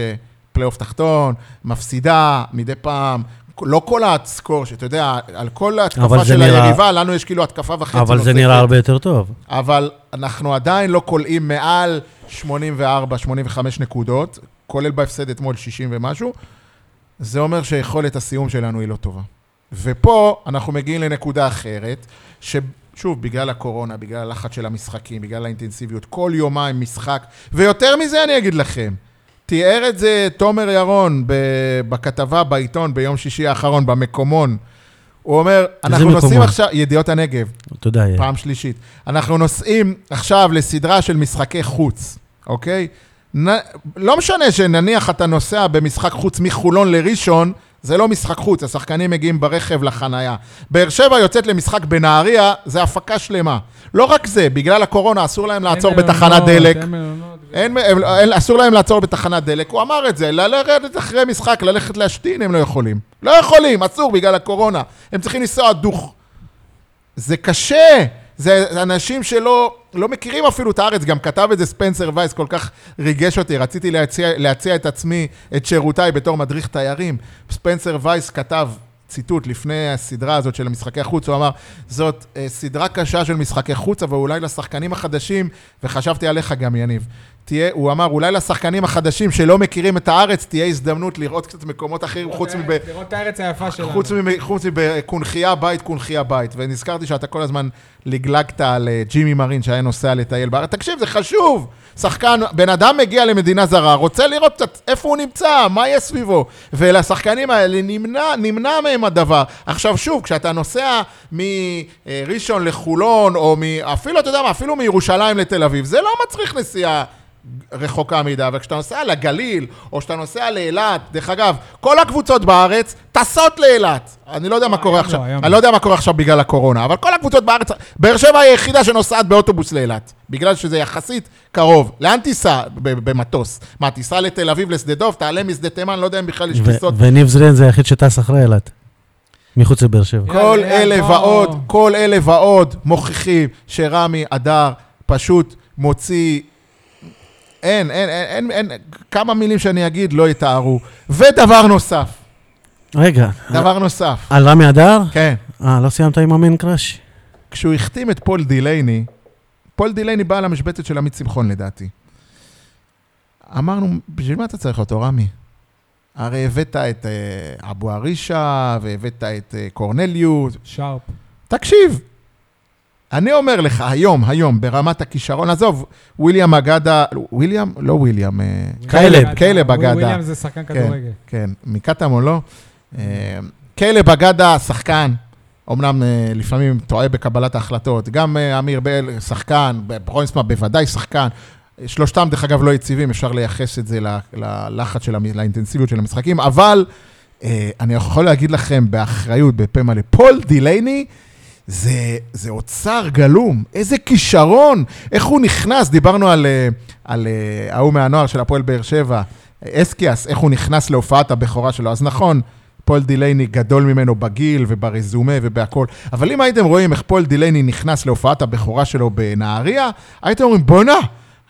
Speaker 3: פלייאוף תחתון, מפסידה מדי פעם. לא כל הסקור, שאתה יודע, על כל
Speaker 4: אבל
Speaker 3: התקפה
Speaker 4: זה
Speaker 3: של
Speaker 4: נראה-
Speaker 3: היריבה, לנו יש כאילו התקפה וחצי
Speaker 4: אבל זה
Speaker 3: נוספת.
Speaker 4: נראה הרבה יותר טוב.
Speaker 3: אבל אנחנו עדיין לא כולאים מעל 84-85 נקודות, כולל בהפסד אתמול 60 ומשהו. זה אומר שיכולת הסיום שלנו היא לא טובה. ופה אנחנו מגיעים לנקודה אחרת, ששוב, בגלל הקורונה, בגלל הלחץ של המשחקים, בגלל האינטנסיביות, כל יומיים משחק, ויותר מזה אני אגיד לכם, תיאר את זה תומר ירון ב- בכתבה בעיתון ביום שישי האחרון, במקומון. הוא אומר, אנחנו נוסעים
Speaker 4: מקומון?
Speaker 3: עכשיו, ידיעות הנגב,
Speaker 4: אתה יודע,
Speaker 2: כן.
Speaker 3: פעם שלישית. אנחנו נוסעים עכשיו לסדרה של משחקי חוץ, אוקיי? נ... לא משנה שנניח אתה נוסע במשחק חוץ מחולון לראשון, זה לא משחק חוץ, השחקנים מגיעים ברכב לחנייה. באר שבע יוצאת למשחק בנהריה, זה הפקה שלמה. לא רק זה, בגלל הקורונה אסור להם לעצור
Speaker 1: אין
Speaker 3: בתחנת
Speaker 1: מלונות,
Speaker 3: דלק.
Speaker 1: אין מלונות.
Speaker 3: אין, הם, אין, אסור להם לעצור בתחנת דלק, הוא אמר את זה, לרדת אחרי משחק, ללכת להשתין, הם לא יכולים. לא יכולים, אסור בגלל הקורונה. הם צריכים לנסוע דוך. זה קשה, זה אנשים שלא לא מכירים אפילו את הארץ, גם כתב את זה ספנסר וייס, כל כך ריגש אותי, רציתי להציע, להציע את עצמי, את שירותיי בתור מדריך תיירים. ספנסר וייס כתב... ציטוט לפני הסדרה הזאת של משחקי החוץ, הוא אמר, זאת אה, סדרה קשה של משחקי חוץ, אבל אולי לשחקנים החדשים, וחשבתי עליך גם, יניב, תהיה, הוא אמר, אולי לשחקנים החדשים שלא מכירים את הארץ, תהיה הזדמנות לראות קצת מקומות אחרים חוץ מב...
Speaker 1: כן,
Speaker 3: אה,
Speaker 1: לראות את הארץ היפה שלנו.
Speaker 3: חוץ מב- חוץ מבקונכייה בית, קונכייה בית. ונזכרתי שאתה כל הזמן לגלגת על אה, ג'ימי מרין שהיה נוסע לטייל בארץ. תקשיב, זה חשוב. שחקן, בן אדם מגיע למדינה זרה, רוצה לראות קצת איפה הוא נמצא, מה יש סביבו. ולשחקנים האלה נמנע, נמנע מהם הדבר. עכשיו שוב, כשאתה נוסע מראשון לחולון, או מ... אפילו, אתה יודע מה, אפילו מירושלים לתל אביב, זה לא מצריך נסיעה רחוקה מדי, אבל כשאתה נוסע לגליל, או שאתה נוסע לאילת, דרך אגב, כל הקבוצות בארץ טסות לאילת. אני לא יודע מה קורה
Speaker 1: היום
Speaker 3: עכשיו,
Speaker 1: לא, היום לא.
Speaker 3: אני לא יודע מה קורה עכשיו בגלל הקורונה, אבל כל הקבוצות בארץ, באר שבע היא היחידה שנוסעת באוטובוס לאילת, בגלל שזה יחסית קרוב. לאן תיסע ב- במטוס? מה, תיסע לתל אביב, לשדה דוב, תעלה משדה תימן, לא יודע אם בכלל יש
Speaker 4: ו-
Speaker 3: טיסות.
Speaker 4: וניב זרין זה היחיד שטס אחרי אילת. מחוץ לבאר שבע.
Speaker 3: כל
Speaker 1: יאללה, יאללה,
Speaker 3: אלה
Speaker 1: בוא.
Speaker 3: ועוד, כל אלה ועוד מוכיחים שרמי אדר פשוט מוציא... אין, אין, אין, אין, אין, כמה מילים שאני אגיד לא יתארו. ודבר נוסף,
Speaker 4: רגע,
Speaker 3: דבר נוסף,
Speaker 4: על רמי אדר?
Speaker 3: כן,
Speaker 4: אה, לא סיימת עם המיין קראש?
Speaker 3: כשהוא החתים את פול דילייני, פול דילייני בא על המשבצת של עמית שמחון לדעתי. אמרנו, בשביל מה אתה צריך אותו, רמי? הרי הבאת את אה, אבו ערישה, והבאת את אה, קורנליוס.
Speaker 1: שרפ.
Speaker 3: תקשיב, אני אומר לך, היום, היום, ברמת הכישרון, עזוב, וויליאם אגדה, וויליאם? לא וויליאם, אה,
Speaker 4: קלב,
Speaker 3: קלב אגדה.
Speaker 1: וויליאם זה שחקן כדורגל.
Speaker 3: כן, מקטמון לא. אה, קלב אגדה, שחקן. אמנם אה, לפעמים טועה בקבלת ההחלטות. גם אה, אמיר בל, שחקן, ברוינסמה בוודאי שחקן. שלושתם, דרך אגב, לא יציבים, אפשר לייחס את זה ל- ללחץ של, המ- לאינטנסיביות של המשחקים, אבל אה, אני יכול להגיד לכם באחריות, בפה מלא, פול דילייני, זה, זה אוצר גלום, איזה כישרון, איך הוא נכנס, דיברנו על, אה, על אה, ההוא מהנוער של הפועל באר שבע, אסקיאס, איך הוא נכנס להופעת הבכורה שלו. אז נכון, פול דילייני גדול ממנו בגיל וברזומה ובהכול, אבל אם הייתם רואים איך פול דילייני נכנס להופעת הבכורה שלו בנהריה, הייתם אומרים, בואנה,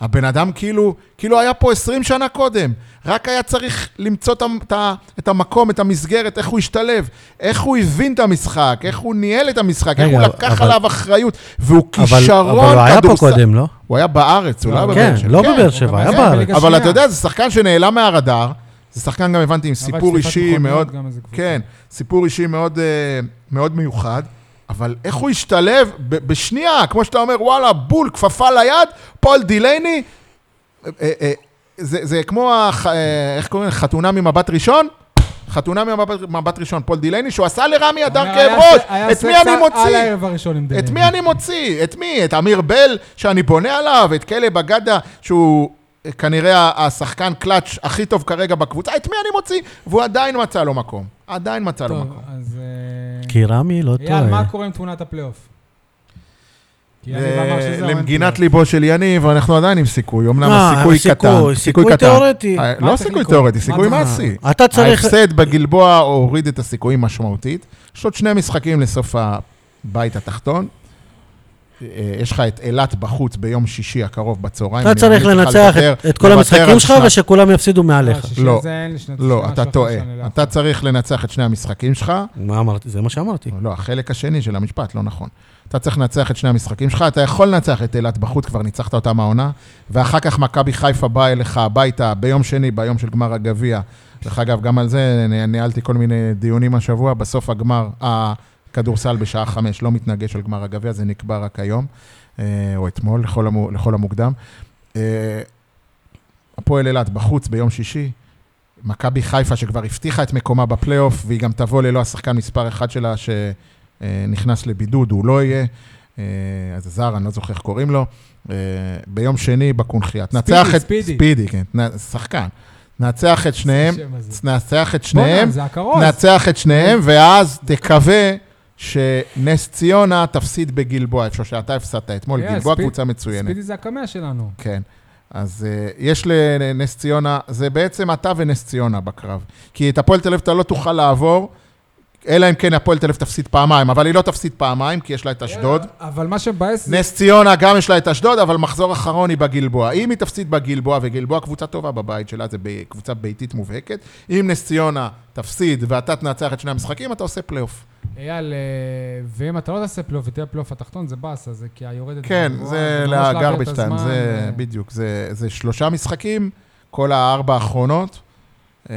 Speaker 3: הבן אדם כאילו, כאילו היה פה 20 שנה קודם, רק היה צריך למצוא את, ה- את, ה- את המקום, את המסגרת, איך הוא השתלב, איך הוא הבין את המשחק, איך הוא ניהל את המשחק, איך
Speaker 4: רגע,
Speaker 3: הוא לקח
Speaker 4: אבל-
Speaker 3: עליו אחריות, והוא
Speaker 4: אבל
Speaker 3: כישרון
Speaker 4: אבל הוא היה פה
Speaker 3: כדורסל-
Speaker 4: קודם, לא?
Speaker 3: הוא היה בארץ, הוא לא היה
Speaker 1: כן,
Speaker 3: בבאר
Speaker 4: כן,
Speaker 3: שבע.
Speaker 4: לא
Speaker 3: כן.
Speaker 4: בבאר שבע, היה
Speaker 1: כן,
Speaker 4: בארץ.
Speaker 1: בליגה
Speaker 3: אבל
Speaker 1: שנייה.
Speaker 3: אתה יודע, זה שחקן שנעלם מהרדאר, זה שחקן גם הבנתי עם
Speaker 1: אבל
Speaker 3: סיפור
Speaker 1: שטיפת
Speaker 3: אישי
Speaker 1: מכוניות
Speaker 3: מאוד,
Speaker 1: גם איזה קבוצה.
Speaker 3: כן, סיפור אישי מאוד, אה, מאוד מיוחד, אבל איך הוא השתלב ב- בשנייה, כמו שאתה אומר, וואלה, בול, כפפה ליד, פול דילייני, אה, אה, אה, זה, זה כמו, הח, אה, איך קוראים לזה, חתונה ממבט ראשון? חתונה ממבט מבט ראשון, פול דילייני, שהוא עשה
Speaker 1: הוא
Speaker 3: לרמי
Speaker 4: אה,
Speaker 3: אדר
Speaker 1: אומר,
Speaker 3: כאב
Speaker 1: היה
Speaker 3: ראש,
Speaker 1: ס- היה
Speaker 3: את מי
Speaker 1: סקס
Speaker 3: אני
Speaker 1: על
Speaker 3: מוציא?
Speaker 1: הערב הראשון עם דלק.
Speaker 3: את מי אני מוציא? את מי? את אמיר בל, שאני בונה עליו? את כלב אגדה, שהוא אה, כנראה השחקן קלאץ' הכי טוב כרגע בקבוצה? את מי אני מוציא? והוא עדיין מצא לו מקום. עדיין מצא לו
Speaker 1: טוב,
Speaker 3: מקום.
Speaker 1: אז... אה,
Speaker 4: כי רמי לא
Speaker 1: אייל, מה
Speaker 4: טועה.
Speaker 1: קורה עם תמונת הפלייאוף? כי יניב אמר שזהו, אין
Speaker 3: למגינת
Speaker 1: פלייאוף.
Speaker 3: ליבו של יניב, אנחנו עדיין עם סיכוי. אמנם
Speaker 1: אה,
Speaker 4: מה,
Speaker 3: הסיכוי
Speaker 4: סיכוי,
Speaker 3: קטן.
Speaker 4: סיכוי
Speaker 3: קטן.
Speaker 4: תיאורטי.
Speaker 3: אה,
Speaker 1: מה
Speaker 3: לא
Speaker 1: צריך
Speaker 3: סיכוי
Speaker 1: לקרות?
Speaker 3: תיאורטי,
Speaker 1: מה
Speaker 3: סיכוי
Speaker 1: צריך-
Speaker 3: מעשי.
Speaker 4: אתה צריך...
Speaker 3: ההפסד בגלבוע הוריד את הסיכויים משמעותית. יש עוד שני משחקים לסוף הבית התחתון. אה, יש לך את אילת בחוץ ביום שישי הקרוב בצהריים.
Speaker 4: אתה
Speaker 3: אני
Speaker 4: צריך
Speaker 3: ממליץ לך
Speaker 4: לנצח
Speaker 3: לוותר-
Speaker 4: את- את כל
Speaker 3: לוותר
Speaker 4: המשחקים
Speaker 3: על
Speaker 4: שלך
Speaker 3: שנת-
Speaker 4: ושכולם יפסידו
Speaker 1: אה,
Speaker 4: מעליך.
Speaker 1: שישי
Speaker 3: לא.
Speaker 1: זה אין לי שני-
Speaker 3: לא,
Speaker 1: שני
Speaker 3: אתה
Speaker 1: השלכות
Speaker 3: טועה.
Speaker 1: שאני לא
Speaker 3: אתה
Speaker 1: יכול.
Speaker 3: צריך לנצח את שני המשחקים שלך.
Speaker 4: מה אמרתי? זה מה שאמרתי.
Speaker 3: לא, החלק השני של המשפט, לא נכון. אתה צריך לנצח את שני המשחקים שלך, אתה יכול לנצח את אילת בחוץ, כבר ניצחת אותם העונה, ואחר כך מכבי חיפה באה אליך הביתה ביום שני, ביום של גמר הגביע. דרך אגב, גם על זה נ- ניהלתי כל מיני דיונים השבוע, בסוף הגמר, הכדורסל בשעה חמש לא מתנגש על גמר הגביע, זה נקבע רק היום, אה, או אתמול, לכל, המו, לכל המוקדם. אה, הפועל אילת בחוץ ביום שישי, מכבי חיפה שכבר הבטיחה את מקומה בפלייאוף, והיא גם תבוא ללא השחקן מספר אחד שלה שנכנס לבידוד, הוא לא יהיה. אה, אז זר, אני לא זוכר איך קוראים לו. אה, ביום שני בקונחייה. תנצח את...
Speaker 1: ספידי.
Speaker 3: ספידי, כן. תנ- שחקן. נצח את שניהם,
Speaker 1: השם הזה.
Speaker 3: נצח את
Speaker 1: בואנה,
Speaker 3: שניהם,
Speaker 1: זה הכרוז.
Speaker 3: נצח את שניהם, ואז תקווה שנס ציונה תפסיד בגלבוע, איפה שאתה הפסדת אתמול.
Speaker 1: כן,
Speaker 3: גלבוע
Speaker 1: ספיד-
Speaker 3: קבוצה מצוינת.
Speaker 1: ספידי זה הקמע שלנו.
Speaker 3: כן. אז uh, יש לנס ציונה, זה בעצם אתה ונס ציונה בקרב. כי את הפועל תל אביב אתה לא תוכל לעבור, אלא אם כן הפועל תל אביב תפסיד פעמיים, אבל היא לא תפסיד פעמיים, כי יש
Speaker 1: אה.
Speaker 3: לה את אשדוד.
Speaker 1: אבל מה שמבאס זה...
Speaker 3: נס ציונה גם יש לה את אשדוד, אבל מחזור אחרון היא בגלבוע. אם היא תפסיד בגלבוע, וגלבוע קבוצה טובה בבית שלה, זו קבוצה ביתית מובהקת, אם נס ציונה תפסיד ואתה תנצח את שני המשחקים, אתה עושה פלייאוף.
Speaker 1: אייל, אה, ואם אתה לא תעשה פלייאוף ותהיה פלייאוף התחתון, זה באסה, זה כי היורדת...
Speaker 3: כן,
Speaker 1: גבוהה,
Speaker 3: זה
Speaker 1: ממש להעביר את
Speaker 3: לגרבג'
Speaker 1: הזמן,
Speaker 3: טיים, זה
Speaker 1: אה,
Speaker 3: בדיוק, זה, זה שלושה משחקים, כל הארבע האחרונות, אה,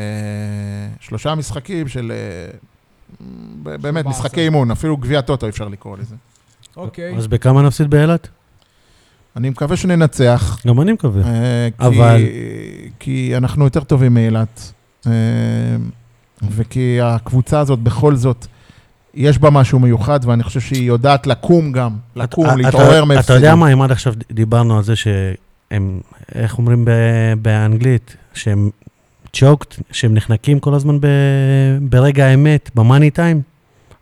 Speaker 3: שלושה משחקים של... אה, ב- באמת,
Speaker 1: שבעה
Speaker 3: משחקי
Speaker 1: עשר.
Speaker 3: אימון, אפילו גביע טוטו אפשר לקרוא לזה.
Speaker 1: אוקיי.
Speaker 4: אז בכמה נפסיד באילת?
Speaker 3: אני מקווה שננצח,
Speaker 4: גם אני מקווה.
Speaker 3: אה, כי-
Speaker 4: אבל-
Speaker 3: כי אנחנו יותר טובים מאילת, אה, וכי הקבוצה הזאת בכל זאת... יש בה משהו מיוחד, ואני חושב שהיא יודעת לקום גם, לקום,
Speaker 4: אתה-
Speaker 3: להתעורר
Speaker 4: אה, אתה-
Speaker 3: מהפסידים.
Speaker 4: אתה יודע מה, אם עד עכשיו דיברנו על זה שהם, איך אומרים ב- באנגלית, שהם צ'וקט, שהם נחנקים כל הזמן ב, ברגע האמת, במאני טיים.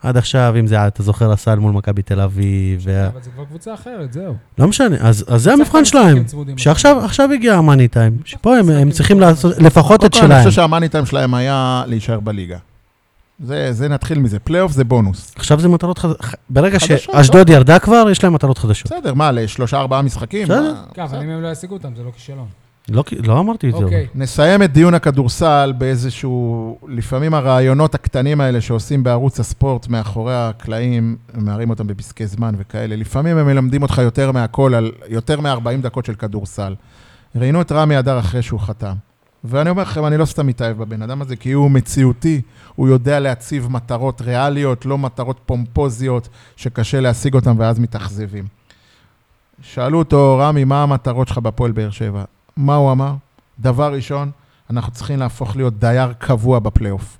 Speaker 4: עד עכשיו, אם זה, אתה זוכר, הסל מול מכבי תל אביב, וה...
Speaker 1: אבל זה כבר קבוצה אחרת, זהו.
Speaker 4: לא משנה, אז, אז זה אה. המבחן
Speaker 1: צריך
Speaker 4: שלהם.
Speaker 1: משחקים צמודים.
Speaker 4: שעכשיו עכשיו הגיע המאני טיים, שפה הם, הם צריכים לעשות לפחות את
Speaker 3: קודם כל, אני
Speaker 4: שלהם.
Speaker 3: חושב שהמאני טיים שלהם היה להישאר בליגה. זה, זה נתחיל מזה. פלייאוף זה בונוס.
Speaker 4: עכשיו זה מטרות חדשות. ברגע
Speaker 3: חדשות, לא?
Speaker 4: שאשדוד ירדה כבר, יש להם מטרות חדשות.
Speaker 3: בסדר, מה, לשלושה, ארבעה משחקים?
Speaker 4: בסדר.
Speaker 3: מה,
Speaker 1: כן, אבל אם הם לא ישיגו אותם, זה לא כישלון.
Speaker 4: לא כי- לא אמרתי את זה. אבל.
Speaker 1: אוקיי.
Speaker 3: נסיים את דיון הכדורסל באיזשהו, לפעמים הרעיונות הקטנים האלה שעושים בערוץ הספורט מאחורי הקלעים, מערים אותם בפסקי זמן וכאלה. לפעמים הם מלמדים אותך יותר מהכל על יותר מ-40 דקות של כדורסל. ראיינו את רמי אדר אחרי שהוא חתם. ואני אומר לכם, אני לא סתם מתאהב בבן אדם הזה, כי הוא מציאותי, הוא יודע להציב מטרות ריאליות, לא מטרות פומפוזיות שקשה להשיג אותן ואז מתאכזבים. שאלו אותו, רמי, מה המטרות שלך בהפועל באר שבע? מה הוא אמר? דבר ראשון, אנחנו צריכים להפוך להיות דייר קבוע בפלייאוף.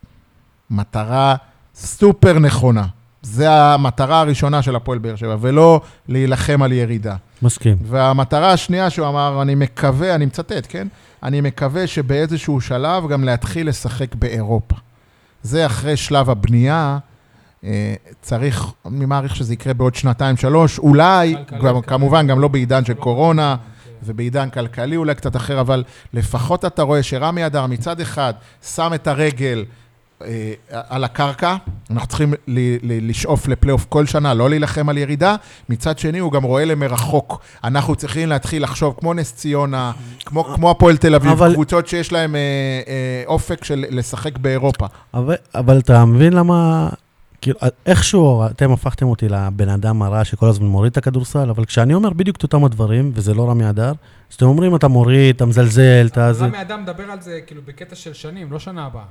Speaker 3: מטרה סופר נכונה. זו המטרה הראשונה של הפועל באר שבע, ולא להילחם על ירידה.
Speaker 2: מסכים.
Speaker 3: והמטרה השנייה שהוא אמר, אני מקווה, אני מצטט, כן? אני מקווה שבאיזשהו שלב גם להתחיל לשחק באירופה. זה אחרי שלב הבנייה, אה, צריך, אני מעריך שזה יקרה בעוד שנתיים-שלוש, אולי,
Speaker 1: כלכלי,
Speaker 3: גם,
Speaker 1: כלכלי.
Speaker 3: כמובן, גם לא בעידן של קורונה. ובעידן כלכלי אולי קצת אחר, אבל לפחות אתה רואה שרמי אדר מצד אחד שם את הרגל אה, על הקרקע, אנחנו צריכים ל- ל- לשאוף לפלייאוף כל שנה, לא להילחם על ירידה, מצד שני הוא גם רואה למרחוק. אנחנו צריכים להתחיל לחשוב כמו נס ציונה, כמו, כמו הפועל תל אביב,
Speaker 2: אבל-
Speaker 3: אבל... קבוצות שיש להן אה, אה, אופק של לשחק באירופה.
Speaker 2: אבל, אבל אתה מבין למה... כאילו, איכשהו אתם הפכתם אותי לבן אדם הרע שכל הזמן מוריד את הכדורסל, אבל כשאני אומר בדיוק את אותם הדברים, וזה לא רמי אדר, אז אתם אומרים, אתה מוריד, אתה מזלזל, אתה זה...
Speaker 1: למה אדם מדבר על זה כאילו בקטע של שנים, לא שנה הבאה.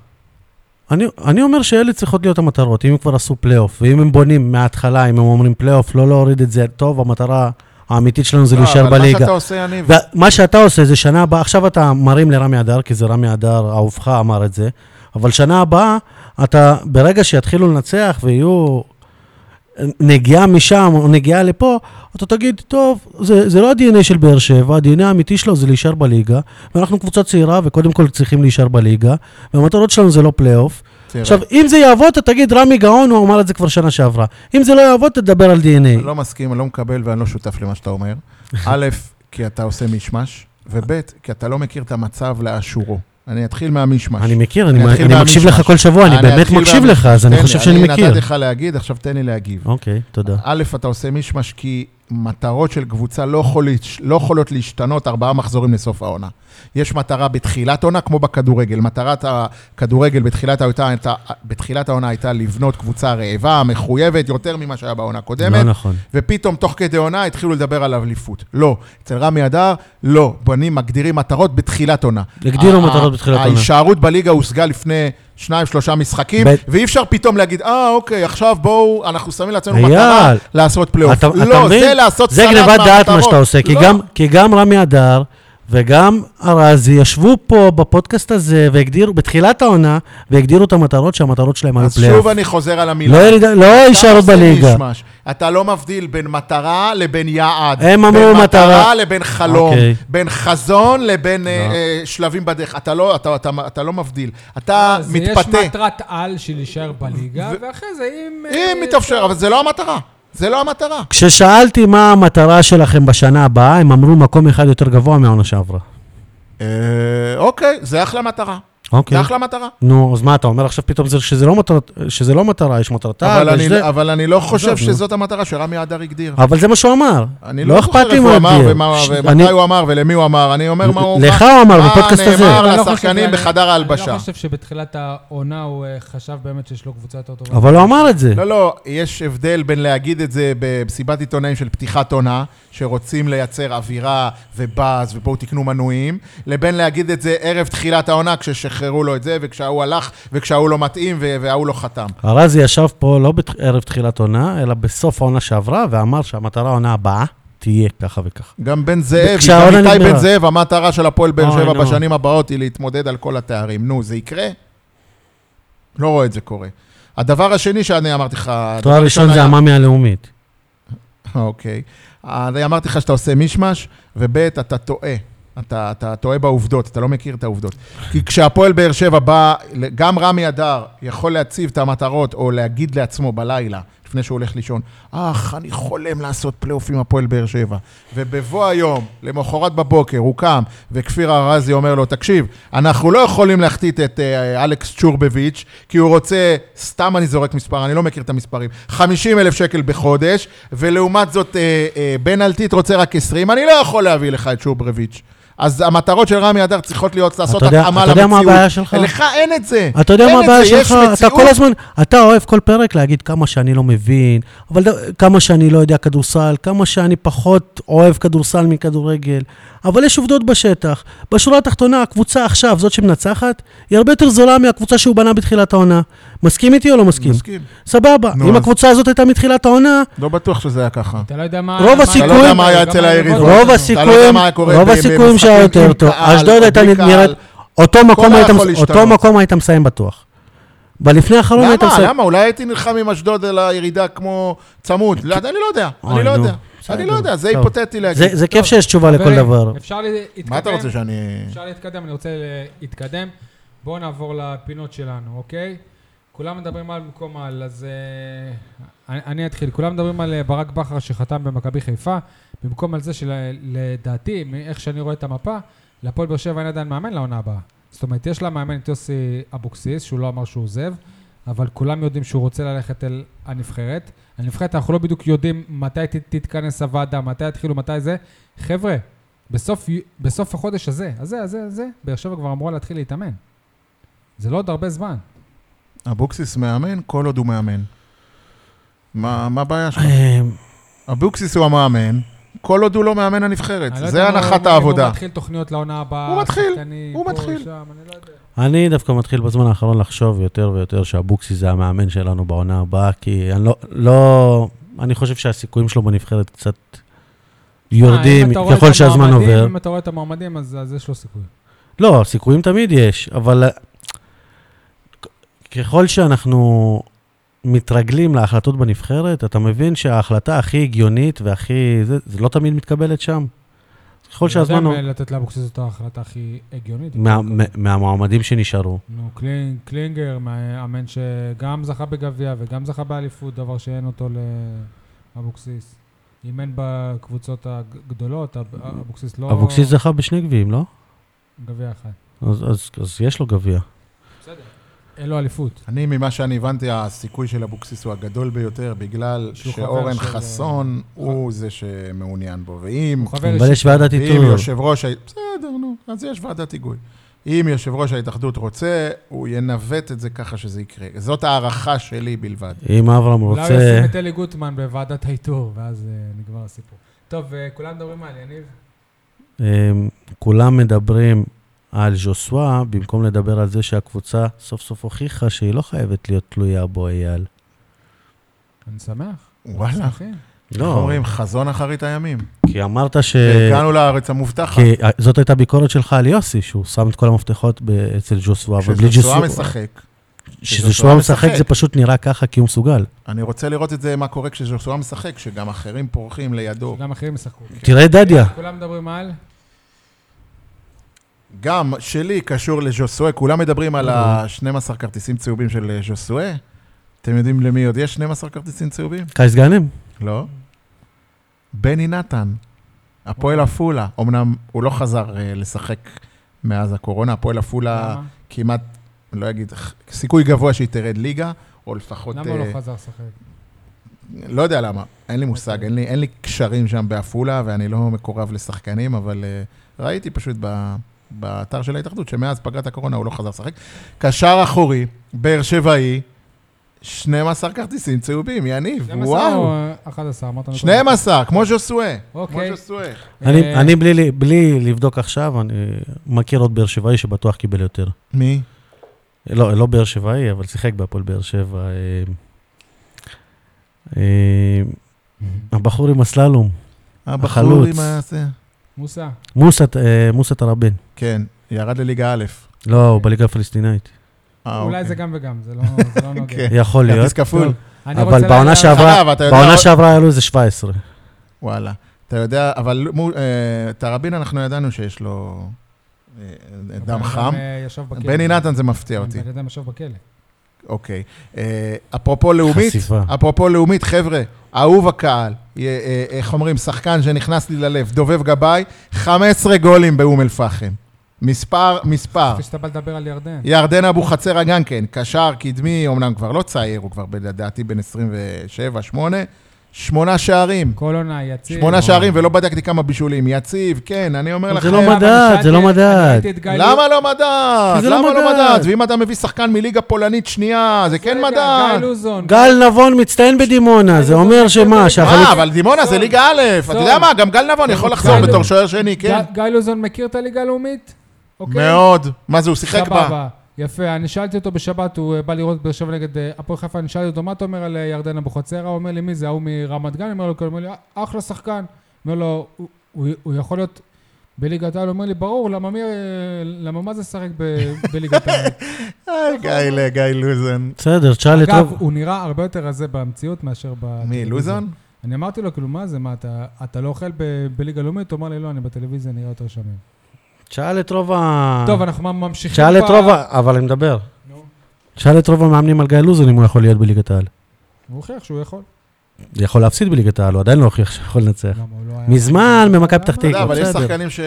Speaker 2: אני, אני אומר שאלה צריכות להיות המטרות, אם הם כבר עשו פלייאוף, ואם הם בונים מההתחלה, אם הם אומרים פלייאוף, לא להוריד את זה, טוב, המטרה האמיתית שלנו זה
Speaker 3: לא,
Speaker 2: להישאר
Speaker 3: אבל מה
Speaker 2: בליגה.
Speaker 3: שאתה עושה, יניב,
Speaker 2: ומה שאתה עושה זה שנה הבאה, עכשיו אתה מרים לרמי אדר, כי זה רמי אדר, אהובך אמר את זה, אבל שנה הבאה, אתה, ברגע שיתחילו לנצח ויהיו נגיעה משם או נגיעה לפה, אתה תגיד, טוב, זה, זה לא ה-DNA של באר שבע, ה-DNA האמיתי שלו זה להישאר בליגה, ואנחנו קבוצה צעירה וקודם כל צריכים להישאר בליגה, והמטרות שלנו זה לא פלייאוף.
Speaker 3: תראה,
Speaker 2: עכשיו, אם זה יעבוד, אתה תגיד, רמי גאון, הוא אמר את זה כבר שנה שעברה. אם זה לא יעבוד, תדבר על
Speaker 3: אני
Speaker 2: DNA.
Speaker 3: לא מסכים, אני לא מקבל ואני לא שותף למה שאתה אומר. א', כי אתה עושה מישמש, וב', כי אתה לא מכיר את המצב לאשורו. אני אתחיל מהמישמש.
Speaker 2: אני מכיר, אני,
Speaker 3: אתחיל
Speaker 2: אני מקשיב לך
Speaker 3: מהמישמש.
Speaker 2: כל שבוע, אני,
Speaker 3: אני
Speaker 2: באמת
Speaker 3: אתחיל
Speaker 2: מקשיב
Speaker 3: מהמישמש.
Speaker 2: לך, אז אני
Speaker 3: תן לי,
Speaker 2: חושב שאני מכיר.
Speaker 3: אני נתתי לך להגיד, עכשיו תן לי להגיב.
Speaker 2: אוקיי, תודה.
Speaker 3: א', אתה עושה מישמש כי מטרות של קבוצה לא, יכול, להש- לא יכולות להשתנות ארבעה מחזורים לסוף העונה. יש מטרה בתחילת עונה, כמו בכדורגל. מטרת הכדורגל בתחילת, העונה, הייתה, בתחילת העונה הייתה לבנות קבוצה רעבה, מחויבת, יותר ממה שהיה בעונה
Speaker 2: לא
Speaker 3: הקודמת.
Speaker 2: נכון.
Speaker 3: ופתאום, תוך כדי עונה, התחילו לדבר על אליפות. לא. אצל רמי אדר, לא. בנים מגדירים מטרות בתחילת עונה.
Speaker 2: הגדירו
Speaker 3: ה-
Speaker 2: מטרות בתחילת
Speaker 3: ה-
Speaker 2: עונה.
Speaker 3: ההישארות בליגה הושגה לפני שניים, שלושה משחקים,
Speaker 2: ב-
Speaker 3: ואי אפשר פתאום להגיד, אה, אוקיי, עכשיו בואו, אנחנו שמים לעצמנו
Speaker 2: אייל.
Speaker 3: מטרה לעשות פלייאוף.
Speaker 2: אתה- אתה
Speaker 3: לא,
Speaker 2: מבין?
Speaker 3: זה לעשות
Speaker 2: זה
Speaker 3: סלט
Speaker 2: גניבת דעת מה
Speaker 3: מהמטרות.
Speaker 2: שאתה עושה, כי
Speaker 3: לא.
Speaker 2: גם- כי גם רמי אדר וגם ארזי ישבו פה בפודקאסט הזה והגדירו, בתחילת העונה, והגדירו את המטרות שהמטרות שלהם היו
Speaker 3: אז שוב
Speaker 2: פלייאוף.
Speaker 3: אני חוזר על המילה.
Speaker 2: לא ירידה- לא יישארו
Speaker 3: אתה עושה
Speaker 2: בליגה.
Speaker 3: מישמש. אתה לא מבדיל בין מטרה לבין יעד.
Speaker 2: הם אמרו
Speaker 3: בין
Speaker 2: מטרה.
Speaker 3: מטרה לבין חלום.
Speaker 2: אוקיי.
Speaker 3: בין חזון לבין אה,
Speaker 2: לא.
Speaker 3: אה, שלבים בדרך. אתה לא- אתה- אתה- אתה לא מבדיל. אתה
Speaker 1: אה, אז יש
Speaker 3: מתפתה.
Speaker 1: מטרת על של להישאר בליגה, ואחרי זה אם...
Speaker 3: אם
Speaker 1: אה,
Speaker 3: מתאפשר, אבל זה לא המטרה. זה לא המטרה.
Speaker 2: כששאלתי מה המטרה שלכם בשנה הבאה, הם אמרו מקום אחד יותר גבוה מהעונה שעברה.
Speaker 3: אה, אוקיי, זה אחלה מטרה.
Speaker 2: אוקיי.
Speaker 3: זה אחלה מטרה.
Speaker 2: נו, אז מה אתה אומר עכשיו פתאום זה- שזה לא מטרת- שזה לא מטרה, יש מטרת
Speaker 3: אבל
Speaker 2: על, יש
Speaker 3: אני-
Speaker 2: זה.
Speaker 3: אבל אני לא חושב
Speaker 2: עזוב, נו.
Speaker 3: שזאת המטרה שרמי אדר הגדיר.
Speaker 2: אבל זה מה שהוא אמר.
Speaker 3: אני
Speaker 2: לא
Speaker 3: לא
Speaker 2: אכפת
Speaker 3: זוכר
Speaker 2: לי
Speaker 3: איפה
Speaker 2: מה
Speaker 3: הוא
Speaker 2: הוא
Speaker 3: אמר
Speaker 2: הגדיר.
Speaker 3: ומה-
Speaker 2: ש-
Speaker 3: ומתי
Speaker 2: אני-
Speaker 3: הוא אמר ולמי הוא אמר. אני אומר מה הוא...
Speaker 2: לך
Speaker 3: מה-
Speaker 2: הוא אמר
Speaker 3: מה
Speaker 2: בפודקאסט הזה.
Speaker 1: אני
Speaker 3: נאמר
Speaker 1: לא חושב-
Speaker 3: לשחקנים
Speaker 1: אני-
Speaker 3: בחדר
Speaker 1: אני לא
Speaker 3: ההלבשה.
Speaker 1: חושב שבתחילת העונה הוא אה, חשב באמת שיש לו קבוצה יותר טובה.
Speaker 2: אבל הוא אמר את זה.
Speaker 3: לא, לא, יש הבדל בין להגיד את זה במסיבת עיתונאים של פתיחת עונה, שרוצים לייצר אווירה ובאז ובואו תקנו מנויים, לבין להגיד את זה ערב תחילת העונה, כששחררו לו את זה, וכשההוא הלך, וכשההוא לא מתאים, ו- וההוא לא חתם.
Speaker 2: ארזי ישב פה לא בערב תחילת עונה, אלא בסוף העונה שעברה, ואמר שהמטרה העונה הבאה תהיה ככה וככה.
Speaker 3: גם בן זאב,
Speaker 2: כשהעונה
Speaker 3: גם איתי
Speaker 2: נגמרה.
Speaker 3: בן זאב, המטרה של הפועל באר
Speaker 2: אוי,
Speaker 3: שבע
Speaker 2: נו.
Speaker 3: בשנים הבאות היא להתמודד על כל התארים. נו, זה יקרה? לא רואה את זה קורה. הדבר השני שאני אמרתי לך... הדבר
Speaker 2: תואר ראשון זה
Speaker 3: היה-
Speaker 2: המאמי הלאומית.
Speaker 3: אוקיי. אני אמרתי לך שאתה עושה מישמש, וב' אתה טועה. אתה, אתה טועה בעובדות, אתה לא מכיר את העובדות. כי כשהפועל באר שבע בא, גם רמי אדר יכול להציב את המטרות, או להגיד לעצמו בלילה, לפני שהוא הולך לישון, אך, אני חולם לעשות פלייאוף עם הפועל באר שבע. ובבוא היום, למחרת בבוקר, הוא קם, וכפיר ארזי אומר לו, תקשיב, אנחנו לא יכולים להחטיא את אה, אלכס צ'ורבביץ', כי הוא רוצה, סתם אני זורק מספר, אני לא מכיר את המספרים, 50 אלף שקל בחודש, ולעומת זאת, אה, אה, בן אלטית רוצה רק 20, אני לא יכול להביא לך את צ'ורבביץ'. אז המטרות של רמי אדר צריכות להיות לעשות
Speaker 2: אתה יודע-
Speaker 3: התאמה
Speaker 2: אתה יודע מה
Speaker 3: למציאות.
Speaker 2: הבעיה שלך?
Speaker 3: לך אין את זה.
Speaker 2: אתה יודע
Speaker 3: אין
Speaker 2: מה
Speaker 3: את
Speaker 2: הבעיה
Speaker 3: זה, יש
Speaker 2: שלך? אתה כל
Speaker 3: מציאות.
Speaker 2: הזמן, אתה אוהב כל פרק להגיד כמה שאני לא מבין, אבל ד- כמה שאני לא יודע כדורסל, כמה שאני פחות אוהב כדורסל מכדורגל, אבל יש עובדות בשטח. בשורה התחתונה, הקבוצה עכשיו, זאת שמנצחת, היא הרבה יותר זולה מהקבוצה שהוא בנה בתחילת העונה. מסכים איתי או לא מסכים?
Speaker 3: מסכים.
Speaker 2: סבבה.
Speaker 3: נו,
Speaker 2: אם
Speaker 3: אז-
Speaker 2: הקבוצה הזאת הייתה מתחילת העונה,
Speaker 3: לא בטוח שזה היה ככה.
Speaker 1: אתה לא יודע מה...
Speaker 2: רוב
Speaker 1: מה-
Speaker 2: הסיכויים-
Speaker 1: אתה לא יודע
Speaker 3: מה היה אצל
Speaker 1: גם
Speaker 3: היריב.
Speaker 1: היריבות.
Speaker 2: רוב
Speaker 3: אתה לא יודע
Speaker 2: הסיכויים,
Speaker 3: מה קורה
Speaker 2: רוב
Speaker 3: ב-
Speaker 2: הסיכויים שהיה
Speaker 3: במשחקים
Speaker 2: יותר
Speaker 3: עם
Speaker 2: טוב.
Speaker 3: קהל,
Speaker 2: אשדוד הייתה
Speaker 3: בלי קהל.
Speaker 2: נראית... אותו מקום היית
Speaker 3: יכול
Speaker 2: מס-
Speaker 3: להשתנות.
Speaker 2: אותו מקום היית מסיים בטוח. בלפני
Speaker 1: לא,
Speaker 2: האחרון היית
Speaker 3: למה?
Speaker 2: מסיים...
Speaker 3: למה? אולי הייתי נלחם עם אשדוד על הירידה כמו צמוד. לא, אני לא יודע.
Speaker 2: אוי,
Speaker 3: אני לא
Speaker 2: נו.
Speaker 3: יודע.
Speaker 2: בסדר.
Speaker 3: אני לא יודע, זה
Speaker 2: טוב.
Speaker 3: היפותטי
Speaker 2: זה,
Speaker 3: להגיד.
Speaker 2: זה כיף שיש תשובה לכל
Speaker 1: חברים,
Speaker 2: דבר.
Speaker 1: אפשר להתקדם?
Speaker 3: מה אתה רוצה שאני...
Speaker 1: אפשר להתקדם, אני רוצה להתקדם. בואו נעבור לפינות שלנו, אוקיי? כולם מדברים על במקום על, אז אה, אני, אני אתחיל. כולם מדברים על אה, ברק בכר שחתם במכבי חיפה, במקום על זה שלדעתי, מאיך שאני רואה את המפה, להפועל באר שבע אין עדיין מאמן לעונה הבאה. זאת אומרת, יש לה מאמן את יוסי אבוקסיס, שהוא לא אמר שהוא עוזב, אבל כולם יודעים שהוא רוצה ללכת אל הנבחרת. הנבחרת, אנחנו לא בדיוק יודעים מתי ת, תתכנס הוועדה, מתי יתחילו, מתי זה. חבר'ה, בסוף, י- בסוף החודש הזה, הזה, הזה, הזה, באר שבע כבר אמורה להתחיל להתאמן. זה לא עוד הרבה זמן.
Speaker 3: אבוקסיס מאמן כל עוד הוא מאמן. מה מה הבעיה שלך?
Speaker 2: אה,
Speaker 3: אבוקסיס הוא המאמן, כל עוד הוא לא מאמן הנבחרת.
Speaker 1: אני לא
Speaker 3: זה
Speaker 1: יודע אם הוא-
Speaker 3: הנחת
Speaker 1: אם
Speaker 3: העבודה.
Speaker 1: הוא מתחיל תוכניות לעונה הבאה,
Speaker 3: הוא מתחיל,
Speaker 1: שחקנים,
Speaker 3: הוא
Speaker 1: פה,
Speaker 3: מתחיל.
Speaker 1: שם, אני לא יודע.
Speaker 2: אני דווקא מתחיל בזמן האחרון לחשוב יותר ויותר שאבוקסיס זה המאמן שלנו בעונה הבאה, כי אני לא, לא... אני חושב שהסיכויים שלו בנבחרת קצת
Speaker 1: אה, אם
Speaker 2: יורדים
Speaker 1: אתה רואה
Speaker 2: ככל
Speaker 1: את
Speaker 2: שהזמן
Speaker 1: המועמדים,
Speaker 2: עובר.
Speaker 1: אם אתה רואה את המועמדים, אז אז יש לו סיכוי.
Speaker 2: לא, סיכויים תמיד יש, אבל אה, כ- ככל שאנחנו מתרגלים להחלטות בנבחרת, אתה מבין שההחלטה הכי הגיונית והכי... זה, זה לא תמיד מתקבלת שם. ככל שהזמן...
Speaker 1: אני
Speaker 2: הוא-
Speaker 1: יודע אם אה, לתת לאבוקסיס זאת ההחלטה הכי הגיונית.
Speaker 2: מה- מה- מהמועמדים שנשארו.
Speaker 1: נו, קלינג- קלינגר, מאמן שגם זכה בגביע וגם זכה באליפות, דבר שאין אותו לאבוקסיס. אימן בקבוצות הגדולות, אב- אבוקסיס לא...
Speaker 2: אבוקסיס זכה בשני גביעים, לא?
Speaker 1: גביע אחד.
Speaker 2: אז, אז, אז יש לו גביע.
Speaker 1: בסדר. אין לו אליפות.
Speaker 3: אני, ממה שאני הבנתי, הסיכוי של אבוקסיס הוא הגדול ביותר, בגלל
Speaker 1: שהוא חבר
Speaker 3: שאורן
Speaker 1: של- אה,
Speaker 3: חסון הוא זה שמעוניין בו. ואם...
Speaker 1: הוא חבר
Speaker 2: אבל
Speaker 1: אישי.
Speaker 2: יש ועדת
Speaker 3: ואם
Speaker 2: איתור.
Speaker 3: יושב ראש... ה- בסדר, נו, אז יש ועדת היגוי. אם יושב ראש ההתאחדות רוצה, הוא ינווט את זה ככה שזה יקרה. זאת הערכה שלי בלבד.
Speaker 2: אם
Speaker 1: אולי
Speaker 2: אברהם
Speaker 1: הוא
Speaker 2: רוצה...
Speaker 1: ישים את אלי גוטמן בוועדת האיתור, ואז אה, נגמר הסיפור. טוב, אה, כולם מדברים על יניב.
Speaker 2: אמ, כולם מדברים על ז'וסווה, במקום לדבר על זה שהקבוצה סוף סוף הוכיחה שהיא לא חייבת להיות תלויה בו, אייל.
Speaker 1: אני שמח.
Speaker 3: וואלה.
Speaker 1: שמחים.
Speaker 2: לא.
Speaker 3: איך אומרים? חזון אחרית הימים.
Speaker 2: כי אמרת ש...
Speaker 3: הגענו לארץ המובטחת.
Speaker 2: כי אה, זאת הייתה ביקורת שלך על יוסי, שהוא שם את כל המפתחות ב- אצל ז'וסווה, אבל בלי
Speaker 3: כשז'וסואה
Speaker 2: ג'וסווה...
Speaker 3: משחק,
Speaker 2: כשז'וסווה משחק
Speaker 3: משחק. כן.
Speaker 2: זה פשוט נראה ככה כי הוא מסוגל.
Speaker 3: אני רוצה לראות את זה, מה קורה כשז'וסואה משחק, שגם אחרים פורחים לידו.
Speaker 1: שגם אחרים ישחקו.
Speaker 3: כן.
Speaker 2: תראה את דדיה.
Speaker 1: כולם מדברים על...
Speaker 3: גם שלי קשור לז'וסואה, כולם מדברים על ה-12 כרטיסים צהובים של אה, ז'וסואה. אתם יודעים למי עוד יש 12 כרטיסים צהובים?
Speaker 2: קייס גאנם?
Speaker 3: לא. בני נתן, הפועל
Speaker 1: אוקיי.
Speaker 3: עפולה. אמנם הוא לא חזר אה, לשחק מאז הקורונה, הפועל עפולה
Speaker 1: למה?
Speaker 3: כמעט, אני לא אגיד, ח- סיכוי גבוה שהיא תרד ליגה, או לפחות...
Speaker 1: למה הוא
Speaker 3: אה,
Speaker 1: לא אוקיי. חזר לשחק?
Speaker 3: לא יודע למה, אין לי מושג, אין לי, אין לי קשרים שם בעפולה, ואני לא מקורב לשחקנים, אבל uh, ראיתי פשוט ב, באתר של ההתאחדות, שמאז פגרת הקורונה הוא לא חזר לשחק. קשר אחורי, באר שבעי, 12 כרטיסים צהובים, יניב,
Speaker 1: 12 או
Speaker 3: וואו.
Speaker 1: אה, 11? אמרת לנו קודם.
Speaker 3: 12, כמו ז'וסואה. כמו
Speaker 1: אוקיי.
Speaker 3: ז'וסואה.
Speaker 2: אני-
Speaker 1: אה,
Speaker 2: אני בלי- בלי לבדוק עכשיו, אני מכיר עוד באר שבעי שבטוח קיבל יותר.
Speaker 3: מי?
Speaker 2: לא, לא באר שבעי, אבל שיחק בהפועל באר שבע. אה, אה, הבחור עם הסללום,
Speaker 3: הבחור
Speaker 2: החלוץ.
Speaker 3: עם ה... זה.
Speaker 1: מוסא.
Speaker 2: מוסא אה, מוסא תראבין.
Speaker 3: כן, ירד לליגה א'.
Speaker 2: לא, הוא בליגה הפלסטינאית.
Speaker 3: אה,
Speaker 1: אולי
Speaker 3: אוקיי.
Speaker 1: זה גם וגם, זה לא זה לא נוגע.
Speaker 3: כן.
Speaker 2: יכול להיות.
Speaker 3: כרטיס כפול.
Speaker 1: טוב, אני
Speaker 2: אבל
Speaker 1: רוצה
Speaker 2: בעונה
Speaker 1: לה-
Speaker 2: שעברה-
Speaker 3: חלב, אתה יודע...
Speaker 2: בעונה שעברה היה לו איזה 17.
Speaker 3: וואלה. אתה יודע, אבל מו- אה, תראבין, אנחנו ידענו שיש לו אה, דם
Speaker 1: הבן
Speaker 3: חם.
Speaker 1: אדם, אה, ישב בכלא.
Speaker 3: בני נתן זה מפתיע אותי.
Speaker 1: הבן אדם ישב בכלא.
Speaker 3: אוקיי. אה, אפרופו לאומית,
Speaker 2: חשיפה.
Speaker 3: אפרופו לאומית, חבר'ה, אהוב הקהל, אה, אה, איך אומרים, שחקן שנכנס לי ללב, דובב גבאי, 15 גולים באום אל-פחם. מספר, מספר.
Speaker 1: כפי שאתה בא לדבר על ירדן.
Speaker 3: ירדן אבוחצירא גם כן, קשר קדמי, אמנם כבר לא צעיר, הוא כבר לדעתי בן 27-8, שמונה שערים.
Speaker 1: כל עונה יציב.
Speaker 2: לא
Speaker 3: שמונה שערים, ולא בדקתי כמה בישולים. יציב, כן, אני אומר
Speaker 2: אבל
Speaker 3: לכם...
Speaker 2: זה לא
Speaker 1: אבל
Speaker 2: מדד,
Speaker 1: שאלתי-
Speaker 2: זה לא
Speaker 1: אני
Speaker 2: מדד.
Speaker 1: ראיתי את גיא לוז-
Speaker 3: למה לא מדד?
Speaker 2: כי זה לא
Speaker 3: למה לא
Speaker 2: מדד?
Speaker 3: מדד? ואם אתה מביא שחקן מליגה פולנית שנייה, זה כן
Speaker 1: רגע,
Speaker 3: מדד.
Speaker 1: גיא לוזון.
Speaker 2: גל נבון מצטיין בדימונה, זה אומר שמה, שהחלוץ...
Speaker 3: מה, אה, אבל דימונה זה ליגה א', אתה יודע מה, גם גל נבון יכול לחזור
Speaker 1: גל-
Speaker 3: בתור שוער שני, כן?
Speaker 1: גיא- גיא לוזון מכיר את הליגה הלאומית? אוקיי.
Speaker 3: מאוד. מה זה, הוא שיחק בה.
Speaker 1: סבבה. יפה, אני שאלתי אותו בשבת, הוא אה, בא לראות באר שבע נגד אה, הפועל חיפה, אני שאלתי אותו, מה אתה אומר על אה, ירדן אבוחצירא? הוא אומר לי, מי זה, ההוא מרמת גן? אני אומר לו, כן. הוא אומר לי, אחלה שחקן. אומר לו, "הוא- הוא הוא יכול להיות בליגת העל? הוא אומר לי, ברור, למה מי, אה, למה מה זה שחק ב- בליגת העל?
Speaker 3: היי, גיא, גיא לוזון.
Speaker 2: בסדר, תשאל את
Speaker 1: אגב,
Speaker 2: רוב...
Speaker 1: הוא נראה הרבה יותר רזה במציאות מאשר ב...
Speaker 3: מי, לוזון?
Speaker 1: אני אמרתי לו, כאילו, מה זה, מה, אתה- אתה לא אוכל ב- בליגה לאומית? הוא אמר לי, לא, אני בטלוויזיה נראה יותר שמן.
Speaker 2: תשאל את רוב
Speaker 3: אה.
Speaker 2: ה...
Speaker 1: טוב, אנחנו ממשיכים.
Speaker 2: תשאל את
Speaker 1: ב-
Speaker 2: רוב ה... אבל אני מדבר.
Speaker 1: נו.
Speaker 2: תשאל את רוב המאמנים על גיא לוזון אם הוא יכול להיות בליגת העל.
Speaker 1: הוא הוכיח שהוא יכול.
Speaker 2: הוא יכול להפסיד בליגת העל, הוא עדיין לא הוכיח שהוא יכול לנצח.
Speaker 1: למה, הוא לא היה-
Speaker 2: מזמן במכבי פתח
Speaker 3: אתה יודע,
Speaker 2: תקווה,
Speaker 3: אבל יש
Speaker 2: בסדר.
Speaker 3: שחקנים ש...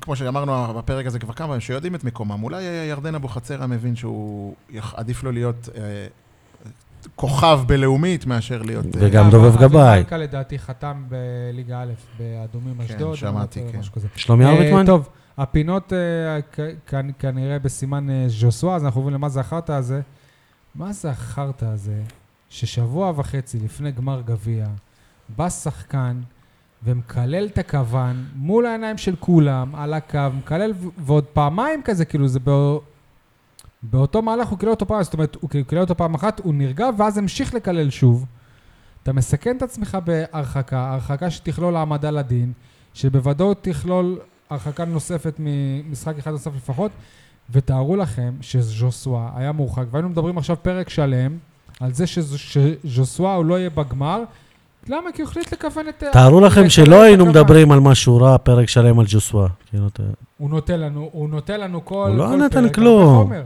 Speaker 3: כמו שאמרנו בפרק הזה כבר כמה פעמים, שיודעים את מקומם. אולי ירדן אבוחצירא מבין שהוא יח- עדיף לו להיות אה, כוכב בלאומית מאשר להיות... אה,
Speaker 2: וגם
Speaker 1: אגב,
Speaker 2: דובב
Speaker 1: אבי
Speaker 2: גבאי.
Speaker 1: מלכה לדעתי חתם בליגה א' באדומים
Speaker 3: כן,
Speaker 1: אשדוד. או
Speaker 3: שמעתי,
Speaker 1: משהו
Speaker 3: כן.
Speaker 1: משהו כזה.
Speaker 2: שלומי
Speaker 1: אה,
Speaker 2: ארביטמן?
Speaker 1: טוב, הפינות אה, כ- כ- כנראה בסימן אה, ז'וסואה, אז אנחנו עוברים למה זה החרטא הזה. מה זה החרטא הזה ששבוע וחצי לפני גמר גביע בא שחקן ומקלל את הכוון מול העיניים של כולם על הקו, מקלל ו- ועוד פעמיים כזה, כאילו זה בא... באותו מהלך הוא קילל אותו פעם, זאת אומרת, הוא כאילו קילל אותו פעם אחת, הוא נרגע ואז המשיך לקלל שוב. אתה מסכן את עצמך בהרחקה, הרחקה שתכלול העמדה לדין, שבוודאות תכלול הרחקה נוספת ממשחק אחד נוסף לפחות, ותארו לכם שז'וסואה היה מורחק, והיינו מדברים עכשיו פרק שלם על זה שז- שז'וסואה הוא לא יהיה בגמר, למה? כי הוא החליט לכוון את...
Speaker 2: תארו לכם שלא היינו
Speaker 1: הכוון.
Speaker 2: מדברים על משהו רע, פרק שלם על ג'וסווה. כאילו, אתה-
Speaker 1: הוא נותן לנו, הוא נותן לנו כל...
Speaker 2: הוא לא
Speaker 1: כל
Speaker 2: נתן
Speaker 1: פרק
Speaker 2: כלום.
Speaker 1: הרבה חומר.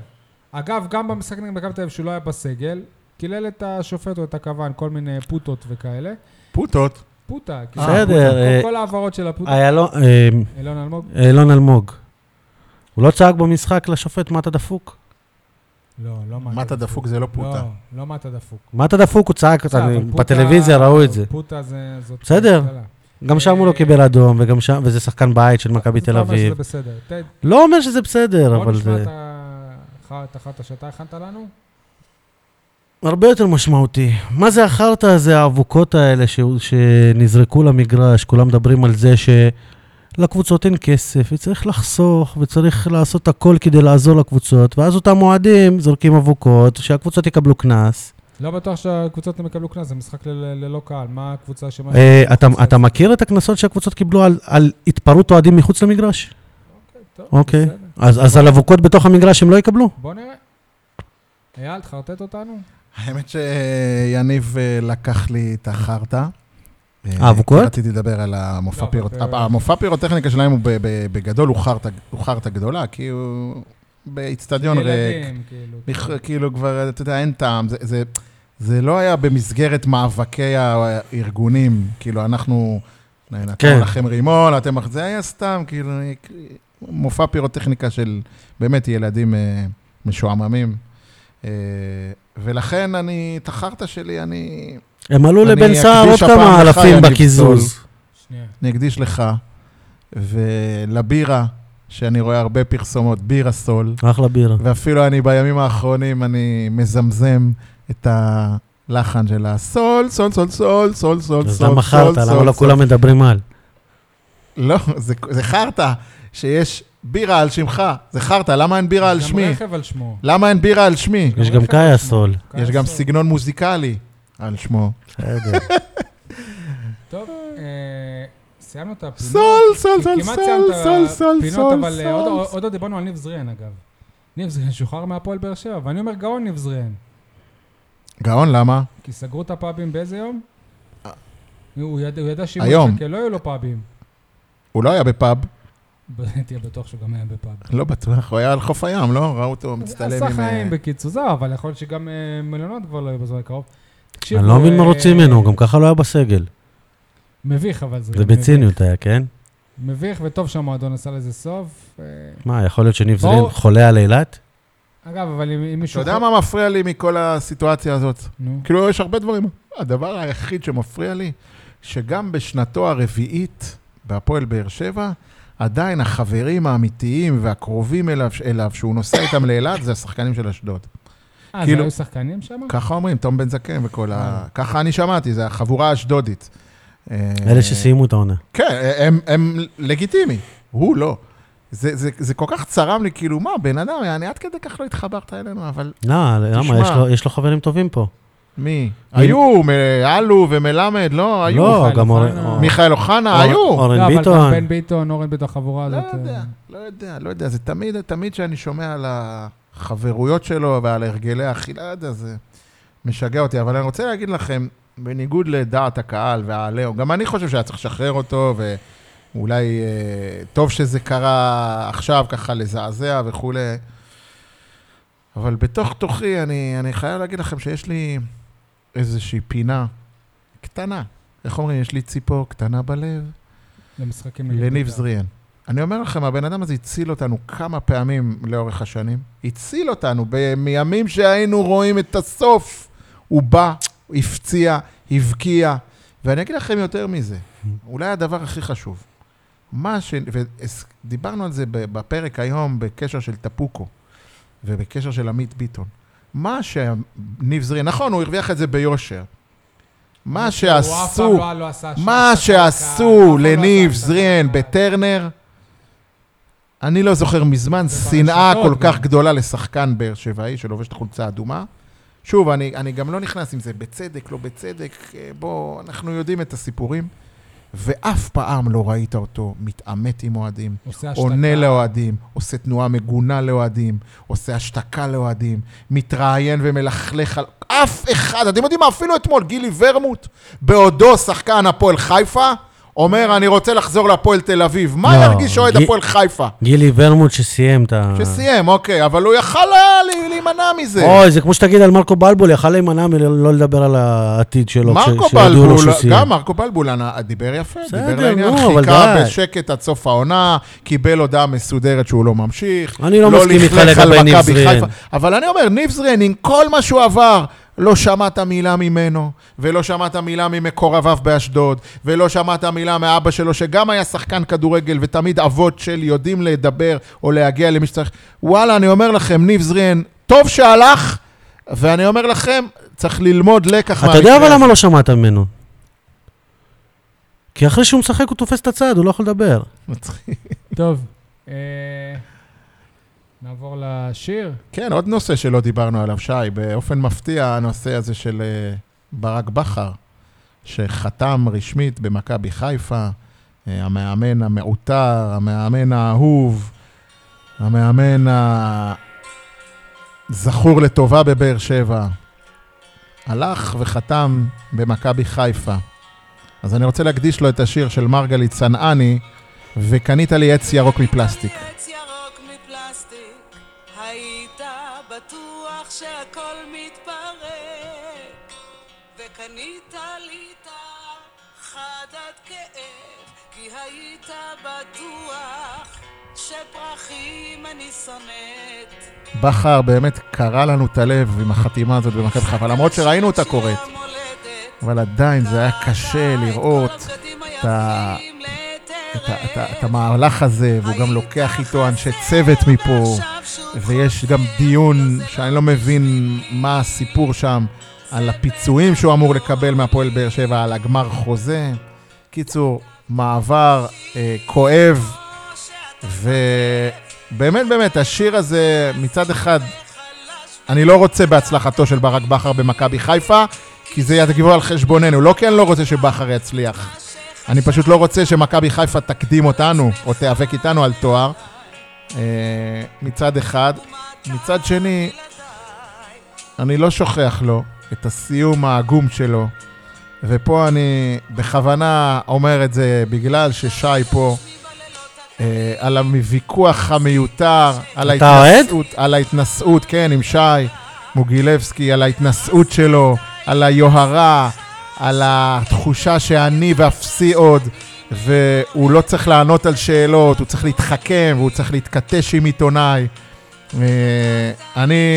Speaker 1: אגב, גם במשחק נגד מכבי תל אביב שהוא לא היה בסגל, קילל את השופט או את הכוון, כל מיני פוטות וכאלה.
Speaker 3: פוטות.
Speaker 1: פוטה, כאילו,
Speaker 2: בסדר,
Speaker 1: כל-
Speaker 2: אה,
Speaker 1: כל ההעברות של הפוטה.
Speaker 2: איילון- אה,
Speaker 1: אילון אלמוג?
Speaker 2: אילון אלמוג. הוא לא צעק במשחק לשופט, מה אתה דפוק?
Speaker 1: לא, לא מה
Speaker 3: מה אתה דפוק זה לא פוטה.
Speaker 1: לא, לא מה אתה דפוק.
Speaker 2: מה אתה דפוק? הוא צעק,
Speaker 1: בסדר, אבל
Speaker 2: אני-
Speaker 1: פוטה-
Speaker 2: בטלוויזיה ראו את זה.
Speaker 1: פוטה זה... זאת
Speaker 2: בסדר.
Speaker 1: שאלה.
Speaker 2: גם שם הוא לא
Speaker 1: אה,
Speaker 2: קיבל אדום, וגם שם, וזה שחקן בית של מכבי
Speaker 1: זה
Speaker 2: תל
Speaker 1: לא אומר
Speaker 2: אביב.
Speaker 1: שזה בסדר. ת-
Speaker 2: לא אומר שזה בסדר,
Speaker 1: בוא
Speaker 2: אבל
Speaker 1: נשמע
Speaker 2: זה
Speaker 1: את ה- את החרטא שאתה הכנת לנו.
Speaker 2: הרבה יותר משמעותי. מה זה החרטא הזה, האבוקות האלה ש... שנזרקו למגרש, כולם מדברים על זה שלקבוצות אין כסף, וצריך לחסוך, וצריך לעשות הכל כדי לעזור לקבוצות, ואז אותם אוהדים זורקים אבוקות, שהקבוצות יקבלו קנס.
Speaker 1: לא בטוח שהקבוצות הם יקבלו קנס, זה משחק ל- ל- ללא קהל. מה הקבוצה שמה...
Speaker 2: אה, אתה, אתה מכיר את הקנסות שהקבוצות קיבלו על, על התפרעות אוהדים מחוץ למגרש?
Speaker 1: טוב,
Speaker 2: אוקיי.
Speaker 1: בסדר.
Speaker 2: אז, אז על אבוקות בתוך המגרש הם לא יקבלו?
Speaker 1: בוא נראה. אייל, תחרטט אותנו.
Speaker 3: האמת שיניב אה, לקח לי את החרטא. אה,
Speaker 2: האבוקות?
Speaker 3: כי רציתי לדבר על המופע
Speaker 1: לא,
Speaker 3: פירוט...
Speaker 1: אבל-
Speaker 3: המופע פירוטכניקה שלהם הוא ב- ב- בגדול הוא חרטא- הוא חרטא גדולה, כי הוא באיצטדיון ריק.
Speaker 1: ילדים, כאילו.
Speaker 3: בכ- כאילו כבר, אתה יודע, אין טעם. זה, זה, זה לא היה במסגרת מאבקי הארגונים. כאילו, אנחנו נתנו
Speaker 2: כן.
Speaker 3: כן. לכם רימון, אתם... אח- זה היה סתם, כאילו, מופע פירוטכניקה של באמת ילדים אה, משועממים. אה, ולכן אני, את החרטא שלי, אני,
Speaker 2: הם עלו
Speaker 3: אני
Speaker 2: לבן סער עוד
Speaker 3: אקדיש הפעם
Speaker 2: כמה
Speaker 3: לך,
Speaker 2: אלפים
Speaker 3: יניב
Speaker 2: בקיזוז.
Speaker 1: שנייה.
Speaker 3: אני אקדיש לך ולבירה, שאני רואה הרבה פרסומות, בירה סול.
Speaker 2: אחלה בירה.
Speaker 3: ואפילו אני בימים האחרונים, אני מזמזם את הלחן של הסול, סול, סול, סול, סול, סול,
Speaker 2: אז
Speaker 3: סול,
Speaker 2: למה
Speaker 3: סול,
Speaker 2: חרטא? למה
Speaker 3: סול,
Speaker 2: לא
Speaker 3: סול.
Speaker 2: כולם מדברים על?
Speaker 3: לא, זה- זה חרטא שיש בירה על שמך. זה חרטא, למה אין בירה על
Speaker 1: יש גם
Speaker 3: שמי?
Speaker 1: רכב על שמו.
Speaker 3: למה אין בירה על שמי?
Speaker 2: יש גם קאיה סול.
Speaker 3: יש גם
Speaker 1: סול.
Speaker 3: סגנון מוזיקלי על שמו.
Speaker 2: בסדר.
Speaker 1: טוב, אה, סיימנו את הפינות.
Speaker 3: סול, סול, סול,
Speaker 1: כמעט
Speaker 3: סול,
Speaker 1: סיימנו את
Speaker 3: סול, סול,
Speaker 1: הפינות,
Speaker 3: סול,
Speaker 1: אבל אה, עוד-
Speaker 3: סול.
Speaker 1: עוד לא דיברנו על ניב זריאן, אגב. ניב זריאן שוחרר מהפועל באר שבע, ואני אומר גאון ניב זריאן.
Speaker 3: גאון, למה?
Speaker 1: כי סגרו את הפאבים באיזה יום? הוא ידע הוא ידע שאם
Speaker 3: אה. היום.
Speaker 1: הוא יחכה, לא יהיו לו פאבים.
Speaker 3: הוא לא היה בפאב,
Speaker 1: תהיה בטוח שהוא גם היה בפאב.
Speaker 3: לא בטוח, הוא היה על חוף הים, לא? ראו אותו מצטלם
Speaker 1: עשה
Speaker 3: עם... אה,
Speaker 1: חיים בקיצור, זהו, אבל יכול להיות שגם אה, מלונות כבר לא יהיו בזמן הקרוב. תקשיבו,
Speaker 2: אני לא מבין מה
Speaker 1: אה,
Speaker 2: רוצים ממנו, הוא גם ככה לא היה בסגל.
Speaker 1: מביך, אבל זה...
Speaker 2: זה בציניות היה, כן?
Speaker 1: מביך, וטוב שהמועדון עשה לזה סוף. אה,
Speaker 2: מה, יכול להיות שניב
Speaker 1: בואו.
Speaker 3: אה.
Speaker 2: זרין חולה על אילת?
Speaker 1: אגב, אבל אם אם
Speaker 3: אתה
Speaker 1: מישהו...
Speaker 3: יודע מה מפריע לי מכל הסיטואציה הזאת?
Speaker 1: נו.
Speaker 3: כאילו, יש הרבה דברים. הדבר היחיד שמפריע לי, שגם בשנתו הרביעית בהפועל באר שבע, עדיין החברים האמיתיים והקרובים אליו, אליו שהוא נוסע איתם לאילת, זה השחקנים של אשדוד.
Speaker 1: אה, זה
Speaker 3: כאילו-
Speaker 1: היו שחקנים שם?
Speaker 3: ככה אומרים, תום בן זקן וכל ה... ככה אני שמעתי, זה החבורה האשדודית. אה,
Speaker 4: אלה שסיימו את העונה.
Speaker 3: כן, הם, הם לגיטימי, הוא לא. זה, זה, זה כל כך צרם לי, כאילו, מה, בן אדם, אני עד כדי כך לא התחברת אלינו, אבל
Speaker 4: לא, למה? יש לו- יש לו חברים טובים פה.
Speaker 3: מי? היו, מ- אלו ומלמד, לא, היו.
Speaker 4: לא,
Speaker 1: מיכאל
Speaker 4: גם אורן-
Speaker 1: אוחנה.
Speaker 4: אור-
Speaker 3: מיכאל אוחנה,
Speaker 4: אור-
Speaker 3: היו.
Speaker 1: לא,
Speaker 4: אורן
Speaker 1: אבל גם
Speaker 4: ביטון.
Speaker 1: בן ביטון, אורן ביטון, החבורה
Speaker 3: לא
Speaker 1: הזאת.
Speaker 3: יודע,
Speaker 1: אה,
Speaker 3: לא יודע, לא יודע, זה תמיד, תמיד כשאני שומע על החברויות שלו ועל הרגלי האכילה, לא יודע, זה משגע אותי. אבל אני רוצה להגיד לכם, בניגוד לדעת הקהל והעליהום, גם אני חושב שהיה צריך לשחרר אותו, ואולי אה, טוב שזה קרה עכשיו, ככה לזעזע וכולי. אבל בתוך תוכי, אני, אני חייב להגיד לכם שיש לי איזושהי פינה קטנה. איך אומרים? יש לי ציפור קטנה בלב.
Speaker 1: למשחקים נגד
Speaker 3: לניב
Speaker 1: בית"ר.
Speaker 3: זריאן. אני אומר לכם, הבן אדם הזה הציל אותנו כמה פעמים לאורך השנים. הציל אותנו ב- מימים שהיינו רואים את הסוף. הוא בא, הוא הפציע, הבקיע. ואני אגיד לכם יותר מזה, אולי הדבר הכי חשוב. מה ש... ודיברנו על זה ב- בפרק היום בקשר של טפוקו ובקשר של עמית ביטון. מה שניב זריאן, נכון, הוא הרוויח את זה ביושר. מה שעשו...
Speaker 1: הוא אף פעם לא- לא עשה שם
Speaker 3: מה
Speaker 1: שחקן, אף
Speaker 3: שעשו
Speaker 1: פעם לא
Speaker 3: לניב
Speaker 1: עשה שם
Speaker 3: זריאן
Speaker 1: שחקן.
Speaker 3: בטרנר, אני לא זוכר מזמן שנאה
Speaker 1: ברשתות
Speaker 3: כל
Speaker 1: גם.
Speaker 3: כך גדולה לשחקן באר שבעי שלובש את החולצה האדומה. שוב, אני, אני גם לא נכנס אם זה בצדק, לא בצדק, אה, בוא, אנחנו יודעים את הסיפורים. ואף פעם לא ראית אותו מתעמת עם אוהדים,
Speaker 1: עושה השתקה.
Speaker 3: עונה לאוהדים, עושה תנועה מגונה לאוהדים, עושה השתקה לאוהדים, מתראיין ומלכלך על... אף אחד, אתם יודעים מה? אפילו אתמול גילי ורמוט, בעודו שחקן הפועל חיפה, אומר, אני רוצה לחזור להפועל תל אביב. מה
Speaker 4: לא,
Speaker 3: ירגיש אוהד
Speaker 4: גי-
Speaker 3: הפועל חיפה?
Speaker 2: אה.
Speaker 4: גילי ורמוט שסיים את ה...
Speaker 3: שסיים, אוקיי, אבל הוא יכל היה לה- להימנע מזה.
Speaker 4: אוי, זה כמו שתגיד על מרקו בלבול, יכל להימנע מלא לדבר על העתיד שלו. כש-
Speaker 3: מרקו
Speaker 4: כשידעו לו
Speaker 3: בלבול,
Speaker 4: שהוא סיים.
Speaker 3: גם מרקו בלבול אה, דיבר יפה,
Speaker 4: בסדר,
Speaker 3: דיבר לעניין,
Speaker 4: נו, אבל
Speaker 3: חיכה
Speaker 4: די.
Speaker 3: בשקט עד סוף העונה, קיבל הודעה מסודרת שהוא לא ממשיך.
Speaker 4: אני לא מסכים איתך
Speaker 3: לכלך על
Speaker 4: לגבי ניב
Speaker 3: מכבי
Speaker 4: זריאן.
Speaker 3: חיפה. אבל אני אומר, ניב זריאן, עם כל מה שהוא עבר, לא שמעת מילה ממנו, ולא שמעת מילה ממקורביו באשדוד, ולא שמעת מילה מאבא שלו, שגם היה שחקן כדורגל, ותמיד אבות של יודעים לדבר או להגיע למי שצריך. וואלה, אני אומר לכם, ניב זריאן, טוב שהלך, ואני אומר לכם, צריך ללמוד לקח
Speaker 4: אתה יודע
Speaker 3: מהמקרה
Speaker 4: אבל
Speaker 3: הזה.
Speaker 4: למה לא שמעת ממנו? כי אחרי שהוא משחק הוא תופס את הצד, הוא לא יכול לדבר.
Speaker 3: מצחיק.
Speaker 1: טוב, אה, נעבור לשיר.
Speaker 3: כן, עוד נושא שלא דיברנו עליו, שי, באופן מפתיע, הנושא הזה של אה, ברק בכר, שחתם רשמית במכבי חיפה, אה, המאמן המעוטר, המאמן האהוב, המאמן הזכור לטובה בבאר שבע, הלך וחתם במכבי חיפה. אז אני רוצה להקדיש לו את השיר של מרגלית צנעני, וקנית לי עץ ירוק מפלסטיק.
Speaker 5: עץ ירוק מפלסטיק, היית בטוח שהכל מתפרק, וקנית לי טעם חד עד כאב, כי היית בטוח שפרחים אני שונאת.
Speaker 3: בכר באמת קרע לנו את הלב עם החתימה הזאת במכבי חיפה, למרות שראינו אותה קורית, אבל עדיין זה היה קשה לראות את ה- את ה- את ה- את המהלך הזה, והוא גם לוקח איתו אנשי צוות מפה, ויש גם דיון שאני לא מבין מה הסיפור שם, על הפיצויים שהוא אמור לקבל מהפועל באר שבע, על הגמר חוזה. קיצור, מעבר אה, כואב, ובאמת באמת, השיר הזה מצד אחד, אני לא רוצה בהצלחתו של ברק בכר במכבי חיפה, כי זה יגיבו על חשבוננו, לא כי אני לא רוצה שבכר יצליח. אני פשוט לא רוצה שמכבי חיפה תקדים אותנו, או תיאבק איתנו על תואר, אה, מצד אחד. מצד שני, אני לא שוכח לו את הסיום העגום שלו, ופה אני בכוונה אומר את זה בגלל ששי פה, אה, על הוויכוח המיותר, על
Speaker 4: אתה אוהד?
Speaker 3: ההתנשאות, על ההתנשאות, כן, עם שי מוגילבסקי, על ההתנשאות שלו, על היוהרה, על התחושה שאני ואפסי עוד. והוא לא צריך לענות על שאלות, הוא צריך להתחכם, והוא צריך להתכתש עם עיתונאי. אה, אני,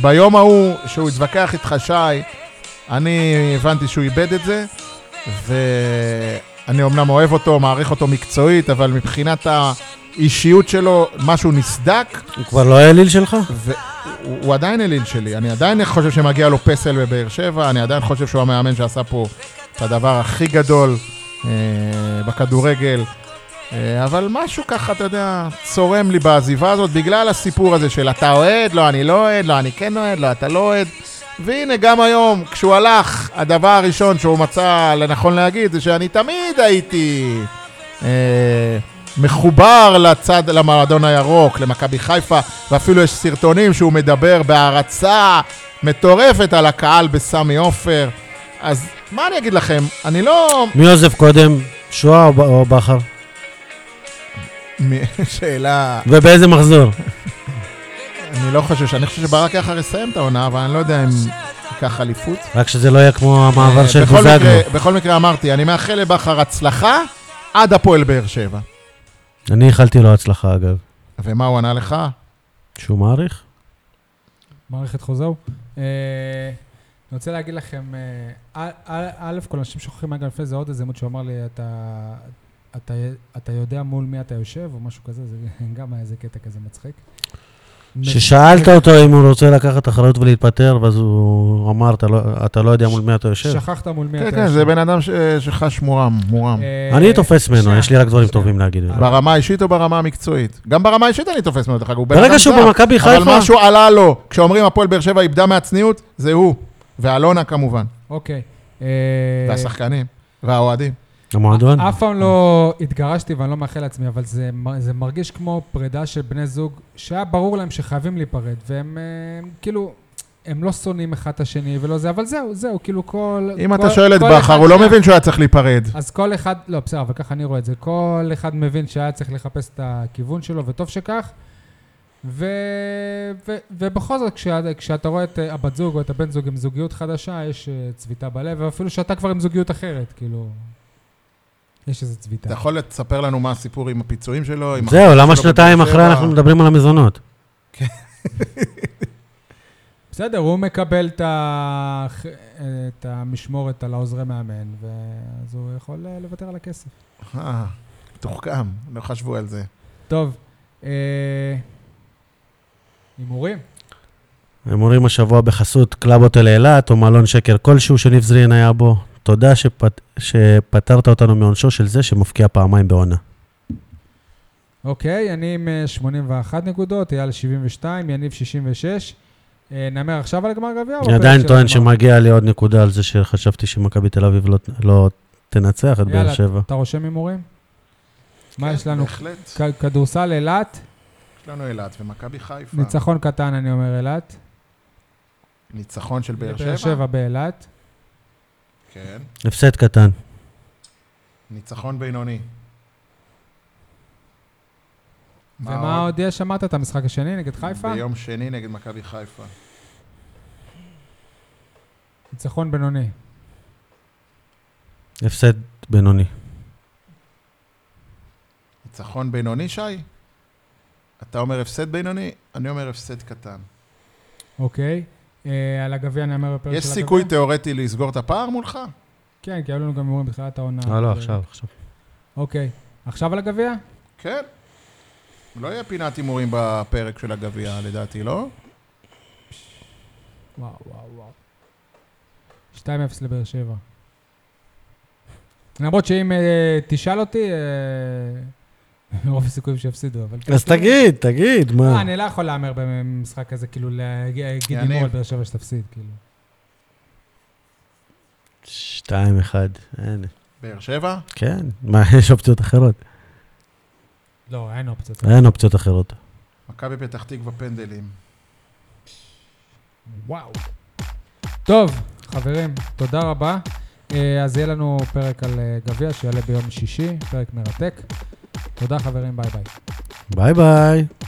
Speaker 3: ביום ההוא שהוא התווכח איתך, שי, אני הבנתי שהוא איבד את זה, ואני אומנם אוהב אותו, מעריך אותו מקצועית, אבל מבחינת האישיות שלו, משהו נסדק,
Speaker 2: הוא כבר לא האליל שלך?
Speaker 3: והוא הוא עדיין אליל שלי. אני עדיין חושב שמגיע לו פסל בבאר שבע, אני עדיין חושב שהוא המאמן שעשה פה את הדבר הכי גדול אה, בכדורגל. אה, אבל משהו ככה, אתה יודע, צורם לי בעזיבה הזאת, בגלל הסיפור הזה של אתה אוהד, לא, אני לא אוהד, לא, אני כן אוהד, לא, אתה לא אוהד. והנה, גם היום, כשהוא הלך, הדבר הראשון שהוא מצא לנכון להגיד זה שאני תמיד הייתי אה, מחובר לצד, למועדון הירוק, למכבי חיפה, ואפילו יש סרטונים שהוא מדבר בהערצה מטורפת על הקהל בסמי עופר. אז מה אני אגיד לכם? אני לא...
Speaker 2: מי עוזב קודם, שואה או ב- או בכר?
Speaker 3: מ- שאלה...
Speaker 2: ובאיזה מחזור?
Speaker 3: אני לא חושב, ש- אני חושב שברק יחר יסיים את העונה, אבל אני לא יודע אם ייקח אליפות.
Speaker 2: רק שזה לא יהיה כמו המעבר
Speaker 3: אה,
Speaker 2: של
Speaker 3: בכל
Speaker 2: בוזגלו.
Speaker 3: מקרה- בכל מקרה אמרתי, אני מאחל לבכר הצלחה עד הפועל באר שבע.
Speaker 2: אני איחלתי לו הצלחה, אגב.
Speaker 3: ומה הוא ענה לך?
Speaker 2: שהוא מעריך?
Speaker 1: מערכת חוזהו. אה, אני רוצה להגיד לכם, אה, א', א', כל אנשים שוכחים רגע לפני זה עוד איזה מות שהוא אמר לי, אתה, אתה, אתה יודע מול מי אתה יושב, או משהו כזה, זה גם היה איזה קטע כזה מצחיק.
Speaker 2: ששאלת אותו אם הוא רוצה לקחת אחריות ולהתפטר, ואז הוא אמר, "אתה לא- אתה לא יודע מול מי אתה יושב.
Speaker 1: שכחת מול מי
Speaker 3: כן,
Speaker 1: אתה
Speaker 3: כן, זה בן אדם ש- שחש מורם, מורם.
Speaker 1: אה,
Speaker 2: אני תופס ממנו,
Speaker 1: שנייה,
Speaker 2: יש לי רק דברים
Speaker 1: שנייה.
Speaker 2: טובים להגיד. עליו.
Speaker 3: ברמה האישית או ברמה המקצועית? גם ברמה האישית אני תופס ממנו, דרך אגב, הוא בן אדם
Speaker 2: ברגע שהוא
Speaker 3: זר,
Speaker 2: במכבי חיפה,
Speaker 3: לא, אבל משהו עלה לו. כשאומרים הפועל באר שבע איבדה מהצניעות, זה הוא. ואלונה כמובן,
Speaker 1: אוקיי. אה,
Speaker 3: והשחקנים, והאוהדים.
Speaker 2: המועדון,
Speaker 1: אף פעם לא התגרשתי ואני לא מאחל לעצמי, אבל זה, מ- זה מרגיש כמו פרידה של בני זוג, שהיה ברור להם שחייבים להיפרד, והם אה, כאילו, הם לא שונאים אחד את השני ולא זה, אבל זהו, זהו, כאילו כל...
Speaker 3: אם
Speaker 1: כל-
Speaker 3: אתה שואל את
Speaker 1: כל
Speaker 3: בכר,
Speaker 1: אחד
Speaker 3: הוא לא
Speaker 1: שהיה-
Speaker 3: מבין שהוא היה צריך להיפרד.
Speaker 1: אז כל אחד, לא, בסדר, אבל ככה אני רואה את זה. כל אחד מבין שהיה צריך לחפש את הכיוון שלו, וטוב שכך. ו... ו... ובכל זאת, כשה... כשאתה רואה את אה, הבת זוג או את הבן זוג עם זוגיות חדשה, יש אה, צביטה בלב, ואפילו שאתה כבר עם זוגיות אחרת, כאילו... יש איזו צביטה.
Speaker 3: אתה יכול לספר לנו מה הסיפור עם הפיצויים שלו? עם
Speaker 2: זהו,
Speaker 3: החיים
Speaker 2: למה
Speaker 3: שלו
Speaker 2: שנתיים
Speaker 3: לא בבאר
Speaker 2: אחרי
Speaker 3: שבע?
Speaker 2: אנחנו מדברים על המזונות?
Speaker 1: בסדר, הוא מקבל את, ה... אה, את המשמורת על העוזרי מאמן, ואז הוא יכול אה, לוותר על הכסף.
Speaker 3: אה, מתוחכם, לא חשבו על זה.
Speaker 1: טוב, אה, הימורים?
Speaker 2: הימורים השבוע בחסות קלאבות אל אילת, או מלון שקר כלשהו שניף זרין היה בו. תודה שפת... שפטרת אותנו מעונשו של זה שמפקיע פעמיים בעונה.
Speaker 1: אוקיי, אני עם אה, 81 נקודות, אייל 72, יניב 66. אה, נאמר עכשיו על גמר גביע? או
Speaker 2: אני
Speaker 1: בפרק
Speaker 2: עדיין
Speaker 1: של
Speaker 2: טוען
Speaker 1: הגמר?
Speaker 2: שמגיע לי עוד נקודה על זה שחשבתי שמכבי תל אביב לא, לא תנצח את באר
Speaker 1: יאללה.
Speaker 2: שבע.
Speaker 1: אתה רושם הימורים? מה
Speaker 3: כן,
Speaker 1: יש לנו?
Speaker 3: בהחלט.
Speaker 1: כ- כדורסל אילת,
Speaker 3: יש לנו אילת ומכבי חיפה.
Speaker 1: ניצחון קטן, אני אומר אילת.
Speaker 3: ניצחון של
Speaker 1: באר
Speaker 3: באר שבע?
Speaker 1: שבע באילת.
Speaker 3: כן.
Speaker 2: הפסד קטן.
Speaker 3: ניצחון בינוני. מה
Speaker 1: ומה עוד יש? אמרת את המשחק השני נגד חיפה?
Speaker 3: ביום שני נגד מכבי חיפה.
Speaker 1: ניצחון בינוני.
Speaker 2: הפסד בינוני.
Speaker 3: ניצחון בינוני, שי? אתה אומר הפסד בינוני, אני אומר הפסד קטן.
Speaker 1: אוקיי. אה, על הגביע נאמר בפרק של הגביע?
Speaker 3: יש סיכוי תיאורטי לסגור את הפער מולך?
Speaker 1: כן, כי היו לנו גם הימורים בתחילת העונה.
Speaker 2: לא, לא,
Speaker 1: אה,
Speaker 2: עכשיו, עכשיו.
Speaker 1: אוקיי. עכשיו על הגביע?
Speaker 3: כן. לא יהיה פינת הימורים בפרק של הגביע, לדעתי, לא?
Speaker 1: וואו, וואו, וואו. 2-0 לבאר שבע. למרות שאם אה, תשאל אותי, אה, רוב הסיכויים שיפסידו, אבל... כאילו,
Speaker 2: אז תגיד, תגיד,
Speaker 1: אה,
Speaker 2: מה?
Speaker 1: אני לא יכול להמר במשחק הזה, כאילו, להגיד
Speaker 3: יניב.
Speaker 1: הימור על באר שבע שתפסיד, כאילו.
Speaker 2: שתיים, אחד. אין.
Speaker 3: באר שבע?
Speaker 2: כן. מה, יש אופציות אחרות?
Speaker 1: לא, אין אופציות.
Speaker 2: אין אופציות אחרות.
Speaker 3: מכבי פתח תקווה פנדלים.
Speaker 1: וואו. טוב, חברים, תודה רבה. אה, אז יהיה לנו פרק על אה, גביע שיעלה ביום שישי, פרק מרתק. תודה, חברים, ביי ביי.
Speaker 2: ביי ביי.